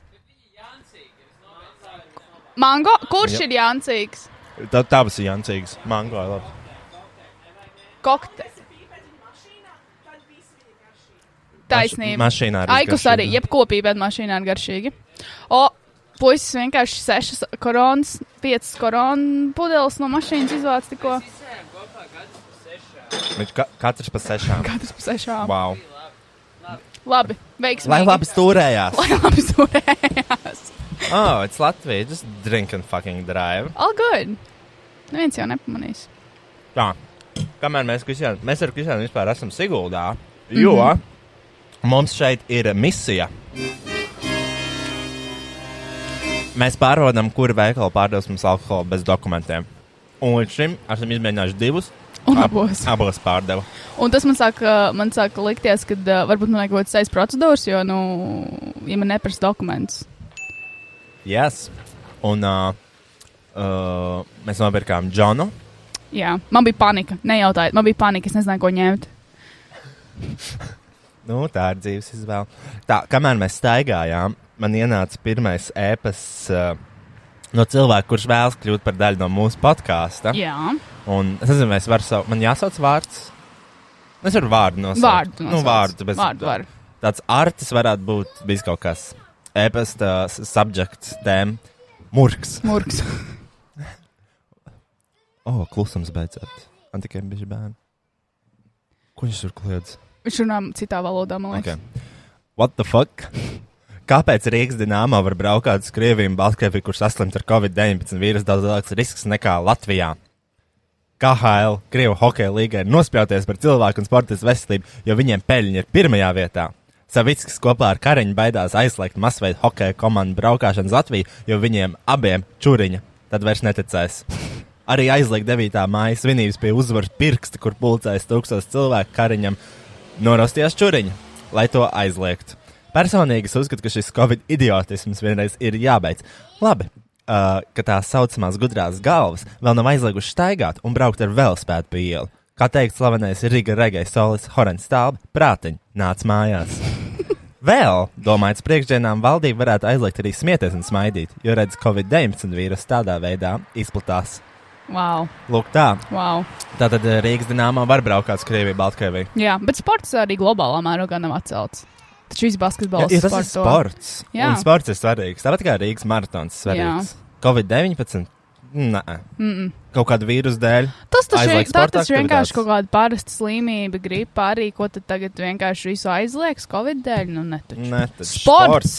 Mango? Kurš
Jā.
ir Jansīgs?
Tā, tā būs Jancīgs. Mango, labi.
Kokte. Taisnība.
Mašīnā arī.
Aikus arī, jebkopība mašīnā ir garšīgi. O, puisis vienkārši sešas koronas, piecas koronu pudeles no mašīnas izvāc tikko.
Viņš ka katrs pa sešām.
Katrs pa sešām.
Wow.
Labi, veiksmīgi.
Lai labi stūrējās.
Lai labi turējās.
Oh, it's Latvija. Just drink and fucking drive.
All good. Neviens jau nepamanīs.
Tā. Kamēr mēs, Kristiāna, mēs ar Kristiānu vispār esam Siguldā, jo mm -hmm. mums šeit ir misija. Mēs pārbaudām, kuri veikali pārdos mums alkoholu bez dokumentiem. Un līdz šim esam izmēģinājuši divus.
Un
Ab-
abos.
Abos pārdevu.
Un tas man sāk, uh, man sāk likties, ka uh, varbūt man ir kaut kāds saistīts procedūras, jo, nu, ja man neprasa dokumentus.
Yes. Un uh, Uh, mēs nopirkām Džonu.
Jā, man bija panika. Nejautājiet, man bija panika. Es nezināju, ko ņemt.
Nu, tā ir dzīves izvēle. Tā, kamēr mēs staigājām, man ienāca pirmais ēpasts uh, no cilvēka, kurš vēlas kļūt par daļu no mūsu podkāsta.
Jā,
Un es nezinu, vai es varu savu, man jāsauc vārds. Nu, Es varu vārdu nosaukt.
vārdu.
nu, vārdu, bez,
vārdu. Var.
Tāds artis varētu būt bijis kaut kas. Ēpasta s- subjekts, tēma. Murks.
Murks.
O, oh, klusums beidzot. Man tikai bija bērni. Ko viņš tur kliedz?
Viņš runā citā valodā, man liekas.
Okay. What the fuck? Kāpēc Rīgas dīnāmā var braukt uz Krieviju un Baltkrieviju, kur saslimt ar covid-19 vīrusu daudz lielāks risks nekā Latvijā? KHL, Krievijas hokeja līga ir nospļauties par cilvēku un sportistu veselību, jo viņiem peļņi ir pirmajā vietā. Savickis kopā ar Kariņu baidās aizslēgt masveidu hokeja komandu braukšanu uz Latviju, jo viņiem abiem čuriņa tad vairs neticēs. Arī aizliegt 9. māja svinības pie uzvaras pirksta, kur pulcējas tūkstoš cilvēku kariņam, norosties čuriņa, lai to aizliegtu. Personīgi es uzskatu, ka šis covid idiotisms vienreiz ir jābeidz. Labi, uh, ka tās saucamās gudrās galvas vēl nav aizliegušas staigāt un braukt ar velospēdu pa ielu. Kā teikt, slavenais Riga Regai solis Horants Stāba prātiņ nāc mājās. Vēl, domājot, priekšdienām valdība varētu aizliegt arī smieties un smaidīt, jo redz, Covid-19 vīrusu tādā veidā izplatās.
Wow,
Lūk, tā.
wow.
Tātad eh, Rīgas dīnāmā var braukt uz Krieviju, Baltkrieviju.
Jā, bet sports arī globālā mērogā nav atcelts. Taču viss basketbols
Jā, tas ir
sporto.
sports.
Jā.
Un sports ir svarīgs. Tāpat kā Rīgas maratons ir svarīgs. Covid-19? Nē. Kaut kāda vīrusa dēļ.
Tas taču
Aizliegt
ir tā,
sporta
tas ir
aktivitātes.
vienkārši kaut kāda parasta slimība, gripa arī, ko tad tagad vienkārši visu aizliegs Covid dēļ. Nu, ne taču.
Nē, tad
Sports!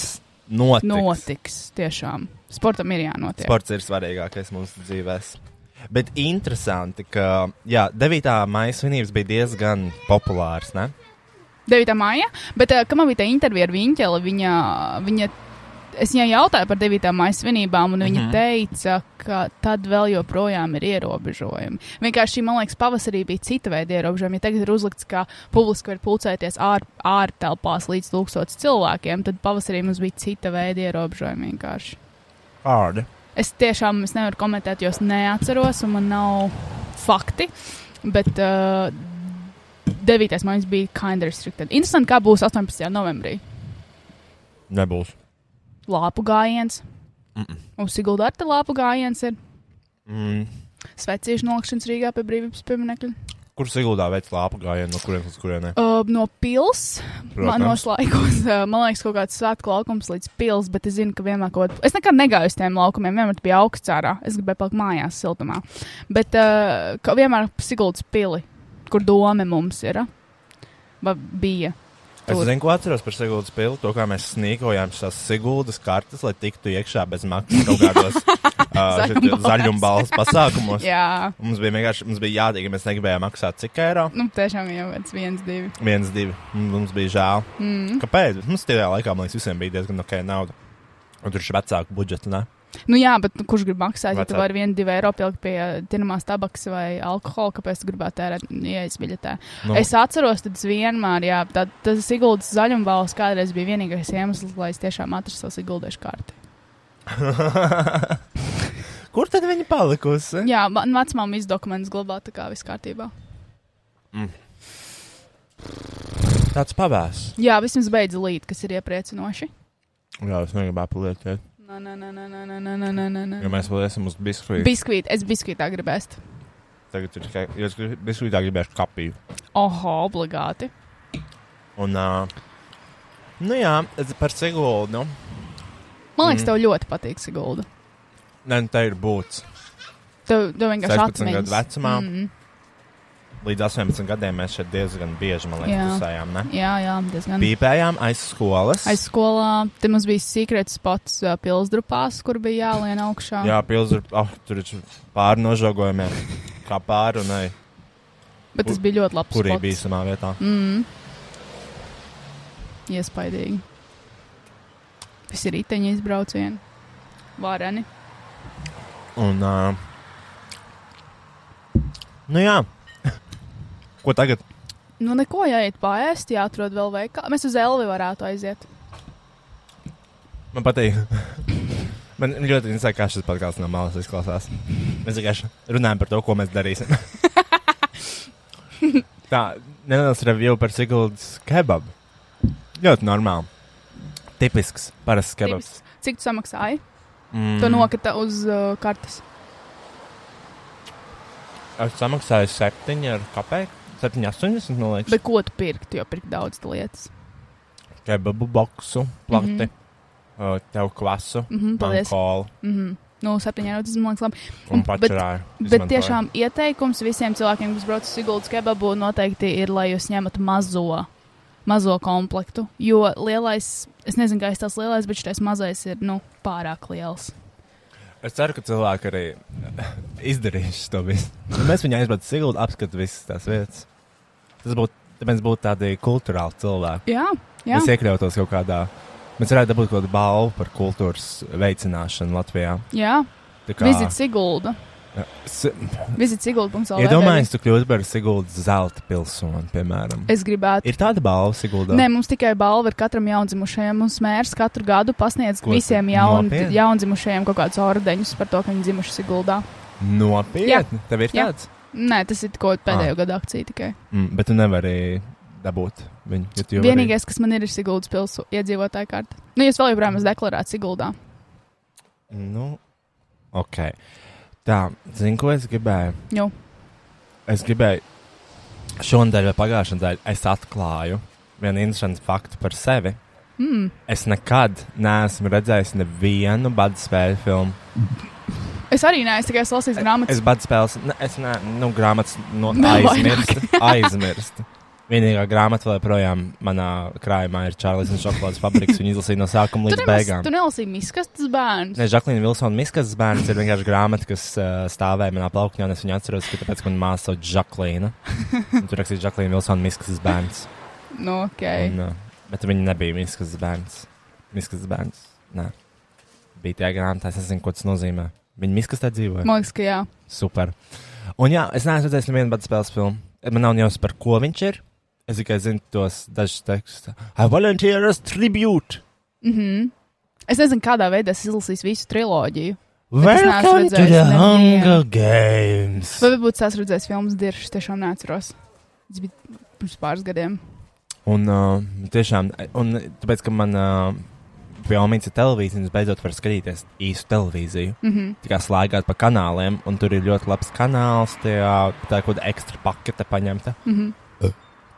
Notiks.
Notiks, tiešām. Sportam ir jānotiek.
Sports ir svarīgākais mūsu dzīvēm. Bet interesanti, ka jā, 9. maija svinības bija diezgan populārs. Ne?
9. maija, bet eh, kad man bija tā intervija ar Viņķeli, viņa, viņa, es viņai jautāju par 9. maija svinībām, un viņa mm -hmm. teica, ka tad vēl joprojām ir ierobežojumi. Vienkārši, man liekas, pavasarī bija cita veida ierobežojumi. Ja tagad ir uzlikts, ka publiski var pulcēties ār- ārtelpās līdz tūkstotis cilvēkiem, tad pavasarī mums bija cita veida ierobežojumi vienkārši.
Hard.
Es tiešām es nevaru komentēt, jo es neatceros, un man nav fakti. Bet uh, 9. maijā bija kind of restricted. Interesanti, kā būs 18. novembrī.
Nebūs.
Lāpu gājiens. Uz Sigulda ar te lāpu gājiens ir
Mm.
svecīšu nolikšanas Rīgā pie brīvības pieminekļa.
Kur Sigūdā veids lāpu gājienu, no kurienes līdz kurienei?
Uh, no pils, manos laikos, uh, man liekas, kaut kāds svētku laukums līdz pils, bet es zinu, ka vienmēr kaut kāda. Es nekad negāju uz tiem laukumiem, vienmēr bija augsts ārā. Es gribēju palikt mājās, siltumā. Bet uh, ka vienmēr Siguldas pili, kur doma mums ir. ah? Vai bija?
Es
tur.
zinu, ko atceros par Sigūdas pili. To, kā mēs snīkojām šīs Sigūdas kartes, lai tiktu iekšā bez maksas kaut kādos uh,
Zaļumbalsts.
zaļumbalstu pasākumos.
Jā,
Mums bija vienkārši mums bija jādara, ka mēs negribējām maksāt cik eiro.
nu tiešām jau pēc viens, divi.
Viens, divi. Mm, Mums bija žēl. Mm. Kāpēc? Bet Mums tajā laikā, man liekas, visiem bija diezgan ok nauda. Un tur ir vecāku budžetu. Ne?
Nu jā, bet nu, kurš grib maksāt, ja tu
Vecāki.
vari vienu, divu eiro pielikt pie tirnamās tabakas vai alkohola, kāpēc tu gribētu tērēt ieejas biļetē?
Nu.
Nu. Es atceros, tad es vienmēr, jā, tā, tas Siguldas zaļumbalsts kādreiz bija vienīgais iemesls, lai es tiešām atrastu savu Siguldiešu karti.
Kur tad viņa palikusi?
Jā, man vecmām izdokuments glabā, tā kā viss kārtībā.
Tāds pavērs.
Jā, vismaz beidz līdzi, kas ir iepriecinoši.
Jā, es negribu apelēt,
Nā, nā, nā, nā, nā, nā, nā, nā, nā, nā,
jo
nā.
mēs vēl esam uz biskvīta.
Biskvīti, es biskvītā gribēju. ēst.
Tagad ir tikai, jo es grib- biskvītā gribēšu kapiju.
Oho, obligāti.
Un, uh, nu jā, es par Siguldu.
Man liekas, mm. tev ļoti patīk Sigulda.
Nē, nu, tā ir būts.
Tev, tev vienkārši
16
atmiņas.
gadu vecumā.
Mm,
Līdz 18 gadiem mēs šeit diezgan bieži, man liekas,
Jā.
pusējām, ne?
jā, jā, diezgan.
Pīpējām aiz skolas.
Aiz skolā te mums bija secrets spots uh, pilsdrupās, kur bija jālien augšā.
Jā, pilsēta ir oh, tur ir pāri nožogojumiem. Kā pāri un ej,
Bet tas bija ļoti labs.
kur ir
spots. Mm.
bijis savā vietā.
Iespaidīgi. Visi riteņi izbraucieni. Vāreni.
Un, uh, nu jā, ko tagad?
Nu, neko jāiet pāriest, jāatrod vēl veikalā. Mēs uz Elvi varētu aiziet.
Man patīk. Man ļoti interesē, kā šis podkāsts no malas izklausās. Mēs vienkārši runājam par to, ko mēs darīsim. Tā, neliels review par Siguldas kebabu. Ļoti normāli. Tipisks, parasts kebabs.
Tipisks. Cik tu samaksāji?
Mm.
Tu nokata uz uh, kartes.
Es samaksāju 7, kāpēc? 7, 80, man liekas.
Bet ko tu pirkti? Jo pirkt daudz lietas.
kebabu boksu, plakti, mm -hmm. uh, tev klasu,
Mm -hmm, Mhm. paldies.
pankolu
Mm -hmm. Nu, septiņi eiro tas man liekas labi.
un
Un- bet-
pačerāju.
Bet tiešām ieteikums visiem cilvēkiem, kas brauc uz Siguldas kebabu, noteikti ir, lai jūs ņemat mazo, mazo komplektu. Jo lielais, es nezinu, kā es tās lielais, bet šis mazais ir nu, pārāk liels.
Es ceru, ka cilvēki arī izdarīs to visu. Ja mēs viņai aizbraucam Siguldu, apskatām visas tās vietas. Tas būtu, tad mēs būtu tādi kultūrāli cilvēki.
Jā, jā.
Mēs iekļautos kaut kādā, mēs varētu dabūt kaut kādu balvu par kultūras veicināšanu Latvijā.
jā.
Tā kā-
Vizit Sigulda.
S-
Vizit Sigulda.
Iedomājieties, tu kļūsi par Siguldas zelta pilsoni, piemēram.
Es gribētu.
Ir tāda balva Siguldā?
Nē, mums tikai balva ir katram jaundzimušajam. Mums mērs katru gadu pasniedz
Ko
Ko
tu-
visiem jaun,
nopietni?
jaundzimušajiem kaut kādus ordeņus par to, ka viņi dzimuši Siguldā.
Nopietni, tev ir
Jā.
tāds.
Nē, tas ir
Ah.
ko pēdējo gadu akcija tikai.
Mm, bet tu nevari dabūt viņu. Ja tu jau
Vienīgais, kas man ir, ir Siguldas pilsēta iedzīvotāja karte. Nu, jūs vēl joprojām esat deklarēts Siguldā.
Arī... Nu, ok. Tā, zini, ko es gribēju?
Jo.
Es gribēju šonadēļ vai pagājušā nedēļā es atklāju vienu interesantu faktu par sevi.
Mm.
Es nekad neesmu redzējis nevienu bada spēļu filmu.
Es arī neesmu tikai lasījis grāmatas.
Es bada spēles, ne, es ne, nu, grāmatas no
Vēl
aizmirstu. aizmirstu. Vienīgā grāmata vēl projām manā krājumā ir Čārlis un Šokolādes fabriks. Viņu izlasīju no sākuma
Tu,
līdz
nemaz,
beigām.
tu nelasīji miskastas bērnus.
Ne, Žaklīna Vilsona Miskas bērns ir vienkārši grāmata, kas uh, stāvēja manā plaukņā, un es viņu atceros, ka tāpēc, ka man māsa sauc Žaklīna. Un Tur rakstīja Žaklīna Vilsona Miskas bērns.
Nu, okay.
Un, uh, bet viņa nebija Miskas bērns. Miskas bērns. Nē. Bija tajā grāmatā, es nezinu, ko tas nozīmē. Viņa Miskas te dzīvoja.
Man liekas, ka jā.
Super. Un jā, es neesmu redzējis nevienu bada spēles filmu. Man nav jausmas, par ko viņš ir. Es tikai zinu tos dažus tekstus. I volunteer as tribute!
Mm -hmm. Es nezinu, kādā veidā es izlasīju visu triloģiju. Bet es neesmu
Welcome to
redzējis
the
nevienu.
Hunger Games!
Vai varbūt tās redzēs filmas diršas, tiešām neatceros. Tas bija pirms pāris gadiem.
Un, uh, tiešām, un tāpēc, ka man uh, bija jāmīna televīzija, un es beidzot varu skatīties īstu televīziju.
Mm -hmm.
Tā kā slēgāt pa kanāliem, un tur ir ļoti labs kanāls, tajā, tā ir kaut kāda ekstra pakete paņemta.
Mm -hmm.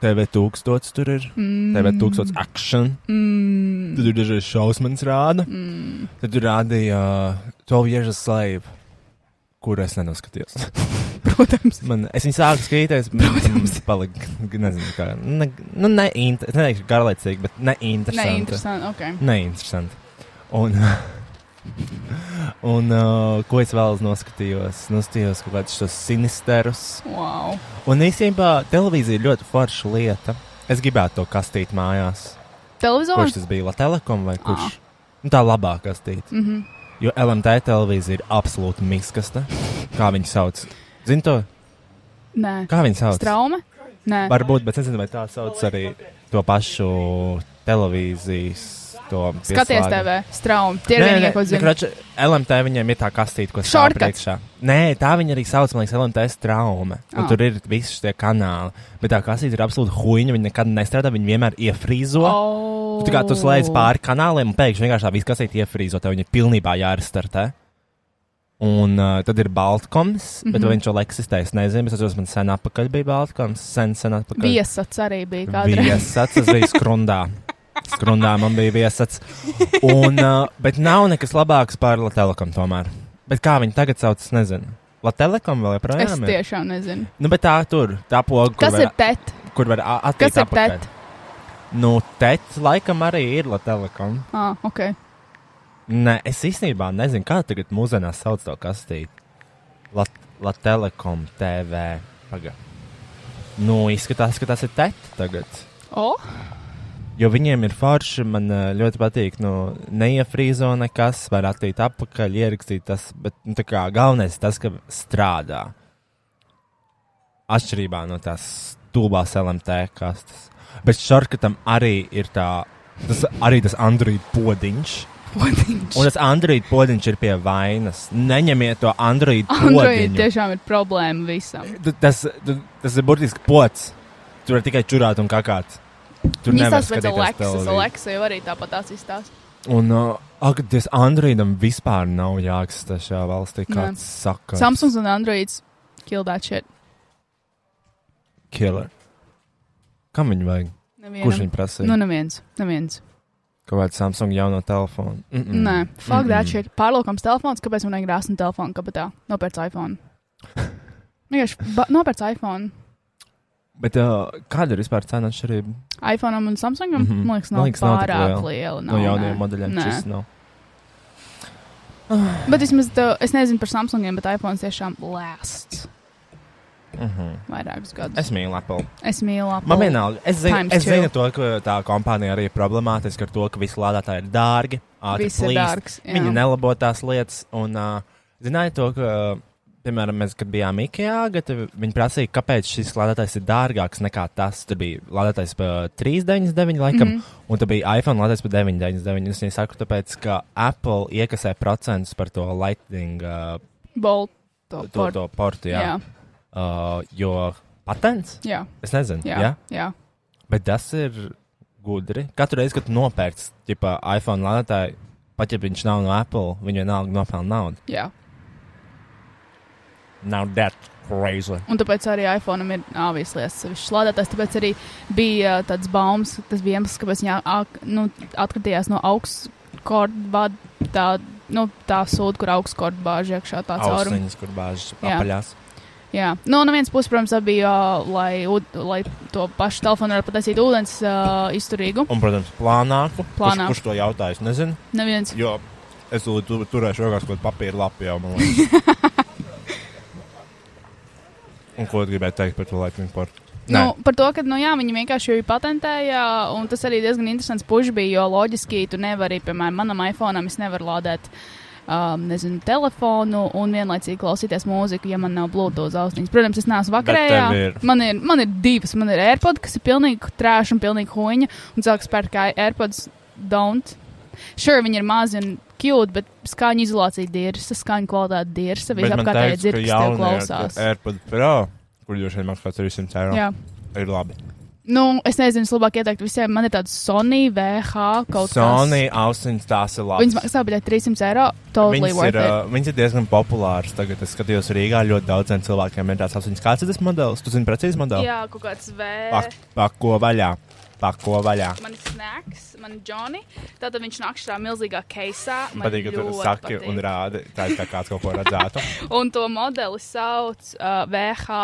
TV tūkstots tur ir, TV tūkstots action,
Mm.
tad tur dažreiz šausmas rāda.
Mm.
Tad tur rādīja uh, 12 years a slave, kur es nenoskatījos.
Protams.
Man, es viņu sāku skatīties, protams, palika, nezinu, kā, ne, nu, neinter, es neteikšu garlaicīgi, bet neinteresanti.
Neinteresanti. Okay.
Neinteresanti. Un, un uh, ko es vēl noskatījos? Noskatījos kaut kādus šos sinisterus.
Wow.
Un īstenībā televīzija ir ļoti forša lieta. Es gribētu to kastīt mājās.
Televizors.
Kurš tas bija? Latvijas vai kurš? Nu, tā labā kastīte.
Mm -hmm.
Jo LMT televīzija ir absolūti miskasta. Kā viņi sauc? Zini to?
Nē.
Kā viņi sauc?
Straume? Nē.
Varbūt, bet es nezinu, vai tā sauc arī to pašu televīzijas. to
Skaties
pieslēgu.
TV. Straume. Tie ir vienīgie, ko
nu,
zinu.
kroči, LMT viņiem ir tā kastīte, ko stāv
Shortcuts.
priekšā. Nē, tā viņa arī sauc, man liekas, LMT trauma. Oh.
Ah.
Tur ir visi šie kanāli. Bet tā kastīte ir absolūti huīņa. Viņa nekad nestrādā, viņa vienmēr iefrīzo.
Oh.
Tu kā tu slēdz pāri kanāliem, un pēkšņi vienkārši tā viss kastīte iefrīzo, tev viņa ir pilnībā jārestartē. Un uh, tad ir Baltkoms, bet mm
Mhm.
-hmm. viņš vēl eksistē. Es nezinu, es atceros, man sen apakaļ bija Baltkoms, sen, sen apakaļ.
Viesats arī bija kādreiz.
Viesats, tas bija skrundā. Skrundā man bija viesats. Un, uh, bet nav nekas labāks par Latvijas tomēr. Bet kā viņi tagad sauc, es nezinu. Latvijas vēl
Es
joprojām ir.
tiešām nezinu.
Nu, bet tā tur, tā poga, kur
Kas ir E
var,
TET?
kur var a- atlikt
Kas ir
apakaļ.
TET?
Nu, TET laikam arī ir Latvijas.
Ah, ok.
Nē, es īstenībā nezinu, kā tagad mūsdienās sauc to kastīti. Lat Latvijas TV. Paga. Nu, izskatās, ka tas ir TET tagad.
O,
Jo viņiem ir forši, man ā, ļoti patīk, nu, neiefrīzo nekas, var attīstīt apakaļ, ierakstīt tas, bet nu, tā kā, galvenais ir tas, ka strādā. Atšķirībā no tās stulbās LMT kastes. Bet šarkatam arī ir tā, tas arī tas Android podiņš,
podziņš.
Un tas Android podziņš ir pie vainas. Neņemiet to Android
Android
podziņu.
tiešām ir problēma visam.
Tu- Tas, tu- tas ir burtiski pots. Tur var tikai čurāt un kakāt. Tur
Viņas
nevar
tās pēc
skatīties
Aleksas.
televīziju.
Aleksa jau arī tāpat tās izstāsta.
Un, uh, ak, tas Androidam vispār nav jāksta šajā valstī, kāds saka.
Samsungs un Androids kill that shit.
Killer. Kam viņu vajag?
Nevienam.
Kurš viņu prasīja?
Nu,
Nu,
neviens. neviens.
Mm. Kaut kādu Samsung jauno telefonu. Mm
Mm. Nē,
-mm.
fuck mm. that
Mm-mm.
shit. Pārlaukams telefons, kāpēc man ir grāsna telefona kabatā? Nopērts iPhone. Nu, Vienkārši ba- nopērts iPhone.
Bet uh, kāda ir vispār cena atšķirība?
iPhone un Samsungam, mm
Mhm.
-hmm. man liekas, nav
Man liekas, nav tik
pārāk
liela.
liela.
No
Nav, nē.
jaunajiem modeļiem
Nē.
šis nav.
Bet vismaz, tā- es nezinu par Samsungiem, bet iPhone tiešām lēsts
Mm -hmm.
vairākus gadus.
Es mīlu Apple.
es mīlu Apple.
Man vienalga, es zinu,
Times
es
two.
zinu to, ka tā kompānija arī ir problemātiska ar to, ka visi lādētāji ir dārgi, ātri
Viss ir
plīst.
dārgs. jā.
Viņi nelabo tās lietas. Un, uh, zināja to, ka, piemēram, mēs, kad bijām Ikea, tad viņi prasīja, kāpēc šis lādētājs ir dārgāks nekā tas. Tur bija lādētājs par 3,99 laikam,
Mhm.
mm -hmm. un tur bija iPhone lādētājs par 9,99. Un Es viņai saku, tāpēc, ka Apple iekasē procentus par to Lightning, uh,
Bolt.
to, to, to portu, jā.
jā,
jā. Uh, jo patents?
jā,
Es nezinu, jā.
jā,
jā.
jā.
Bet tas ir gudri. Katru reizi, kad tu nopērci, piemēram, iPhone lādētāju, pat ja viņš nav no Apple, viņi vienalga nopelna naudu.
jā.
Now that crazy.
Un tāpēc arī iPhone ir avijas lietas. Viņš slādētājs, tāpēc arī bija ā, tāds baumas, tas bija iemesls, kāpēc viņa ak- nu, atkritījās no augsts korda, tā, nu, tā sūda, kur augsts korda bāž iekšā tā cauruma.
Austiņas, kur bāžas
Jā.
apaļās.
Jā, nu, no vienas puses, protams, tā bija, ā, lai, ūd- lai to pašu telefonu varētu pataisīt ūdens ā, izturīgu.
Un, protams, plānāku.
Plānāku.
Kurš, kurš to jautājas? Nezinu.
Neviens.
Jo es tu, tu, turēšu rokās kaut kādu papīra lapu jau, man liekas. Un ko tu gribēji teikt par to Lightning Port?
Nu, par to, ka nu, jā, viņi vienkārši jau ir patentēja, un tas arī diezgan interesants puš bija, jo loģiski tu nevari, piemēram, manam iPhone, es nevaru lādēt. Um, nezinu, telefonu un vienlaicīgi klausīties mūziku, ja man nav blūzi austiņas. Protams, es neesmu vakarējā.
tev ir.
Man ir, man ir divas, man ir AirPods, kas ir pilnīgi trāša un pilnīgi huņa. Un cilvēks pērk AirPods don't. Sure, viņi ir mazi un cute, bet skaņu izolācija dirsa, skaņu kvalitāte dirsa, visapkārtējie dzirksti tev klausās.
AirPod Pro, kur droši vien maksā 300 eiro,
Jā.
ir labi.
Nu, es nezinu, es labāk ieteiktu visiem. Man ir tāds Sony VH kaut
Sony austiņas tās ir
kas. Viņas
labas.
maksā biļeti 300 eiro. Totally
Viņas ir,
worth
uh,
it.
viņas ir diezgan populāras. Tagad es skatījos Rīgā. Ļoti daudziem cilvēkiem ir tāds austiņas. Kāds ir tas modelis? Tu zini, precīzi modeli?
Jā, kaut kāds V.
Pak, pako vaļā. Pako vaļā.
Eh. Man ir snacks, man ir Johnny. Tātad viņš nāk šajā milzīgā keisā.
Man patīk, ka tu saki un rādi. Tā ir kā kāds kaut ko redzētu.
Un to modeli sauc uh, VH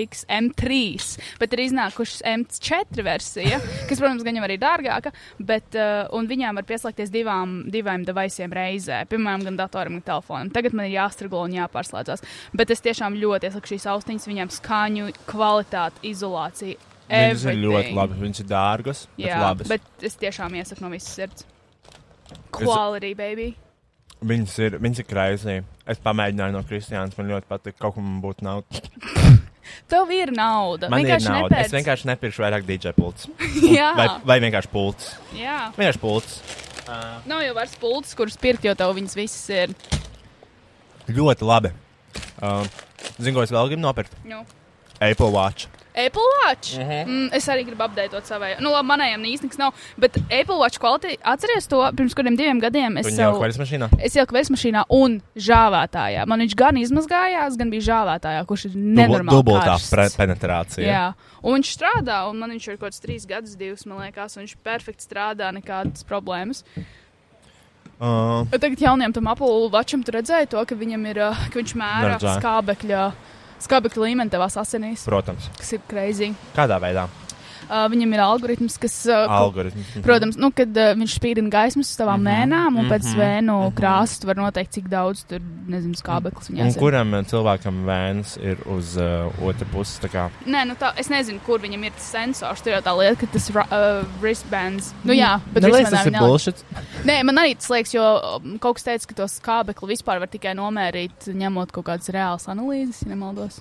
1000XM3, bet ir iznākušas M4 versija, kas, protams, gan jau arī dārgāka, bet uh, un viņām var pieslēgties divām, divām devaisiem reizē, piemēram, gan datoram, gan telefonam. Tagad man ir jāstrāgo un jāpārslēdzas, bet es tiešām ļoti iesaku šīs austiņas, viņām skaņu, kvalitāti, izolāciju.
Viņas ir ļoti
everything.
labi. Viņas ir dārgas, bet
Jā,
labas.
bet, bet es tiešām iesaku no visas sirds. Quality, baby.
Viņas ir, viņas ir kraizī. Es pamēģināju no Kristiānas. Man ļoti patīk, kaut ko man būtu naudas.
Tev ir nauda.
Man ir
vienkārši
nauda.
nepērc.
Es vienkārši nepirkšu vairāk DJ pults.
Jā,
Vai, vai vienkārši pults.
jā.
Vienkārši pults.
Nav jau vairs pults, kurus pirkt, jo tev viņas visas ir.
Ļoti labi. Uh, Zinu, ko es vēl gribu nopirkt.
Nu.
Apple Watch.
Apple Watch. Uh
Mhm.
-huh. mm, es arī gribu apdeitot savai. Nu, labi, manējām īstenībā nav. Bet Apple Watch kvalitāte, atceries to pirms kādiem diviem gadiem. Es
Viņa jau
sev-
kvaras mašīnā.
Es ieliku vēsmašīnā un žāvētājā. Man viņš gan izmazgājās, gan bija žāvētājā, kurš ir
Dubu-
nenormāli.
Dubultā
karsts.
pre- penetrācija.
Jā, un viņš strādā, un man viņš ir kaut kāds trīs gadus, divus, man liekas, un viņš perfekti strādā, nekādas problēmas.
Uh,
Bet Tagad jaunajam tam apgabalam tu redzēji to, ka viņam ir, uh, ka viņš mēra
Neredzēju.
skābekļa, skābekļa līmeni tavās asinīs,
protams.
kas ir greizi.
Kādā veidā?
Uh, viņam ir algoritms, kas, uh, ko-
Algoritms. Mhm.
protams, nu, kad uh, viņš spīdina gaismas uz tavām mēmām, un pēc vēnu krāsas tu var noteikt, cik daudz tur, nezinu, skābeklis viņam
Mhm. Un
ir.
kuram eh, cilvēkam vēns ir uz uh, otru pusi? tā kā?
Nē, nu tā, es nezinu, kur viņam ir tas sensors. Tur jau tā lieta, ka tas ra- uh, wristbands. Nu jā, bet
Man liekas,
wristbandā
Mm. tas ir
viņi neliek.
bullshit.
Nē, man arī tas liekas, jo um, kaut kas teica, ka to skābekli vispār var tikai nomērīt, ņemot kaut kādas reālas analīzes, ja nemaldos.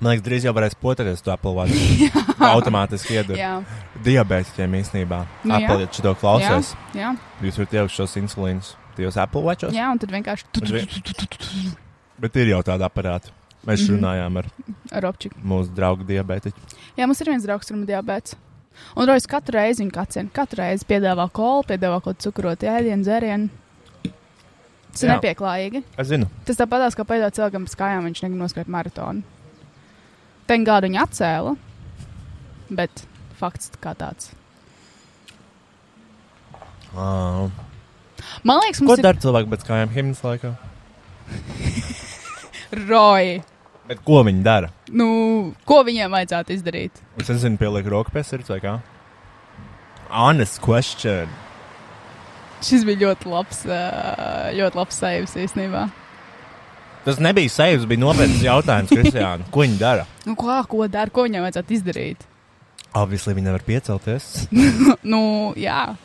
Man liekas, drīz jau varēs poturēties to Apple Watch. Automātiski iedod.
Jā,
Diabētiķiem īstenībā.
Nu jā.
Apple, ja šito
jā,
klausies,
jā,
jūs varat ielikt šos insulīnus tajos Apple Watchos.
jā, un tad vienkārši tu- tu- tu- tu- tu- tu-
Bet ir jau tāda aparāta. Mēs
Mhm.
runājām ar
ar opčiku.
mūsu draugu diabētiķu.
Jā, mums ir viens draugs, kuram ir diabetes. Un Rojas katru reizi viņa kacina. Katru reizi piedāvā kolu, piedāvā kaut ko cukurotu ēdienu, dzērienu. Tas ir
Jā.
nepieklājīgi.
Es zinu,
Tas tāpatās, kā pēdējā cilvēkam bez kājām viņš negrib noskrāt maratonu. Ten gādu viņa atcēla, bet fakts kā tāds.
Ā,
Man liekas,
ko
mums
dara cilvēki pēc kājām himnas laikā.
ir roji.
Bet ko viņi dara?
Nu, ko viņiem vajadzētu izdarīt?
Es nezinu, pieliek roku pie sirds vai kā. Honest question.
Šis bija ļoti labs, ā, ļoti labs saivs īstenībā.
Tas nebija savs, bija nopietns jautājums, Kristiāna. Ko viņi dara?
Nu, kā, ko dara, ko viņiem vajadzētu izdarīt?
Obviously, viņi nevar piecelties.
Nu, jā,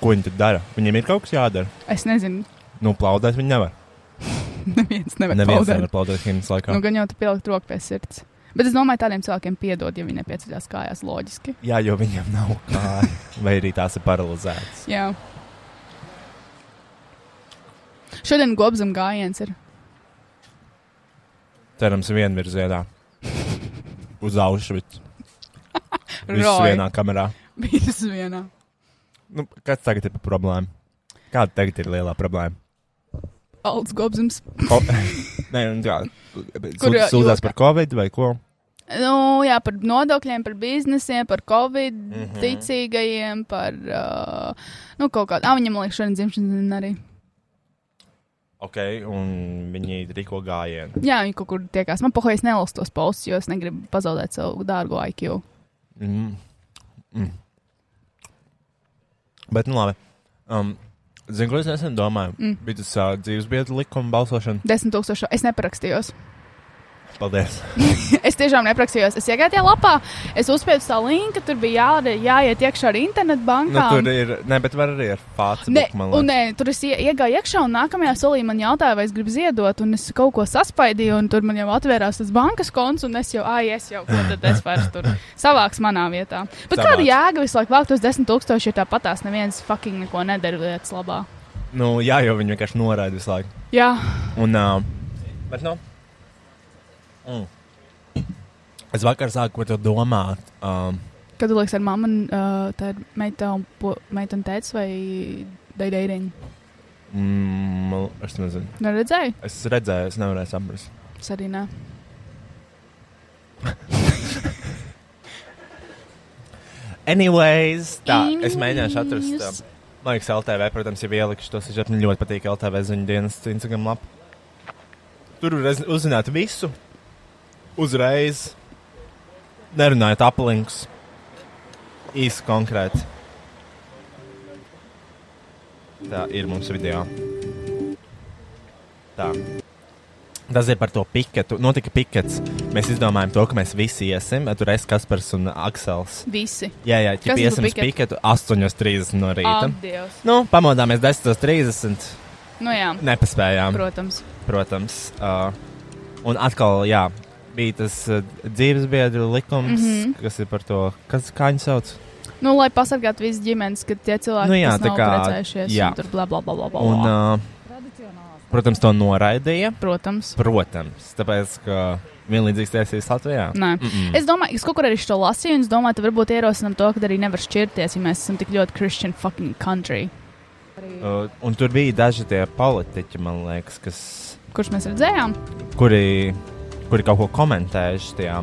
Ko viņi tad dara? Viņiem ir kaut kas jādara.
es nezinu,
Nu, plaudēt viņi nevar.
neviens nevar
Neviens
pateikt.
nevar plaudēt himnas laikā.
Nu, gan jau tu pielikt roku pie sirds. Bet es domāju, tādiem cilvēkiem piedod, ja viņi nepieceļās kājās loģiski.
Jā, jo viņiem nav kāja. Vai arī tās ir paralizētas.
Jā. Šodien gobzam gājiens ir.
Cerams, vienvirzienā. Uz Auschwitz. Viss
Roy.
vienā kamerā.
Bijis vienā.
Nu, kas tagad ir par problēmu? Kāda tagad ir lielā problēma?
Alts gobzams.
Ko... Nē, nu, kā,
Kur,
sūd- sūdzās
jo-
par covid vai ko?
Nu, jā, par nodokļiem, par biznesiem, par covid, mm
Mhm.
-hmm. ticīgajiem, par, uh, nu, kaut kādu. Ah, viņam, man liekas, šodien dzimšanas diena arī.
Ok, un viņi rīko gājienu.
Jā, viņi kaut kur tiekās. Man pohojas nelasu tos postus, jo es negribu pazaudēt savu dārgo IQ.
Mm. Mm. Bet, nu labi. Um, Zinu, ko es nesen domāju. Mm. Bija tas uh, dzīvesbiedru likuma balsošana.
Desmit tūkstoši. Es neparakstījos.
Paldies.
Es tiešām neprakstījos. Es iegāju tajā lapā, es uzspiedu savu linku, tur bija jā, jāiet iekšā ar internetu bankām.
Nu, tur ir. Nē, bet var arī ar fāci.
Nē, un nē, tur es ie- iegāju iekšā, un nākamajā solī man jautāja, vai es gribu ziedot, un es kaut ko saspaidīju, un tur man jau atvērās tas bankas konts, un es jau, ah, es jau, ko tad es vairs tur savāks manā vietā. Bet
Savāks.
kāda jēga visu laiku vākt tos desmit tūkstošus, ja tāpatās neviens fucking neko nedara lietas labā?
Nu, jā, jo viņi vienkārši noraida visu laiku.
Jā,
Un, uh, bet, nu, mm. es vakar sāku par to domāt. Um,
kad tu liekas ar mammu, un, uh, tā ir meita un, po- meita un tēts vai daidēriņa.
mm, es nezinu,
Nu, redzēju?
es redzēju, es nevarēju saprast.
Es arī nē.
Anyways, tā, es mēģināšu atrast. Uh, man liekas, LTV, protams, jau ielikuši tos sižetus. Man ļoti patīk LTV ziņu dienas Instagram lapa. Tur var rez- uzzināt visu. Uzreiz. Nerunājot aplinks. Īsi konkrēti. Tā ir mums video. Tā. Tas ir par to piketu. Notika pikets. Mēs izdomājām to, ka mēs visi iesim. Tur es, Kaspars un Aksels.
Visi.
Jā, jā,
Kas
ķip
ir
iesim
pa
uz piketu 8.30 no rīta. Um.
Adios.
Nu, pamodāmies 10.30.
Nu jā,
Nepaspējām,
protams.
protams. Uh, un atkal, jā, bija tas uh, dzīvesbiedru likums, mm
Mhm.
-hmm. kas ir par to, kas kā viņu sauc.
Nu, lai pasargātu visas ģimenes, kad tie cilvēki nu,
Nu
jā,
jā,
kas
tā
nav
kā-
precējušies,
jā.
un tur bla bla bla bla. bla.
Un, uh, protams, to noraidīja.
Protams.
Protams, tāpēc, ka vienlīdzīgs tiesības Latvijā.
Nē. Mm -mm. Es domāju, es kaut kur arī šo lasīju, un es domāju, ka varbūt ierosinām to, ka arī nevar šķirties, ja mēs esam tik ļoti Christian fucking country.
Uh, un tur bija daži tie politiķi, man liekas, kas,
Kurš mēs redzējām?
kuri, kuri kaut ko komentējuši tajā.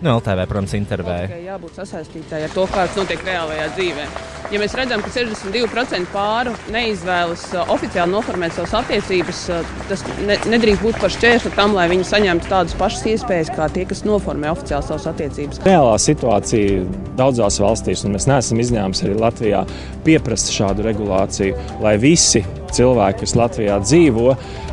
Nu, LTV, protams, intervēja.
Tikai jābūt sasaistītāji ar to, kāds notiek reālajā dzīvē. Ja mēs redzam, ka 62% pāru neizvēlas uh, oficiāli noformēt savas attiecības, uh, tas ne, nedrīkst būt par šķērsli tam, lai viņi saņemtu tādas pašas iespējas kā tie, kas noformē oficiāli savas attiecības.
Reālā situācija daudzās valstīs, un mēs neesam izņēmums arī Latvijā, pieprasa šādu regulāciju, lai visi cilvēki, kas Latvijā dzīvo,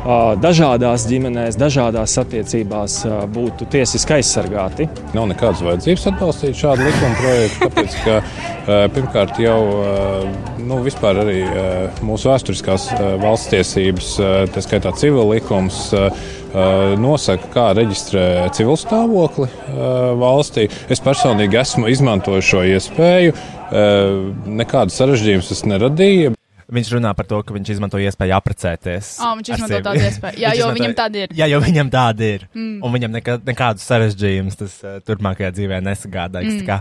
ā, dažādās ģimenēs, dažādās attiecībās ā, būtu tiesiski aizsargāti.
Nav nekādas vajadzības atbalstīt šādu likuma projektu, tāpēc, ka eh, pirmkārt jau eh, nu, vispār arī eh, mūsu vēsturiskās eh, valsts tiesības, eh, tā skaitā civila likums, eh, eh, nosaka, kā reģistrē civilu stāvokli eh, valstī. Es personīgi esmu izmantojis šo iespēju, eh, nekādas sarežģījumus tas neradīja.
Viņš runā par to, ka viņš izmanto iespēju apprecēties.
Ā, viņš
ar
izmanto
sievi.
tādu iespēju. Jā, jo
Viņš izmanto-
viņam tāda ir.
Jā, jo viņam tāda ir. Mm. Un viņam nekā, nekādus sarežģījumus tas uh, turpmākajā dzīvē nesagādājas. Mm. Kā,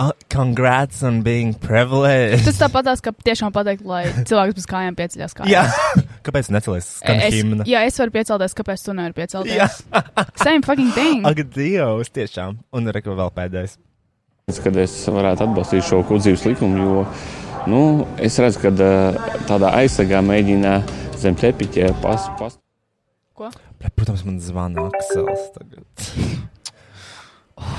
uh, congrats on being privileged.
Tas tāpat tās, ka tiešām pateikt, lai cilvēks bez kājām pieceļās kājās.
jā, kāpēc necelies skan
Es,
himna?
jā, es varu piecelties, kāpēc tu nevari piecelties?
Jā.
Same fucking thing.
Ak, Dievs, tiešām. Un reku vēl pēdējais.
Es, Kad es varētu atbalstīt šo kuģības likumu, jo nu, es redzu, ka tādā aizsargā mēģina zem tepiķa pas, pas,
Pre- Protams, man zvana Aksels tagad.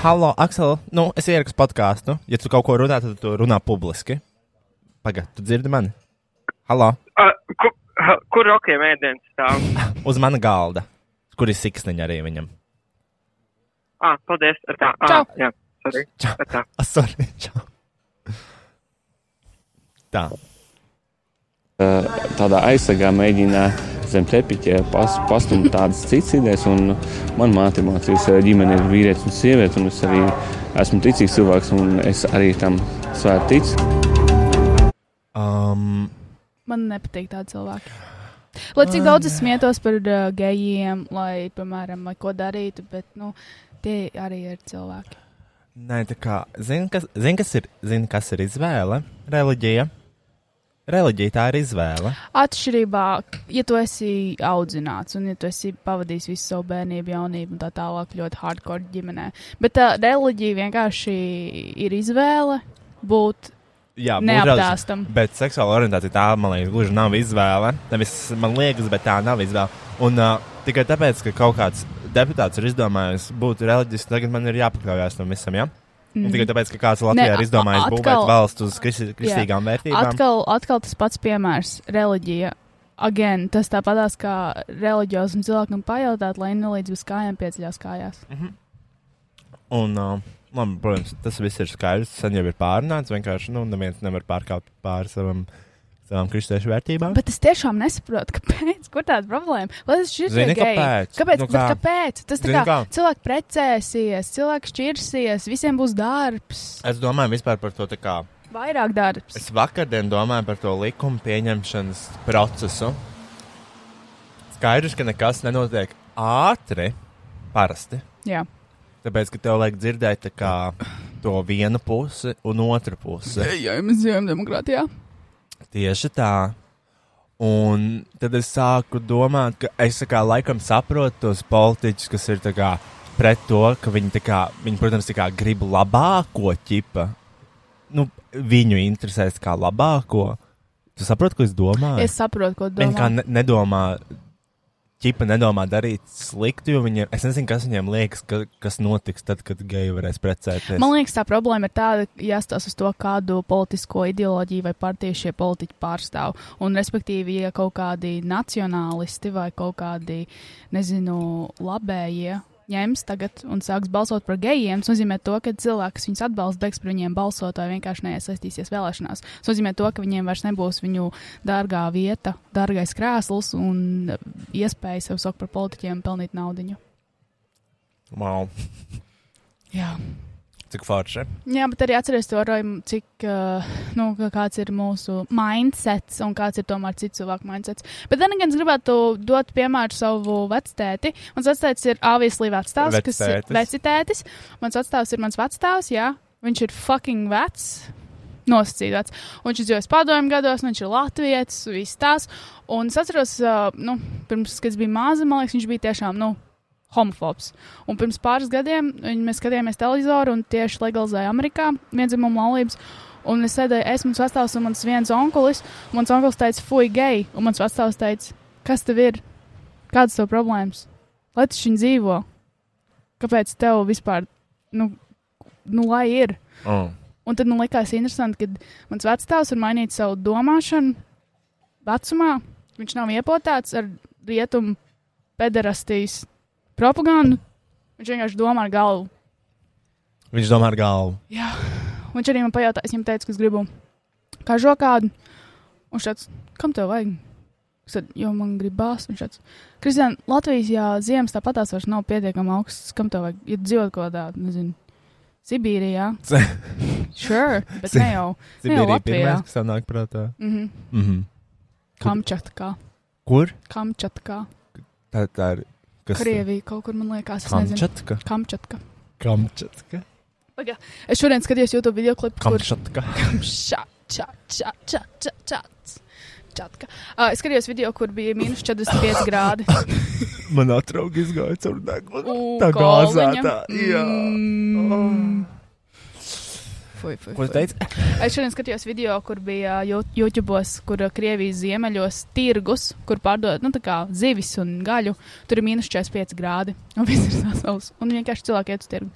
Halo, Aksel, nu, es ierakstu podkāstu. Ja tu kaut ko runā, tad tu runā publiski. Pagaid, tu dzirdi mani? Halo,
Kur, kur rokiem ēdienas stāv?
uz mana galda, kur ir siksniņa arī viņam.
Ah, paldies. ar Tā, ah,
Čau.
jā, sorry. Ar Tā.
Ah, sorry, čau. Tā,
tādā aizsargā mēģina zem tepiķa pas, pastumt tādas citas idejas. Un man māte mācījās, ka ģimene ir vīrietis un sieviete, un es arī esmu ticīgs cilvēks, un es arī tam svētīgi ticu.
um,
Man nepatīk tādi cilvēki. Lai cik daudz es smietos par uh, gejiem, lai, piemēram, lai ko darītu, bet, nu, tie arī ir cilvēki.
nē, tā kā, zini, kas, zin, kas, ir, zin, kas ir izvēle? Reliģija. Reliģija tā ir izvēle.
Atšķirībā, ja tu esi audzināts un ja tu esi pavadījis visu savu bērnību, jaunību un tā tālāk, ļoti hardcore ģimenē, bet tā reliģija vienkārši ir izvēle būt
Jā,
Neapdāstam.
mūžražas, Bet seksuāla orientācija tā, man liekas, gluži nav izvēle. Nevis man liekas, bet tā nav izvēle. Un uh, tikai tāpēc, ka kaut kāds deputāts ir izdomājis būt reliģisks, tagad man ir jāpakļaujas tam visam. Ja? Mm. Tikai tāpēc, ka kāds Latvijā
Mhm. Ne,
ir izdomājis
a-
būvēt
atkal-
valsts uz kristi,
Jā.
kristīgām vērtībām.
Atkal, atkal tas pats piemērs - reliģija. Again, tas tāpatās kā reliģiozam cilvēkam pajautāt, lai nelīdz bez kājām pieceļās kājās.
Mhm. Un, uh, man, protams, tas viss ir skaidrs. Sen jau ir pārunāts. Vienkārši nu, neviens nevar pārkāpt pāri savam, savām kristiešu vērtībām.
Bet es tiešām nesaprotu, kāpēc, kur tāda problēma. Lai tas šķirsies
Zini,
geji.
kāpēc?
Kāpēc?
Nu,
bet
kā?
kāpēc? Tas tā
Zini,
kā,
kā?
cilvēki precēsies, cilvēki šķirsies, visiem būs darbs,
Es domāju vispār par to tā kā.
vairāk darbs.
Es vakardien domāju par to likuma pieņemšanas procesu. Skaidrs, ka nekas nenotiek ātri, parasti.
Jā.
Tāpēc, ka tev vajag dzirdēt tā kā, to vienu pusi un otru pusi.
Jā, mēs dzīvojam demokrātijā.
Tieši tā. Un tad es sāku domāt, ka es tā kā, laikam saprotu tos politiķus, kas ir tā kā, pret to, ka viņi, tā kā, viņi protams, tā kā, grib labāko ķipa. Nu, viņu interesēs kā labāko. Tu saproti, ko es domāju?
Es saprotu, ko
Viņa kā
domā.
ne nedomā, ķipa nedomā darīt sliktu, jo viņiem, es nezinu, kas viņiem liekas, ka, kas notiks tad, kad geji varēs precēties.
Man liekas, tā problēma ir tāda, jāstāsta uz to, kādu politisko ideoloģiju vai partiju šie politiķi pārstāv. Un, respektīvi, ja kaut kādi nacionālisti vai kaut kādi, nezinu, labējie ņems tagad un sāks balsot par gejiem, tas nozīmē to, ka cilvēks viņus atbalsta, beigs par viņiem balsot vai vienkārši neiesaistīsies vēlēšanās. Tas nozīmē to, ka viņiem vairs nebūs viņu dārgā vieta, dārgais krēsls un iespēja sev saukt par politiķiem un pelnīt naudiņu.
Wow,
Jā.
cik forši.
Jā, bet arī atceries to rojumu, cik uh, nu, kā- kāds ir mūsu mindsets un kāds ir tomēr cits cilvēku mindsets. Bet tad gan es gribētu dot piemēru savu vectēti. Mans vectētis ir avieslī vecstāvs, kas ir
Vectētis.
vecitētis. Mans vecstāvs ir mans vecstāvs, jā. Viņš ir fucking vecs. Nosacīts. Un viņš dzīvoja padomju gados, un viņš ir latvietis, viss tās. Un es atceros, uh, nu, pirms, kad es biju maza, man liekas, viņš bija tiešām, nu, homofobs. Un pirms pāris gadiem viņ- mēs skatījāmies televizoru un tieši legalizēja Amerikā viendzimumu laulības. Un es sēdēju, es mums vecāks un mans viens onkulis. un Mans onkulis teica, fuj, geji. Un mans vecāks teica, kas tev ir? Kādas tev problēmas? Lai tas viņa dzīvo. Kāpēc tev vispār, nu, nu lai ir?
Mm.
Un tad man likās interesanti, ka mans vecāks ir mainījis savu domāšanu vecumā, Viņš nav iepotāts ar rietumu pederastīs propagandu. Viņš vienkārši domā ar galvu.
Viņš domā ar galvu.
Jā. Viņš arī man pajautāja, es viņam teicu, ka es gribu kažo kādu. Un šāds, kam tev vajag? Es teicu, jo man gribās. Viņš šāds, Kristian, Latvijas jā, ziemas tāpatās vairs nav pietiekami augsts. Kam tev vajag? Ja dzīvot kaut kādā, nezinu, Sibīrijā. sure, bet ne jau. Ne jau
Zibirija
Latvijā.
pirmais, kas tev nāk prātā.
Mhm.
Mhm.
Kamčatkā.
Kur?
Kamčatkā.
Tā, tā ir. Kas?
Krievija kaut kur, man liekas, es
Kamčatka?
nezinu. Kamčatka.
Kamčatka.
Paga, Es šodien skatījos YouTube video klipu, kur
Kamčatka.
Kamča- ča- ča- ča- ča- čats. Čatka. Ā, Es skatījos video, kur bija mīnus 45 grādi.
Manā draugi izgāja caur degunu.
U,
Tā
kolviņa.
gāzētā. Jā. Oh.
Mm. Fui, fui,
Ko tu
fui.
teici?
Es šodien skatījos video, kur bija Jū- YouTube, kur ā, Krievijas ziemeļos tirgus, kur pārdod nu, tā kā zivis un gaļu. Tur ir mīnus 45 grādi. Un viss ir sasaucis. Un vienkārši cilvēki iet uz tirgu.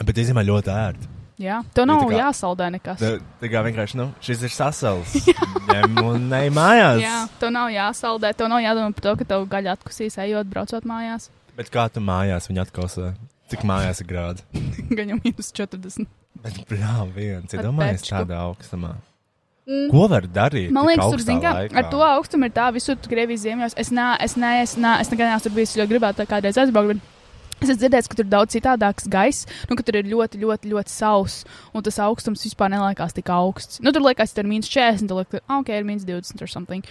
Eh, Bet īstenībā ļoti ērti.
Jā, tev
Nu,
nav
tā kā-
jāsaldē nekas.
Tā, tā kā vienkārši, nu, šis ir sasals. Ņem un ne mājās.
Jā, tev nav jāsaldē, tev nav jādomā par to, ka tev gaļa atkusīs, ejot, braucot mājās.
Bet kā tu mājās viņu atkausē? Cik mājās ir grādi?
Gan jau minus 40.
Bet, brā, viens,
Ar
iedomājies
pečku.
tādā augstumā.
Mm.
Ko var darīt?
Man
tik
liekas, tur
augstā
zina,
laikā?
ar to augstumu ir tā visur Krievijas ziemeļos. Es nē, es nē, es nē, es nekad neesmu tur bijis, jo gribētu tā kādreiz aizbraukt. Bet... Es esmu dzirdējis, ka tur ir daudz citādāks gaiss, nu, ka tur ir ļoti, ļoti, ļoti sauss, un tas augstums vispār neliekas tik augsts. Nu, tur liekas, tur ir mīnus 40, tur liekas, ah, ok, ir mīnus 20 or something.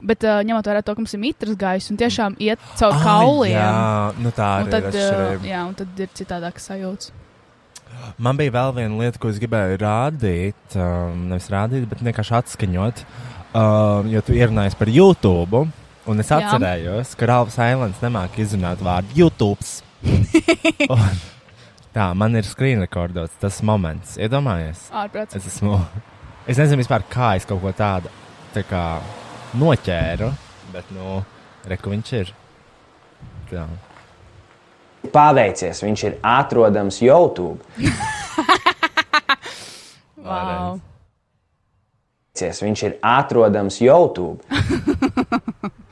Bet uh, ņemot vērā to, ka mums ir mitrs gaiss un tiešām iet caur
Ah,
kauliem.
jā, nu tā
Un
arī ir
tad,
atšķirība.
uh, jā, un tad ir citādāks sajūta.
Man bija vēl viena lieta, ko es gribēju rādīt, um, nevis rādīt, bet vienkārši atskaņot. Um, jo tu ierunājies par YouTube, un es
Jā.
atcerējos, ka Rāvs Ailants nemāk izrunāt vārdu YouTube. un, tā, man ir screen recordots tas moments. Iedomājies,
Ārprāts.
es esmu. Es nezinu vispār, kā es kaut ko tādu tā kā, noķēru, bet nu, reku viņš ir. Tā.
Paveicies, viņš ir atrodams YouTube.
Wow.
Paveicies, viņš ir atrodams YouTube.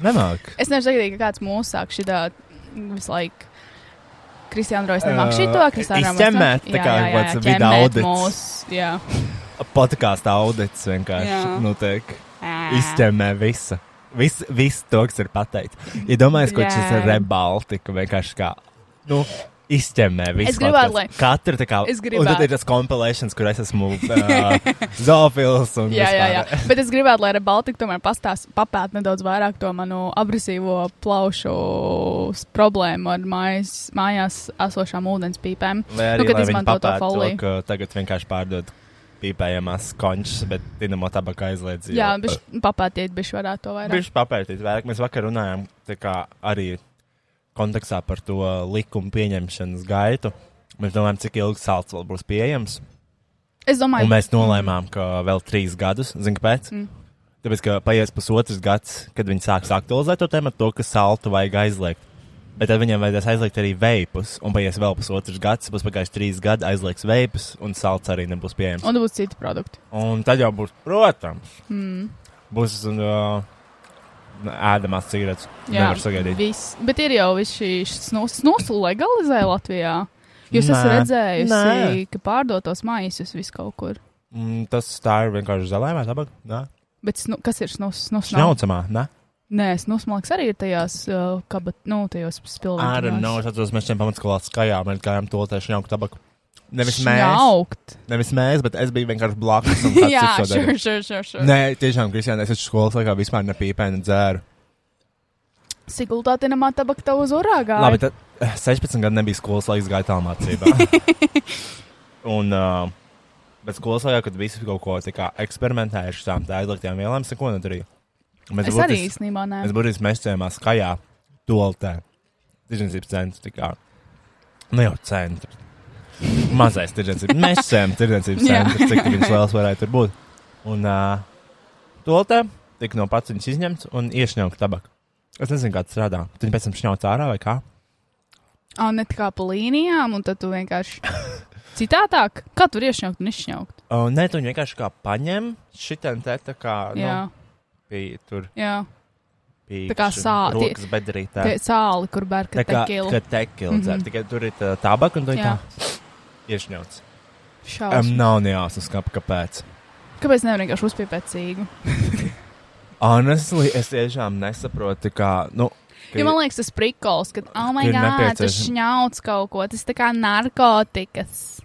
Nemāk.
Es nevaru sagaidīt, ka kāds mūs sāk šitā visu laiku. Kristiāna Rojas
Ā,
nemāk šito, Kristiāna Rojas
izķemmēt, tā kā kāds video audits.
Jā,
Podkāstu audits
Jā.
vienkārši nu, notiek.
Ā.
Izķemmē visu. Viss, vis to, kas ir pateikts. Iedomājieties, ko šis
Jā.
rebaltika vienkārši kā. Nu, Izķemmē visu.
Es gribētu,
podcastu.
lai-
Katru tā kā.
Es
Un tad
gribētu.
ir tas kompilēšanas, kur es esmu uh, zoofils un
jā, jā, jā.
vispār.
Bet es gribētu, lai Baltika tomēr pastāst, papēt nedaudz vairāk to manu agresīvo plaušu s- problēmu ar mājas, mājās esošām ūdens pīpēm.
Vai arī,
nu, kad
lai viņi
izmanto to
papēta
foliju.
ka tagad vienkārši pārdod pīpējamās končas, bet dinamo tabaka aizliedz. jo-
Jā, bišķi- papētiet, bišķi varētu to vairāk.
Viņš papētīs vairāk. Mēs vakar runājām tā kā, arī kontekstā par to likumu pieņemšanas gaitu. Mēs domājam, cik ilgi sāls vēl būs pieejams.
Es domāju,
Un mēs nolēmām, ka vēl trīs gadus, zinām, pēc.
Mm.
Mm. Tāpēc, ka paies pusotrs gads, kad viņi sāks aktualizēt to tēmu, to, ka saltu vajag aizliegt. Bet tad viņiem vajadzēs aizliegt arī veipus, un paies vēl pusotrs gads, būs pagājis trīs gadi, aizliegs veipus, un salts arī nebūs pieejams.
Un būs citi produkti.
Un tad jau būs, protams,
Mm.
būs uh, ēdamās cigaretes.
Jā,
Nevar sagaidīt.
Viss. Bet ir jau viss šis snusu legalizē Latvijā. Jūs esat
Nē.
redzējuši,
Nē.
ka pārdotos maisus vis kaut kur.
Mm, tas tā ir vienkārši zelainā tabaka. Nē,
Bet snu, kas ir snus? snus nav?
šņaucamā. Nē,
Nē, snus man liekas arī ir tajās, uh, kabat, nu, tajos
ārā nav.
spilvenās.
Es atceros, mēs šiem pamatskolā skajām, mēs gājām to tēšu šņauku tabaku. Nevis
Šņaukt.
mēs. Nevis mēs, bet es biju vienkārši blakus. un kāds
Jā,
cits to darīja.
sure, sure, sure, sure.
Nē, tiešām, Kristija, es esmu skolas laikā vispār nepīpēju, nedzēru.
Sigultā tinamā tabaka tev uz urāgā.
Labi, tad eh, 16 gadi nebija skolas laiks, gāja tālmācībā. un, uh, bet skolas laikā, kad visi kaut ko tā kā eksperimentējuši ar tām tā aizliegtām vielām, es neko nedarīju. Un
Es arī īstenībā nē.
Mēs burtiski meklējām skaļā toltē. Tirzniecības centrs, tā kā. Nu jau centrs. Mazais tirdzniecības. Mēs esam tirdzniecības
Jā.
centrs, cik viņš liels varētu tur būt. Un uh, toltē tika no pats viņas izņemts un iešņaukt tabaku. Es nezinu, kā tas strādā. Tad viņi pēc tam šņauc ārā vai kā.
Ah, ne tā kā pa līnijām, un tad tu vienkārši citādāk. Kā tur iešņaukt un izšņaukt?
Uh, nē, tu viņu vienkārši kā paņem šitā te tā kā. Nu,
Jā.
Bija tur.
Jā. Tā kā sāli. tie-
Rokas bedrītē.
tie Sāli, kur bērka
Tā kā
tekilu.
ka tekila
Mhm.
mm -hmm. dzer. Tikai tur ir tā tabaka un tu ir
Jā.
tā iešņauts.
Šausmas.
Em, nav nejāsas, kā, kāpēc.
Kāpēc nevar vienkārši uzpiepēt cīgu?
Honestly, es tiešām nesaprotu, kā, nu. ka-
Jo man liekas, tas prikols, ka, oh, my
Ir
God, tas
nepieciešams.
šņauts kaut ko, tas tā kā narkotikas.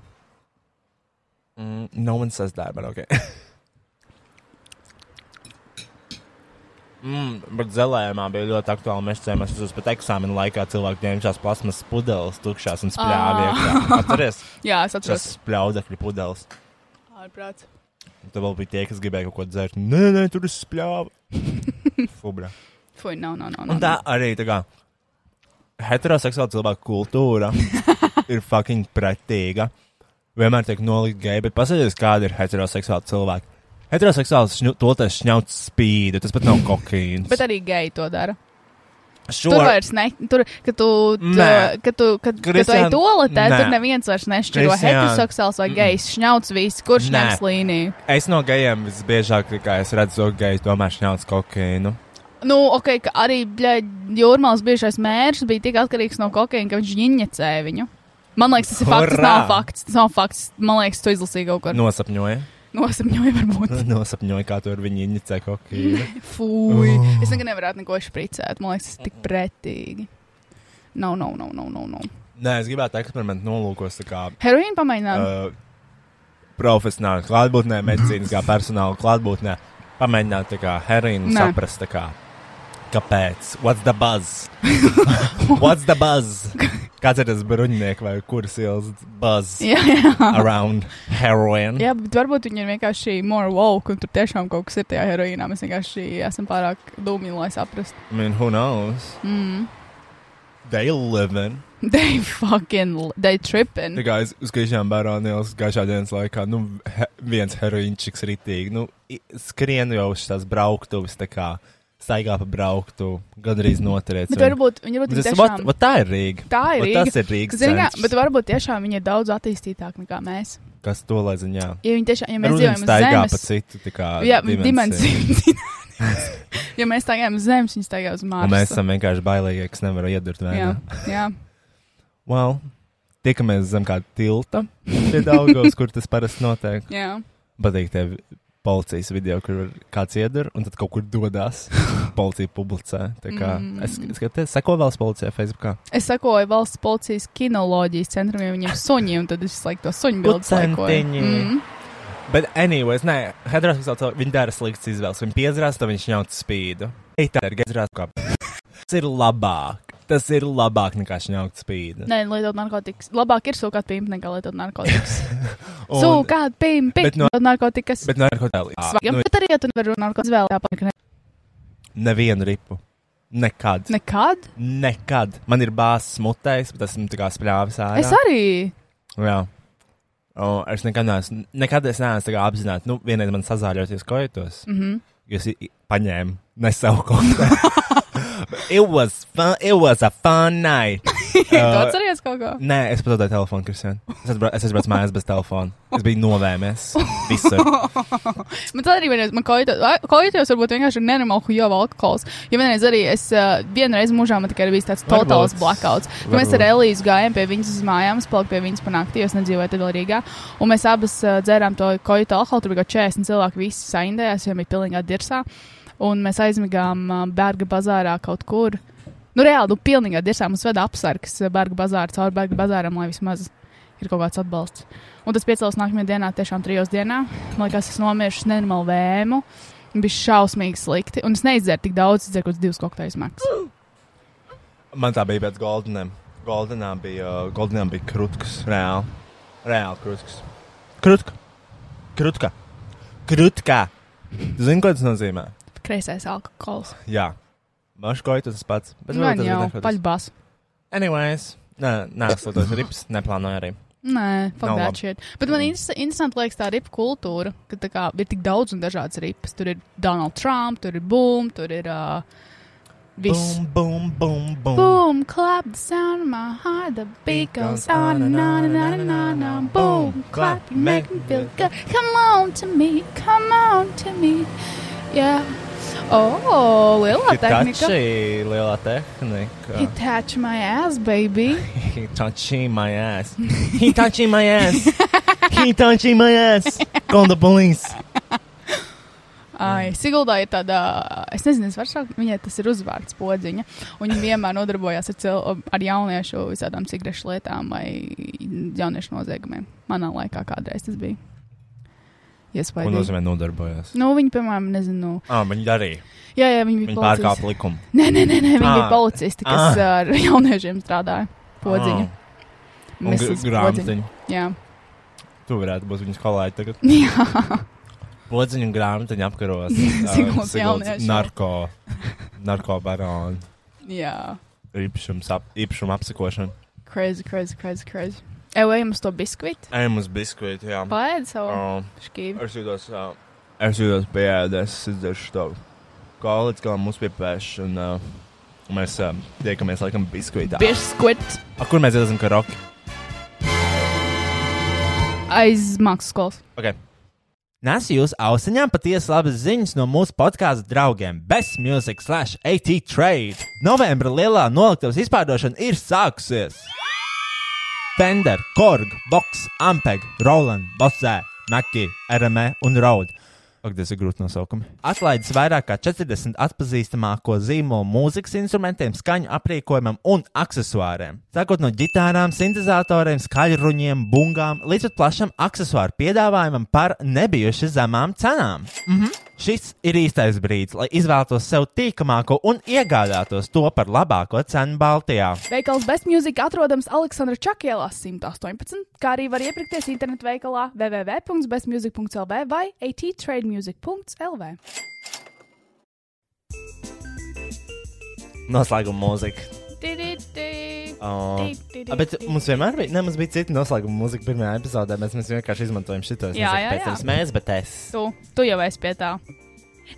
Mm, no one says that, but okay. Mm, bet zelējumā bija ļoti aktuāli. Mēs cēlāmies visos pat eksāmenu laikā. Cilvēki ņēma šās plasmas pudeles, tukšās un spļāvi.
Ā.
iekšā. Atceries?
Jā, es atceros.
Šās Spļaudekļu pudeles.
Ārprāts.
Un Tad vēl bija tie, kas gribēja kaut ko dzert. Nē, nē, tur ir spļāvi. Fubra.
Fui, nav, nav, nav.
Un tā arī tā kā heteroseksuāla cilvēka kultūra ir fucking pretīga. Vienmēr tiek nolikt geji, bet paskatieties, kāda ir heteroseksuāla cilvēka. Heteroseksuāls šņu, toties šņauts spīdi, tas pat nav kokaīns.
Bet arī geji to dara.
Šo-
Tur vairs ne, tur, kad tu, tu,
Nē.
kad tu, kad, kad tu ej
Kristian,
toaletē,
nē.
tur neviens vairs nešķiro
Kristian, Mm.
heteroseksuāls vai gejs, šņauts viss, kurš
Nē.
nevis līniju.
Es no gejiem visbiežāk tikai es redzu, ka geji tomēr šņauts kokaīnu.
Nu, ok, ka arī bļa, jūrmālas biežais mērķis bija tik atkarīgs no kokaīna, ka viņš ņiņķecēja viņu. Man liekas, tas ir fakts, tas nav
Hurrā!
fakts, tas nav fakts. Man liekas, tu izlasīji kaut kur.
Nosapņoja.
Nosamņoja varbūt.
Nosapņoja, kā tur viņi inicē kokaīnu.
Fui.
Oh.
Es nekad nevarētu neko špricēt. Man liekas, tas ir tik pretīgi. Nav, nav, nav, nav, nav. nav.
Nē, es gribētu eksperimentu nolūkos. tā kā,
Heroīnu pamēģināt.
Uh, profesionāli klātbūtnē, medicīniskā personāla klātbūtnē. Pamēģināt tā kā heroīnu
Nē.
saprast, tā kā, kāpēc. What's the buzz? What's the buzz? Kāds ir tas bruņinieks vai kuras ielas buzz
Jā, jā.
around heroin?
Jā, bet varbūt viņi ir vienkārši more woke, un tur tiešām kaut kas ir tajā heroīnā. Mēs vienkārši esam pārāk dūmi, lai saprastu.
I mean, who knows?
Mm.
They live in.
They fucking, li- they tripping.
Tā kā es Nu, uz gaišām bērām ielas gaišā dienas laikā, nu, he, viens heroīnčiks ritīgi, nu, i- skrien jau uz tās brauktuves, tā kā staigā pa brauktu, gandrīz noturēts.
Bet varbūt viņi varbūt
Tas-
tiešām-
vat- vat tā ir Rīga.
Tā ir
Vat
Rīga.
Tas ir Rīgas
Zini kā,
centrs.
Bet varbūt tiešām viņi ir daudz attīstītāki nekā mēs.
Kas to lai ziņā?
Ja viņi tiešām, ja mēs
Rudens
dzīvojam uz
staigā
zemes.
pa citu, tā kā
Jā,
dimensiju.
dimensiju. ja mēs staigājam uz zemes, viņi staigā uz
Un
Marsu.
mēs esam vienkārši bailīgi, kas nevar iedurt
Jā,
vēl.
jā.
Well, tiekamies zem kāda tilta pie Daugavas, kur tas parasti notiek.
Jā.
Patīk tev policijas video, kur var- kāds iedur un tad kaut kur dodas. Policija publicē. Tā kā mm.
Mm.
es, es skatos, seko valsts policijai Facebookā.
Es sekoju valsts policijas kinoloģijas centram, jo viņiem suņi, un tad es visu laiku to suņu bildes laikoju.
Pucentiņi.
Mm.
Bet, anyways, nē, heteroseksuāli cilvēki, viņi dara sliktas izvēles. Viņi piedzrās, tad viņš ņauc spīdu. Ej, tā ir gezrās, kā. Tas ir labāk. Tas ir labāk nekā šņaukt spīdu.
Nē, lietot narkotikas. Labāk ir sūkāt pīmpi nekā lietot narkotikas.
Un-
Sūkāt pīmpi,
Bet no-
lietot narkotikas.
Bet no narkotikām.
Svaigam,
Nu,
bet arī, ja tu nevari narkotikas vēl tāpat, ka ne.
nevienu ripu. Nekad.
Nekad?
Nekad. Man ir bāzes mutais, bet esmu tā kā spļāvis ārā.
Es arī.
Jā. O, es nekad neesmu, nekad es neesmu tā kā apzināti. Nu, vienreiz man sazāļoties kojotos.
Mhm.
Jūs i- i- paņēmu ne savu kontu. it, was fun, it was a fun night.
Tu atceries kaut ko?
Nē, es pazaudēju telefonu, Kristian. Es atbraucu, es atbraucu mājās bez telefona. Es biju novēmies. Visur.
Man tā arī vienreiz, man kojotos varbūt vienkārši ir nenormāli hujova alkohols. Jo vienreiz arī es, uh, vienreiz mūžā man tikai ir bijis tāds totāls
Varbūt.
blackouts. Ka Mēs ar
Varbūt.
Elīzu gājām pie viņas uz mājām, es paliku pie viņas panākti, jo es nedzīvoju tad vēl Rīgā. Un mēs abas uh, dzērām to kojotu alkoholu, tur bija kaut 40 cilvēki, visi saindējās, viņiem bija pilnīgā dirsā. Un mēs aizmigām uh, Berga bazārā kaut kur. Nu, reāli, nu, pilnīgā dirsā mums veda apsargs uh, Berga bazāra, caur Berga bazāram, lai vismaz ir kaut kāds atbalsts. Un tas piecēlās nākamajā dienā, tiešām trijos dienā. Man liekas, es nomiršu nenormālu vēmu. Bija šausmīgi slikti. Un es neizdzēru tik daudz, es dzēru kaut kādus divus kokteļus maksas.
Man tā bija pēc Goldenam. Goldenam bija, uh, Goldenam bija krutks. Reāli. Reāli krutks. Krutka. Krutka. Krutka. Tu Zini, ko tas nozīmē?
Kreisais alkohols.
Jā. Maškoitas tas pats. Bet varbūt
Gan jau,
tas bija narkotikas.
paļbās.
Anyways, nē, nē, slēdzoties rips, neplānoju arī.
Nē,
Nav
pagaidām
labi.
šeit. Bet man inter interesanti liekas tā ripa kultūra, ka tā kā ir tik daudz un dažādas ripas. Tur ir Donald Trump, tur ir Boom, tur ir uh, viss.
Bum, bum, bum, bum.
Boom, clap the sound of my heart, the beat goes on and on and on and on. And on. Boom, clap, you make me feel good. Come on to me, come on to me, yeah. Oh, lielā tehnika.
Hitachi, lielā tehnika.
Hitachi my ass, baby.
He touching my ass. He touching my ass. He touching my ass. Call the police.
Ai, Siguldā ir tāda, es nezinu, es varu sākt, viņai tas ir uzvārds podziņa. un Viņa vienmēr nodarbojās ar, cil, ar jauniešu visādām cigarešu lietām vai jauniešu noziegumiem. Manā laikā kādreiz tas bija.
Ko
Iespaidīgi.
nozīmē nodarbojās?
Nu, viņi, piemēram, nezinu.
Ah, viņi darīja.
Jā, jā, viņi bija
Viņi
policisti.
pārkāpa likumu.
Nē, nē, nē, nē viņi ah. bija
Ah.
policisti, kas ah.
Ah.
ar jauniešiem strādāja. Podziņa.
Ah. Un
Mrs.
gr- grāmatiņa.
Podziņa. Jā.
Tu varētu būt viņas kolēģi tagad.
Jā.
Podziņu grāmatiņa apkaros. ah,
Siguldas jaunieši.
narko, narko baronu
Jā.
īpašums, ap, īpašumu apsakošanu.
Crazy, crazy, crazy, crazy. Evo, ejam uz to biskuitu.
Ejam uz biskvītu, jā.
Paēd savu
Ah.
šķīvi.
Es jūtos, uh, es jūtos pieēdēs, es dzeršu tavu. Kolēģis, kā mums piepēš, un uh, mēs uh, tiekamies laikam biskvītā.
Biskuits
A, kur mēs iesim karoki?
aiz mākslas skolas.
Okay. Nesu jūs ausiņām patiesi labas ziņas no mūsu podkāstu draugiem Best Music slash AT Trade. Novembra lielā noliktavas izpārdošana ir sākusies! Fender, Korg, Box, Ampeg, Roland, Bossē, Naki, RME E un Road.
Ak, tas ir grūti nosaukumi.
Atlaidis vairāk kā 40 atpazīstamāko zīmolu mūzikas instrumentiem, skaņu aprīkojumam un aksesuāriem. Sākot no gitārām, sintēzatoriem, skaļruņiem, bungām līdz pat plašam aksesuāru piedāvājumam par nebijuši zemām cenām. Mm
Mhm.
-hmm. Šis ir īstais brīdis, lai izvēlētos sev tīkamāko un iegādātos to par labāko cenu Baltijā.
Veikals Best Music atrodams Aleksandra Čakielā 118, kā arī var iepirkties internetu veikalā www.bestmusic.lv vai attrademusic.lv.
Noslēguma mūzika.
Ti-ti-ti.
Oh.
Ti, ti, ti,
Bet
ti.
mums vienmēr bija, ne, mums bija cita noslēguma mūzika pirmajā epizodē. Mēs, mēs vienkārši izmantojam šo.
Jā, jā, jā.
mēs, bet es.
Tu, tu jau esi pie tā.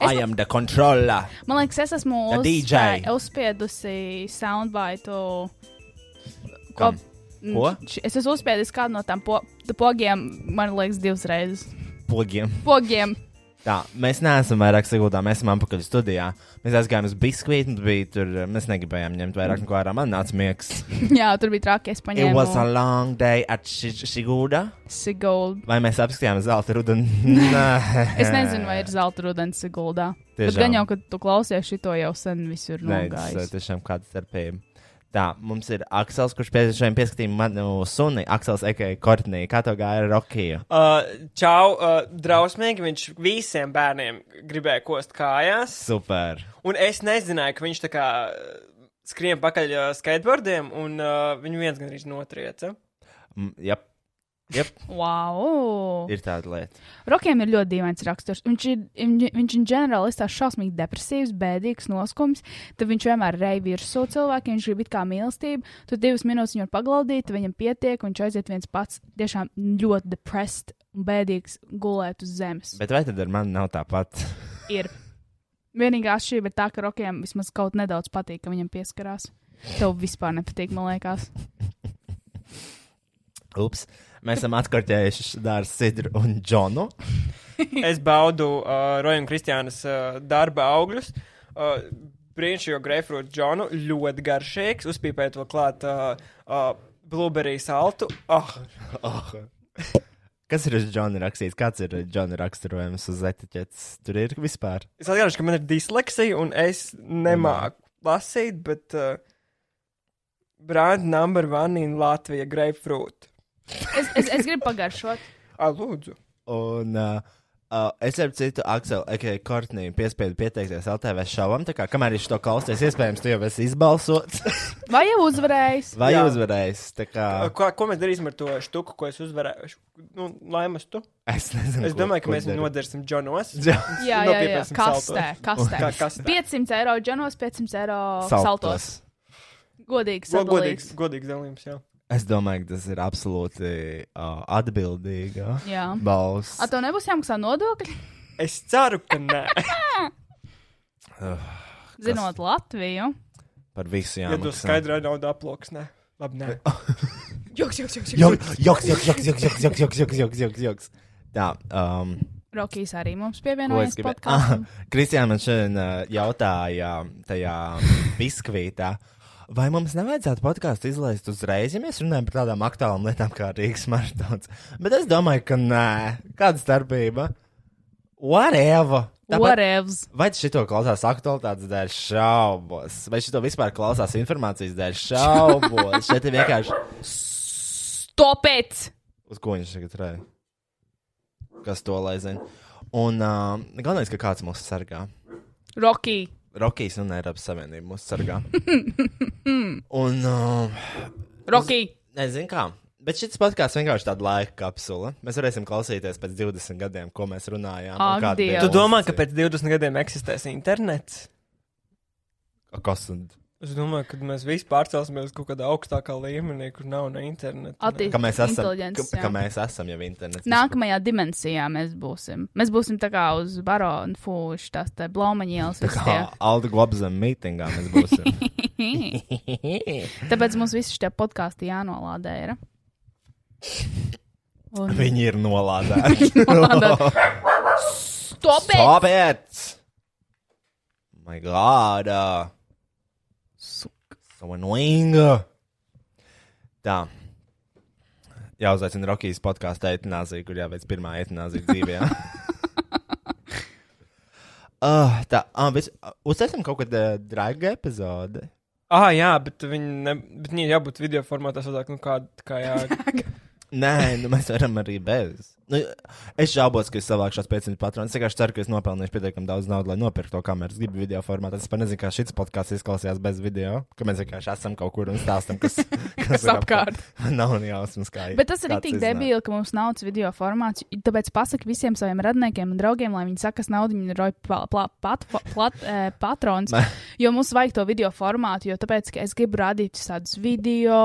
I am the controller.
Man liekas, es esmu
The
uzspē-
DJ.
uzspiedusi soundbaitu.
Kam?
Mm,
Ko?
š- Es esmu uzspiedusi kādu no tām po tu pogiem, man liekas, divas reizes.
Pogiem.
Pogiem.
Tā, mēs neesam vairāk sagūtā, mēs esam atpakaļ studijā. Mēs aizgājām uz biskvītu, mums bija tur, eh, mēs negribējām ņemt vairāk no ārā. Man nāca miegs.
Jā, tur bija trākie
It was a
spaņēmi.
long day at Shi- Shigūda.
Sigulda.
Vai mēs apskatījām zelta rudenu? Nē.
Es nezinu, vai ir zelta rudens Siguldā. Bet
Tiešām.
gan jau, kad tu klausies šito jau sen visur
Nē, tas
nogājis.
ir tiešām kāda starpība. Tā, mums ir Aksels, kurš pie šiem pieskatīja manu suni. Aksels, Ekai, Kortnī, kā tev gāja ar Rokiju?
Uh, čau, uh, drausmīgi viņš visiem bērniem gribēja kost kājās.
Super.
Un es nezināju, ka viņš tā kā uh, skrien pakaļ uh, skateboardiem, un uh, viņu viens gandrīz notrieca.
Mm, Jep. Jep.
Wow!
Ir tāda lieta.
Rokiem ir ļoti dīvains raksturs. Viņš ir, viņ- viņš ir ģenerāli ir tāds šausmīgi depresīvs, bēdīgs, noskums. Tad viņš vienmēr rei virsū cilvēkiem, viņš grib it kā mīlestību. Tu divas minūtes viņu var paglaudīt, viņam pietiek, un viņš aiziet viens pats. Tiešām ļoti depressed un bēdīgs gulēt uz zemes.
Bet vai tad ar mani nav tāpat?
Ir. Vienīgā atšķirība ir tā, ka Rokiem vismaz kaut nedaudz patīk, ka viņam pieskarās. Tev vispār nepatīk, man liekas.
Ups. Mēs esam atkārtējuši Dārzu Sidru un Džonu.
es baudu uh, Roja un Kristiānas uh, darba augļus. Uh, Brīnišķīgo greifrūtu džonu, ļoti garšīgs, uzpīpēt vēl klāt uh, uh, blueberry saltu. Ah,
Oh. Kas ir uz Džona rakstīts? Kāds ir eh, Džona raksturojums uz etiķetes? Tur ir vispār.
Es atgādāšu, ka man ir disleksija, un es nemāku lasīt, bet uh, brand number one in Latvija grapefruit.
Es, es, es gribu pagaršot.
A, lūdzu.
Un uh, uh, es ar citu Akselu, Ekai, Kortnī piespiedu pieteikties LTV šovam. Tā kā kamēr viņš to klausās, iespējams, tu jau esi izbalsots
Vai jau uzvarējis?
vai
Jā.
uzvarējis. Tā kā
Ko, ko mēs darīsim ar to štuku, ko es uzvarēju? Nu, laimas tu.
es nezinu. Nu,
Es
ko-
domāju,
ko
ka mēs viņu
daru.
nodarīsim džonos.
Jā,
Nu,
jā, jā.
Nopiepēsim
Kastē,
saltos.
kastē.
Kā kastē.
500 eiro džanos, 500 eiro
Saltos.
saltos. Godīgs,
Go-
godīgs.
Godīgs, godīgs dalījums, jā.
Es domāju, ka tas ir absolūti uh, atbildīgi.
Jā.
Balss.
Ar to nebūs jāmaksā nodokļi?
Es ceru, ka nē.
Uh,
Zinot Latviju.
par visu
Ja tu
jāmaksā.
skaidrā naudā aploksnē. Labi, nē.
Joks, joks, joks,
Joks, joks, joks, joks, joks, joks, joks, joks, joks, joks, joks, joks. Tā, um,
Rokijs arī mums
Ko es
pievienojas
gribēju?
podkāstam.
Ah, Kristiāna man šodien ā, jautāja um, tajā um, biskvītā. Vai mums nevajadzētu podkāstu izlaist uzreiz, ja mēs runājam par tādām aktuālām lietām kā Rīgas maratons? Bet es domāju, ka nē, kāda starpība? Whatever!
Whatevs.
vai šito klausās aktualitātes dēļ šaubos? Vai šito vispār klausās informācijas dēļ šaubos? Šeit ir vienkārši.
Stopēc!
Uz ko viņš tagad rēja? Kas to lai zina? Un uh, galvenais, ka kāds mūs sargā.
Rokī!
Rokijas un Eiropas Savienība mūs sargā.
Mm.
un. Uh,
Rokī!
Nezinu kā. Bet šis podkāsts vienkārši tāda laika kapsula. Mēs varēsim klausīties pēc 20 gadiem, ko mēs runājām. un
Ak,
kāda bija
Tu domā,
mūsu
ka pēc 20 gadiem eksistēs internets?
dzīve. Kas tad?
Es domāju, ka mēs visi pārcelsimies kaut kādā augstākā līmenī, kur nav ne interneta.
Atti-
Ka mēs esam, ka,
Inteliģences, jā.
ka mēs esam jau internetā.
Nākamajā dimensijā mēs būsim. Mēs būsim tā kā uz baro un fūšu, tās tā blaumaņielas.
Tā kā Alda Globzem mītingā mēs būsim.
Tāpēc mums visi šie podkāsti jānolādē. Ir. Un...
Viņi ir nolādēti.
Stopēc!
Stopēc! Oh My God! uh, So annoying! Tā. Jāuzaicina Rukijas podkāstu eitanāzija, kur jāveic pirmā eitanāzija dzīvē. uh, tā, ah, bet ah, uztaisam kaut kādu uh, draigu epizodi.
Ah, jā, bet viņi, ne, bet viņi jābūt video formātā, savādāk, nu kā, kā jā.
Nē, nu mēs varam arī bez. Nu, es šaubos, ka es savākšu šos 500 patronus. Es vienkārši ceru, ka es nopelnīšu pietiekami daudz naudas, lai nopirktu to kameru. Es gribu video formātā. Es pat nezinu, kā šis podkāsts izklausījās bez video. Ka mēs vienkārši esam kaut kur un stāstam, kas,
Kas
ir
apkārt.
Man Nav ne jausmas, kā
Bet tas ir
kāds
tik
iznāk.
debīli, ka mums nav tas video formāts. Tāpēc pasakiet visiem saviem radniekiem un draugiem, lai viņi sakas naudu, viņi roj pla- pla- pat- plat- eh, patrons.
Nē.
Jo mums vajag to video formātu, jo tāpēc, ka es gribu rādīt visādus video,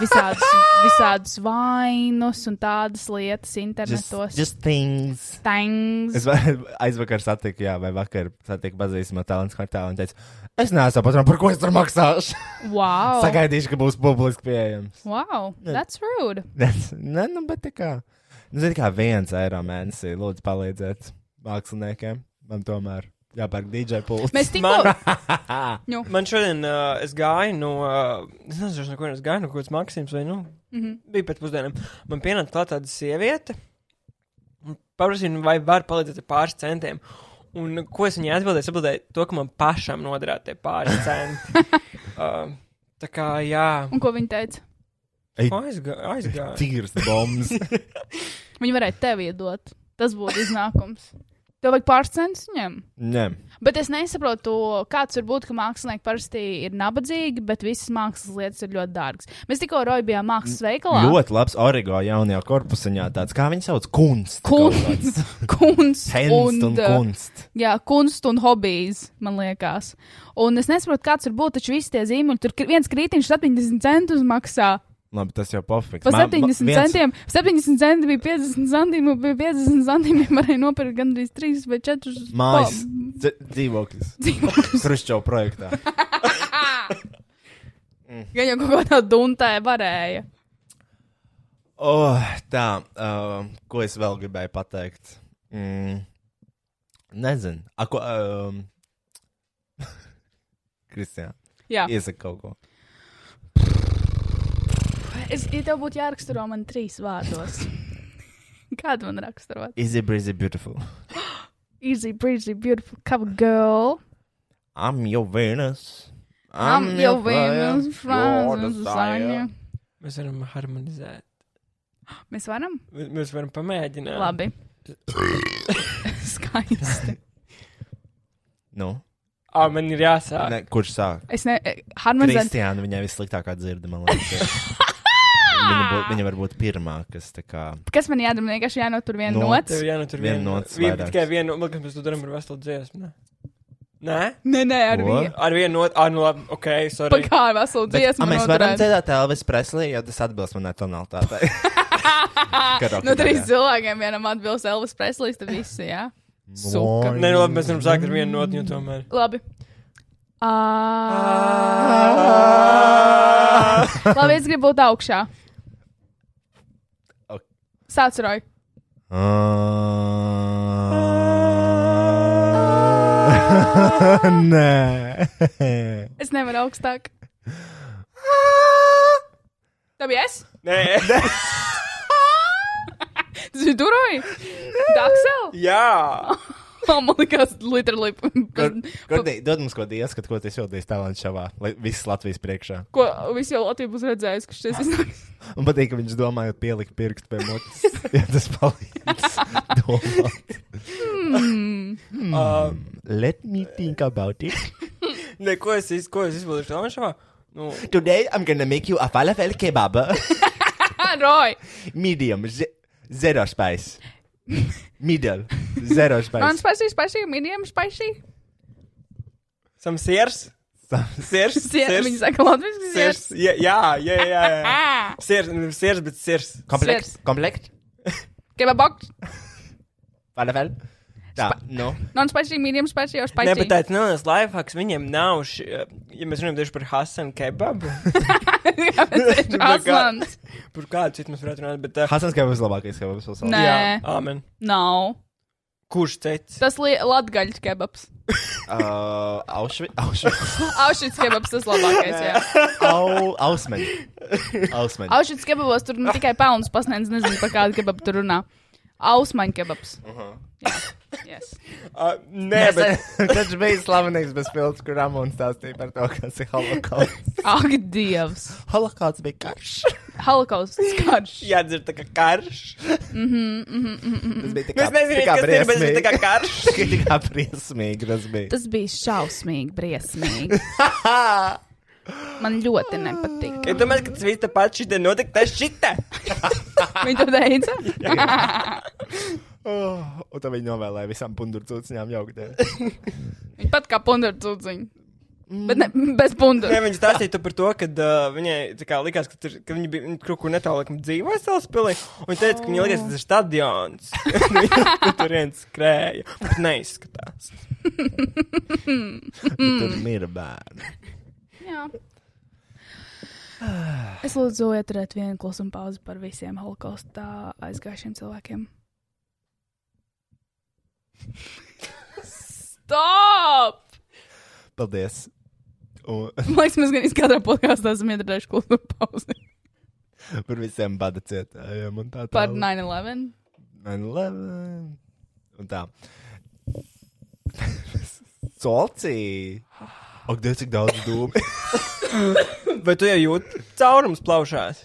visādus, visādus vainus un tādas lietas
Just,
internetos.
just things.
Thangs.
Es va- aizvakar satiku, jā, vai vakar satiku pazīstamu talantu kvartālu un teicu, es neesmu patronu, par ko es tur maksāšu.
Wow.
Sagaidīšu, ka būs publiski pieejams.
Wow, that's rude.
Tas- Nē, nu, bet tā kā. Nu, zini, kā viens eiro mēnesī, lūdzu, palīdziet māksliniekiem. Man tomēr jāpērk DJ pūlis.
Mēs tikko- Nu.
Man šodien uh, es gāju no, uh, es nezinu, no kurienes gāju, no kaut kādas Maksimas vai nu.
Mhm.
Bija pēcpusdienā. Man pienāca klāt tāda sieviete. Paprasīju, vai var palīdzēt ar pāris centiem. Un ko es viņai atbildēju? Es atbildēju to, ka man pašam noderētu tie pāris centi. uh, tā kā, jā.
Un ko viņi teica?
Aizgāju. Aizgāju.
Tīras bombas.
Viņi varētu tev iedot. Tas būtu iznākums. Tev vajag pāris centus viņiem.
Nē,
Bet es nesaprotu, to, kāds var būt, ka mākslinieki parasti ir nabadzīgi, bet visas mākslas lietas ir ļoti dārgas. Mēs tikko rojām, bijām mākslas veikalā.
ļoti labs origo jaunajā korpusiņā. Tāds, kā viņi sauc, kunst.
Kunst, kunst,
Henst un
eh,
kunst.
Jā, kunst un hobijs, man liekas. Un es nesaprotu, kāds var būt, taču visi tie zīmoli, tur kri- viens krītiņš 70 centus maksā.
Labi, tas jau pofiks.
Pa 70 viens... centiem, 70 centi bija 50 centiem, un pie 50 centiem varēja nopirkt gandrīz 3 vai 4
Mājas dz- dzīvoklis.
Dzīvoklis.
Kruščau projektā.
Gan jau kaut kādā duntē varēja.
Oh, tā, uh, ko es vēl gribēju pateikt? Mm, nezinu. A, ko, um, Kristiāna.
Jā.
Iesaka kaut ko.
Es, ja tev būtu jāraksturo man trīs vārdos, kādu man raksturot?
Easy breezy beautiful.
Easy, breezy, beautiful cover girl.
I'm your Venus.
I'm your Venus,
fire,
flowers and
your desire.
desire.
Mēs varam harmonizēt.
Mēs varam?
M- Mēs varam pamēģināt.
Labi. Skaisti.
Nu,
Ah, man ir jāsāk.
ne, kurš sāk?
Es ne. eh, Harmonizēt.
Kristiāna, viņai vissliktākā dzirde, man liekas. viņa, bū, viņa var būt pirmā, kas tā kā.
Kas man jādara? Man vienkārši jānotur viena
No-
nots.
Tev jānotur
Vienu
viena
notes
Vi-
vairāk.
Tikai viena, man liekas, mēs to darām ar veselu dziesmu. ne? Nē?
Nē, nē, ar
Ko? vienu.
Ar vienu notu, ah, nu labi, ok, sorry.
Pagā, ar veselu
Bet,
dziesmu
a, mēs
noturēt.
varam dzirdēt Elvis Preslī, jo tas atbilst manai tonalitātei. Karaoke
No Nu, trīs
daļā.
cilvēkiem vienam atbilst Elvis Preslīs, tad visi, jā.
Suka. Nē, nu labi, mēs varam sākt ar vienu notu, jo tomēr.
Labi. Ah.
Ah.
Labi, es gribu būt augšā.
Ok.
Sāc roj.
Ah. Nē.
Es nevaru augstāk.
Ah.
Tā bija es?
Nē,
Tas bija durvīm! Daksel!
Jā!
Man liekas, literāli.
Kur, kur, dod mums kaut kādu ieskatu, ko tas jūtas talantu šovā, lai viss Latvijas priekšā.
Ko visi jau Latvijas būs redzējuši, ka šis iznāks.
Man patīk, ka viņš domājot pielikt pirkstu pie mutes. ja tas palīdz. Domāt. Um,
Hmm.
Uh,
Let me think about it.
Nē, ko es, iz- ko es izpildīšu Talmanšovā? Nu,
Today I'm gonna make you a falafel kebab.
Roy!
Medium. ze- Zero spice. Middle. Zero
Man
spice.
spicy, spicy, medium spicy.
Sam sirs. Sirs.
Sie- viņi saka latviski
sirs.
sirs.
Jā, jā, jā. jā, jā. Sirs, nu, sirs, bet sirs.
Komplekts, Sirs.
Komplekts.
Kebabok,
Falafel. Tā, nu.
non spicy, medium spicy, jau
Nē, bet
spicy.
tāds neliels lifehacks viņiem nav. Ši, ja mēs runājam tieši par Hasanu kebabu.
bet Hasans.
Par kādu citu mēs varētu runāt, bet. Uh,
Hasans kebabs labākais kebabs pasaulē.
Nē.
Jā, amen.
Nav.
Kurš teica?
Tas ir latgaļš kebabs.
Uh, Aušvi- Aušvi-
Aušvits kebabs tas labākais, jā.
Au- Ausmeņi. Ausmeņi.
Aušvits kebabos tur ne tikai pelnus pasniedz, nezinu, par kādu kebabu tur runā. Ausmaņu kebabs. Yes.
Uh, nē, bet.
Tas bija slavenīgs bez filmas, kur Ramons stāstīja par to, kas ir holokausts.
Ak, Dievs!
Holokausts bija karš.
Holokausts karš.
Jā, dzird, tā kā karš.
Mhm, mhm, mhm, mhm.
Tas bija tik
Mēs nezinām, kas tas ir, bet tas ir tā kā karš.
Tik kā briesmīgi tas bija.
Tas bija šausmīgi, briesmīgi. Man ļoti nepatīk.
Es domāju, ka tas viss tāpat šitā notika, tas šitā.
Viņa to teica?
Oh, un tad viņi novēlēja visām pundurcūciņām jauku dienu.
Viņa pat kā pundra cūciņa. Bet ne, bez pundra.
Nē, viņa stāstīja tu par to, ka uh, viņai tā kā likās, ka, tur, ka viņa bija viņa kaut kur netālu laikam, dzīvoja Salaspēlē. Viņa teica, ka viņai likās, ka tas ir stadions. Viņa tur viens skrēja. Bet neizskatās.
Tur mira bērni.
Jā. Es lūdzu, ieturēt vienu klusumu pauzi par visiem holokaustā aizgājušiem cilvēkiem. Stop!
Paldies. Un
Man liekas, mēs gan izskatāmies podkāstā, esam ieturējuši klusumu pauzi
par visiem bada cietējiem un tā tālāk.
par 9-11.
9-11. Un tā. Solci! Ak, Dievs, cik daudz dūmu!
Vai tu jau jūti caurums plaušās?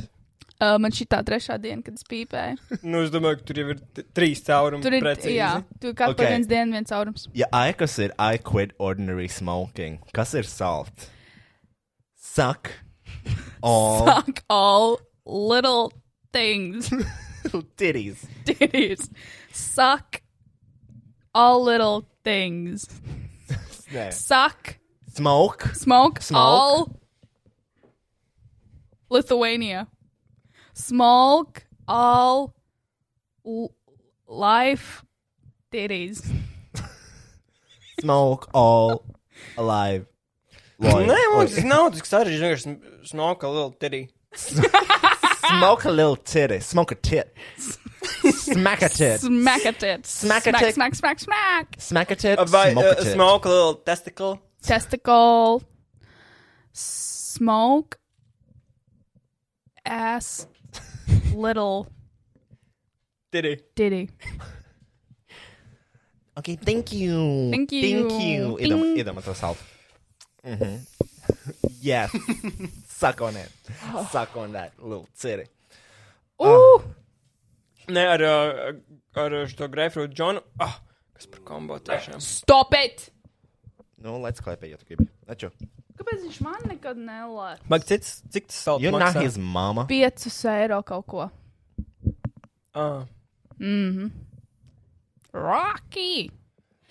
Uh, man šī tā trešā diena, kad es pīpēju.
Nu, es domāju, ka tur jau ir t- trīs caurumi.
Tur ir,
precīzi.
jā, tur katru
Ok.
okay. viens dienu viens caurums.
Ja I, kas ir I quit ordinary smoking, kas ir salt? Suck. All.
Fuck all little things.
Titties.
Titties. Suck all little things.
Nē.
Suck,
Smoke.
smoke,
Smoke.
all Lithuania. Smoke all l- life titties.
Smoke all alive. Loy.
Nē, man
Loy.
liekas, tas nav tik sarežģīti. Vienkārši smoka little titty.
Smoke a little titty. Smoke a tit. Smack a tit.
Smack at it.
Smack a
smack,
tit.
smack, smack, smack.
Smack a tit.
Vai
smoke a
uh,
tit.
smoka little testicle?
Testicle. Smoke. Ass. Little
Titty.
titty.
Okay, thank you.
Thank you.
Thank you. Idam,
Ding.
idam to salt. Mm-hmm. yes. Suck on it. Suck on that little titty. Ah.
Uh,
Nē, ar, uh, ar uh, šo greifrūtu Džonu. Ah, kas par kombo tiešām?
Stop it!
Nu, lec klēpē, ja tu gribi. Taču.
Kāpēc viņš man nekad nelaiž?
Man cits, cik tas salt
You're not
maksā?
his mama.
5 eiro kaut ko.
Ah.
Mhm. Rocky!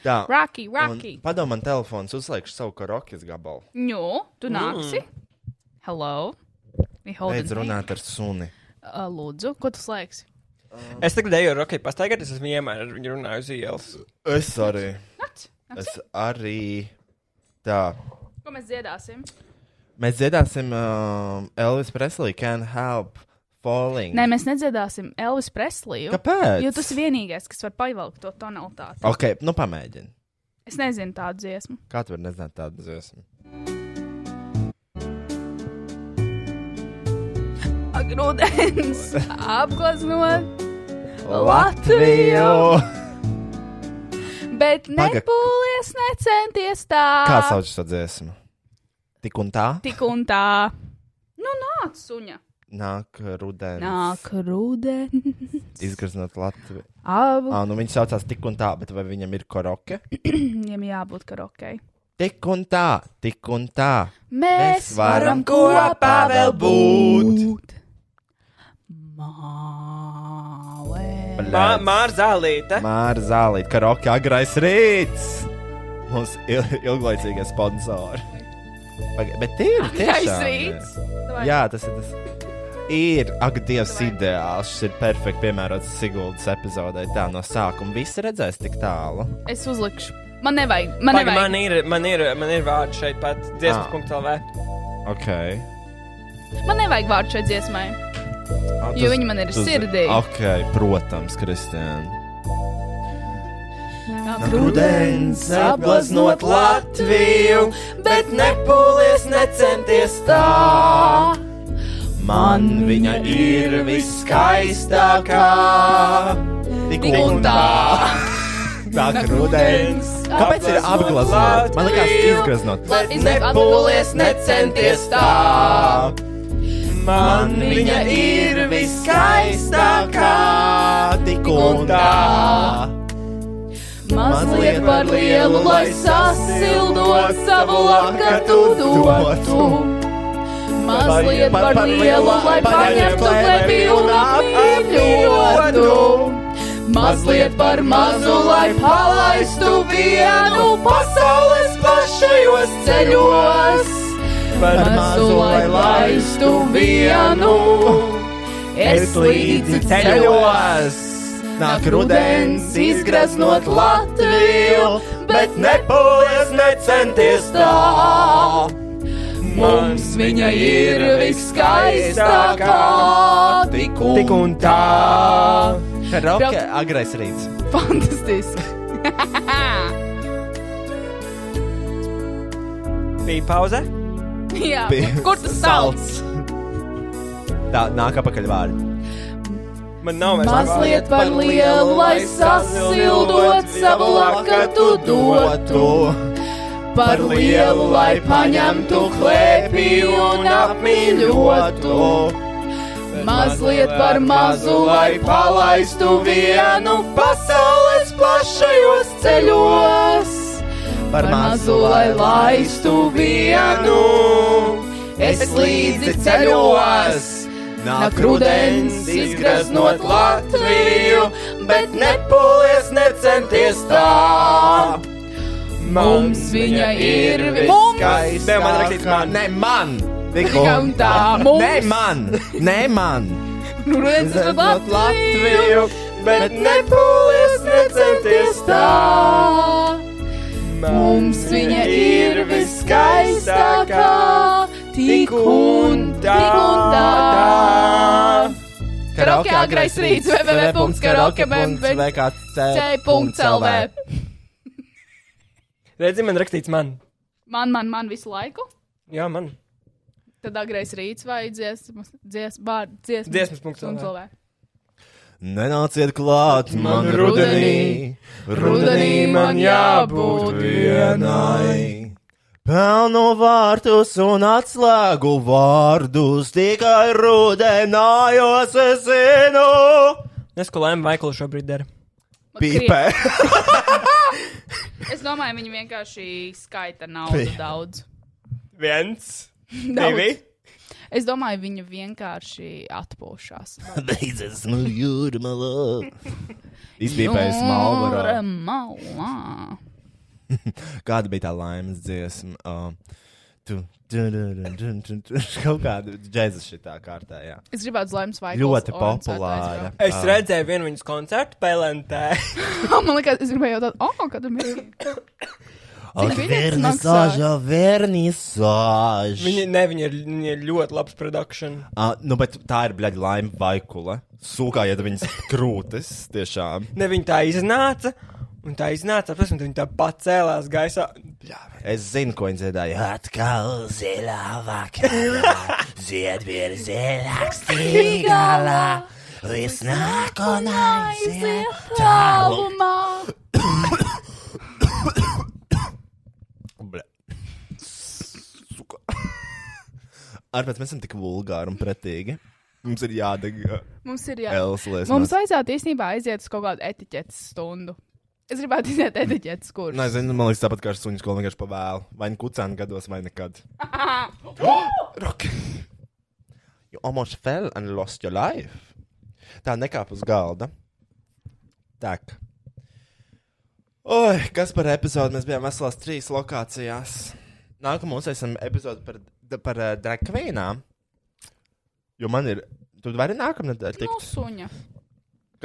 Tā.
Rocky, Rocky.
Un Padod man telefons, uzliekšu savu karaoke's gabalu.
Nu, tu
Mm.
nāksi? Hello! We hold
Beidz runāt ar suni.
Uh, lūdzu, ko tu slēgsi?
Es tagad eju ar Rokai pastaigāties, es viņu iemēru, ar viņu runāju uz ielas.
Es arī.
Nāc, nāc.
Es arī. Tā.
Ko mēs dziedāsim?
Mēs dziedāsim uh, Elvis Presley Can Help Falling.
Nē, mēs nedziedāsim Elvis Presliju.
Kāpēc?
Jo tas vienīgais, kas var pavilkt to tonalitāti.
Ok, nu pamēģini.
Es nezinu tādu dziesmu.
Kā tu vari nezināt tādu dziesmu?
nu, Agrūdens apgleznot Latviju.
Latviju!
Bet
Paga-
nepūlies, necenties tā.
Kā sauc šo dziesmu? Tik un tā?
Tik un tā. Nu, nāc, suņa.
Nāk rudenī.
Nāk rudenis.
Izgraznot Latviju.
Abu.
Ah, nu viņš saucās tik un tā, bet vai viņam ir koroke?
Viņam jābūt karokai.
Tik un tā, tik un tā.
Mēs varam kopā vēl
būt.
Mā- Māra Zālīte.
Māra Zālīte, karaoke agrais rīts. Mums il ilglaicīgie sponsori. Paga- Bet tie ir
Agrais
tiešām.
rīts?
jā. Jā, tas ir tas. Ir, ak, Dievs, ideāls. Šis ir perfekti piemērots Siguldas epizodē. Tā no sākuma visi redzēs tik tālu.
Es uzlikšu. Man nevajag. Man
Paga,
nevajag.
man, ir, man, ir, man ir vārdi šeit pat
Ah.
dziesmas.lv.
Ok.
Man nevajag vārdu šai dziesmai. Jo viņi man ir sirdī.
Ok, protams, Kristiāna.
Nāk
Rudens apgleznot Latviju,
bet
nepūlies necenties tā. Man viņa ir viskaistākā. Tik un tā. Tā kā rudens. Kāpēc ir apgleznot? Man liekas, izgleznot.
Bet nepūlies, necenties tā.
Man viņa ir viskaistākā. Tik un tā.
Mazliet par lielu, lai sasildot savu lakatu dotu. Mazliet par lielu, lai paņemtu klepi un apmīļotu. Mazliet par mazu, lai palaistu vienu pasaules plašajos ceļos. Par mazu, lai laistu vienu, es līdzi ceļos.
Nāk
rudens izgraznot Latviju, bet
nepūlies necenties
tā. Mums viņa ir viskaistākā, tik un, tik un tā.
Roke, agrais rīts.
Fantastiski!
Bija pauze.
Jā,
Bija
kur tas sauc?
Tā nāk apakaļ vārdi.
Man nav vairs
Mazliet par lielu, lai sasildot savu lakatu dotu. Par lielu, lai paņemtu klēpī un apmīļotu. Mazliet par mazu, lai palaistu vienu pasaules plašajos ceļos. Par mazu, lai laistu vienu, es līdzi ceļos. Nāk rudens, izgraznot Latviju, bet nepūlies necenties tā. Mums viņa ir
Skaistā.
viskaistākā.
Tev man rakstīts man. Ne man. Tik
un tā. Mums.
Ne man. Ne man.
Rudens ir
Izredzot
Nu, Latviju,
bet
nepūlies necenties tā. Mums viņa ir viskaistākā. Tik un tā. Tik un tā. Karaoke agrais rīts, www.karaoke.lv.
www.karaoke.lv.
Redzi, man rakstīts man.
Man, man, man visu laiku.
Jā, man.
Tad agrais rīts vai dziesmas, dzies, bār, dziesmas,
Dziesmas punkts
un
LV.
cilvēks.
Nenāciet klāt man rudenī, rudenī man jābūt vienai. Pelnu vārtus un atslēgu vārdus tikai rudenājos es zinu.
Es ko lēmu Maiklu šobrīd dara.
Pīpē.
Es domāju, viņi vienkārši skaita naudu
Pie-
daudz.
Viens,
Daudz.
divi.
Es domāju, viņi vienkārši atpūšās.
Līdz esmu jūrmalā. Izpīpējis malvarā.
malā.
Kāda bija tā laimes dziesma? Um, tu, tu, tu, tu, tu, tu, tu, kaut kāda džēza šitā kārtā, jā.
Es gribētu uz laimes vai
Ļoti populāra.
Es
Ā.
redzēju vienu viņas koncertu, Pelentē.
Man liekas, es gribēju jautāt, oh, kad ir mīļi. Cik biļetes maksā?
Vernizāža, vernizāža.
Viņi, ne, viņi ir, viņi ir ļoti labs produkts.
Uh, nu, bet tā ir, bļaļ, laima vaikula. Sūkājiet viņas krūtis, tiešām.
Ne, viņi tā iznāca. Un tā iznāca, apstāsim, viņi tā pacēlās gaisā. Jā,
Es zinu, ko viņa dziedāja. Atkal zilā
vakarā,
ziedviera
zilāk stīgalā, visnāko naizie tālumā.
Arpēc mēs esam tik vulgāri un pretīgi. Mums ir jādeg.
Mums ir jā.
Elslēs
Mums
nāc.
vajadzētu īstenībā aiziet uz kaut kādu etiķetes stundu. Es gribētu iziet etiķetes kursu.
Nezinu, Nu, man liekas, tāpat kā ar suņu skolu, vienkārši pavēlu. Vai nu kucēnu gados, vai nekad. You almost fell and lost your life. Tā nekāp uz galda. Tā. Oi, kas par epizodi? Mēs bijām veselās trīs lokācijās. Nākamā mums esam epizode par, d- par uh, drakvīnām. Jo man ir. Tu vari nākamnedēļ tikt.
Nu, suņa.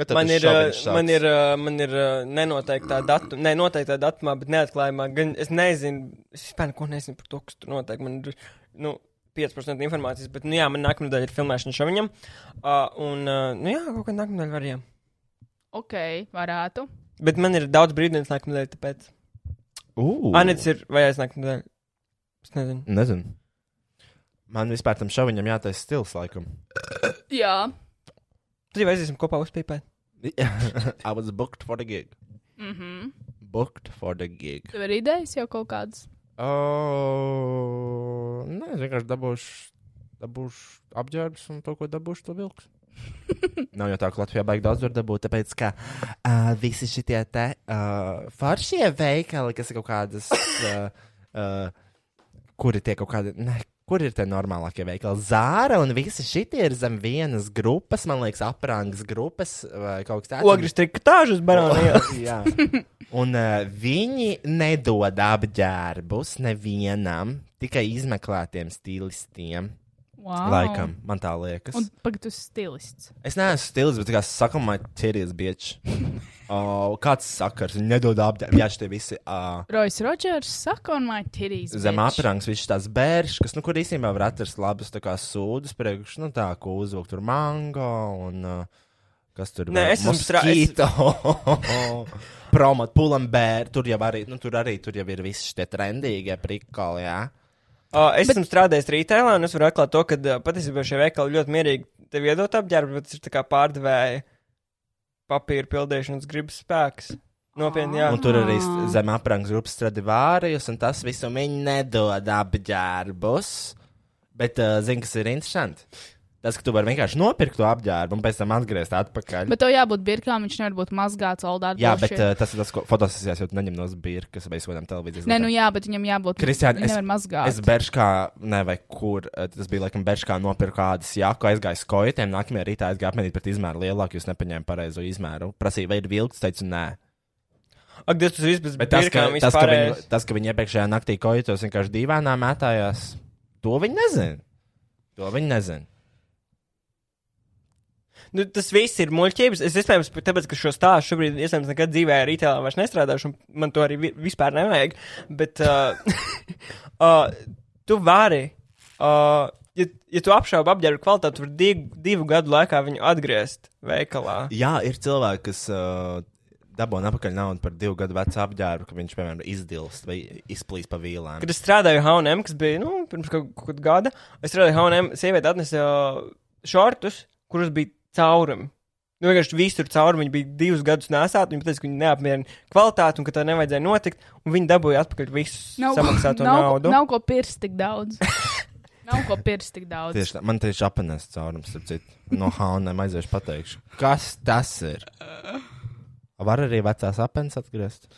Kad tad
Man
tas
ir, uh,
šoviņš sāks?
man, ir, uh, man ir uh, nenoteiktā datumā, ne noteiktā datumā, bet neatklājumā. Gan, es nezinu, es vispār neko nezinu par to, kas tur notiek. Man ir nu, 5% informācijas, bet, nu jā, man nākamā daļa ir filmēšana šoviņam. Uh, un, uh, nu jā, kaut kā nākamā daļa varējām.
Ok, varētu.
Bet man ir daudz brīvdienas nākamā daļa, tāpēc.
Ū.
Anits ir vai aiznākamā daļa? Es nezinu.
Nezinu. Man vispār tam šoviņam jātaisa stils laikam.
Jā.
Tad jau aiziesim kopā uzpīpēt.
I was booked for the gig.
Mhm.
Booked for the gig.
Tev ir idejas jau kaut kādas?
Oh, nē, es vienkārši dabūšu, dabūšu apģērbus un to, ko dabūšu, to vilks.
Nav jau tā, ka Latvijā baigi daudz var dabūt, tāpēc, ka uh, visi šitie te uh, foršie veikali, kas ir kaut kādas, uh, uh, kuri tie kaut kādi, ne, kur ir tie normālākie veikali? Zāra un visi šitie ir zem vienas grupas, man liekas, aprangas grupas vai kaut kas tāds.
Ogres trikotāžas barona.
Jā. Un uh, viņi nedod apģērbus nevienam, tikai izmeklētiem stilistiem.
Wow.
Laikam, man tā liekas.
Un pagaidu, tu esi stilists.
Es neesmu stils, bet kā saka, man ir tīries bieži. Oh, kāds sakars? Viņi nedod apģērbu. Jā, šie visi uh,
Rojas Rodžers saka, un my titties.
zem
bitch.
aprangs, viņš tās bērns, kas, nu, kur īstenībā var atrast labas tā kā sūdas priekš, nu, tā, ko uzvilkt tur mango un uh, kas tur
Nē,
vēl?
es esmu strā- es-
Mosquito. Promot, pulambēr, tur jau arī, nu, tur arī tur jau ir visi šie trendīgie prikoli, jā.
Uh, es esmu strādājis retailā, un es varu atklāt to, ka uh, patiesībā šie veikali ļoti mierīgi tev iedod apģērbu, bet tas ir tā kā pārdevēja papīra pildīšanas gribas spēks. Nopietni, jā.
Ah. Un tur arī s- zem aprangs grupas Stradivārijus, un tas visu viņi nedod apģērbus. Bet, uh, zini, kas ir interesanti? Tas, ka tu vari vienkārši nopirkt to apģērbu un pēc tam atgriezt atpakaļ.
Bet tev jābūt birkām, viņš nevar būt mazgāts, oldārds.
jā, bet uh, tas ir tas, ko fotosesijās jau neņem no zbirkas vai sodām televīzijas.
Nē, nu jā, bet viņam jābūt.
Kristiāna,
viņu
es,
nevar mazgāt.
es Berškā, ne, vai kur, eh, tas bija laikam Berškā, nopirku kādas jāku, aizgāju skojotiem, nākamajā rītā aizgāju apmērīt pret izmēru lielāku, jūs nepaņēmu pareizo izmēru. Prasīju, vai ir vilks, teicu, nē.
Ak, Dievs, tas viss bez
Bet tas, ka,
birkām, viss
tas, ka,
pārējais.
viņi, tas, ka viņi iepriekšējā naktī kojotos vienkārši dīvainā mētājās, to viņi nezina. To viņi nezina.
Nu, tas viss ir muļķības. Es iespējams, pat tāpēc, ka šo stāstu šobrīd, iespējams, nekad dzīvē ar retailā vairs nestrādāšu, un man to arī vi- vispār nevajag. Bet uh, uh, tu vari, uh, ja, ja tu apšaubi apģērbu kvalitāti, tu vari divu, divu gadu laikā viņu atgriezt veikalā.
Jā, ir cilvēki, kas uh, dabūna apakaļ naudu par divu gadu vecu apģērbu, ka viņš, piemēram, izdilst vai izplīs pa vīlēm.
Kad es strādāju HM, kas bija nu, pirms kaut kaut kāda gada, es strādāju HM, sieviete atnesa uh, šortus, kurus bija caurumi. Nu, vienkārši visur cauri viņi bija divus gadus nesāti. Viņi teica, ka viņi neapmierina kvalitāti un ka tā nevajadzēja notikt. Un viņi dabūja atpakaļ visu
Nav,
samaksāto
nav,
naudu.
Nav ko pirst tik daudz. nav ko pirst tik daudz.
Tieši tā, man tieši apēnēs caurums, starp citu, no Hānēm aiziešu pateikšu. Kas tas ir? Var arī vecās apēnas atgriezt,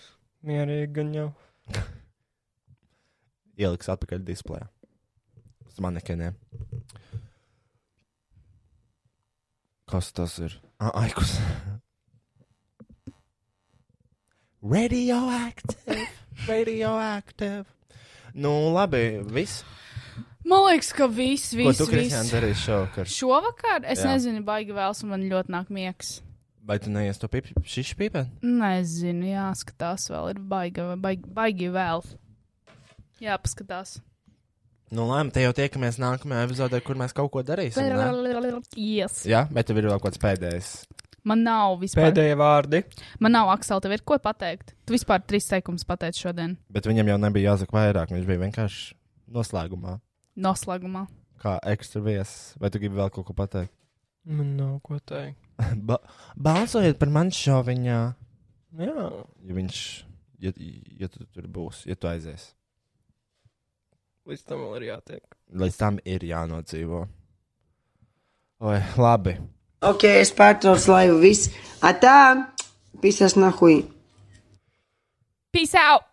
Mierīgi, gan jau.
ieliks atpakaļ displejā. Uz manekeniem. Kas tas ir? A, aikus. Radioactive. Radioactive. Nu, labi, viss.
Man liekas, ka viss,
Ko
viss,
tu, Kristian,
viss.
darīsi šovakar?
Šovakar es
Jā.
Jā. nezinu, baigi vēls, un man ļoti nāk miegs.
Vai tu neies to pipi? Šiši pipē?
Nezinu, jāskatās vēl, ir baigi, baigi, baigi vēl. Jā, paskatās.
Nu, labi, te jau tiekamies nākamajā epizodē, kur mēs kaut ko darīsim. ne?
Yes.
Jā, bet tev ir vēl kaut kāds pēdējais.
Man nav vispār.
Pēdējie
vārdi.
Man nav, Aksel, tev ir ko pateikt. Tu vispār trīs sekundes pateici šodien.
Bet viņam jau nebija jāsaka vairāk. Viņš bija vienkārši noslēgumā,
Noslēgumā.
kā ekstra viesis. Vai tu gribi vēl kaut ko pateikt?
Man nav ko teikt.
Ba balsojiet par mani šoviņā.
Jā.
Ja viņš, ja, ja tu tur būs, ja tu aizies,
Līdz tam vēl ir jātiek.
līdz tam ir jānodzīvo. Oi, labi.
Ok, es pārtraucu laivu viss. Atā, pisas nahui.
Peace out!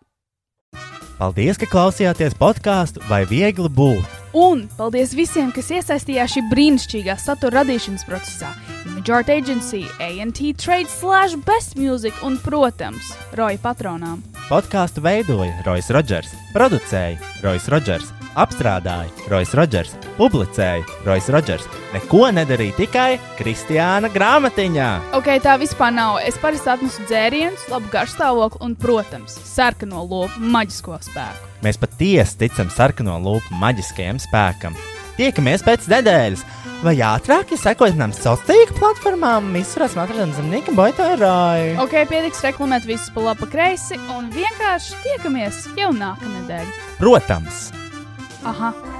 Paldies, ka klausījāties podkāstu vai viegli būt.
Un paldies visiem, kas iesaistījās šī brīnišķīgā satura radīšanas procesā. Image Art Agency, ANT Trade, Slash, Best Music un, protams, Roja patronām.
Podkāstu veidoja Rois Rodžers, producēja Rois Rodžers, apstrādāja Rois Rodžers, publicēja Rois Rodžers. Neko nedarīja tikai Kristiāna grāmatiņā.
Ok, tā vispār nav. Es parasti atnesu dzērienus, labu garšstāvokli un, protams, sarkano lopu maģisko spēku.
Mēs patiesi ticam sarkano lupu maģiskajam spēkam. Tiekamies pēc nedēļas, vai ātrāk, ja sekojat mums sociālajām tīkla platformām, visurās matradienas zemnieka boitārāju.
Ok, pietiks reklamēt visus pa labi, pa kreisi un vienkārši tiekamies jau nākamnedēļ.
Protams!
Aha!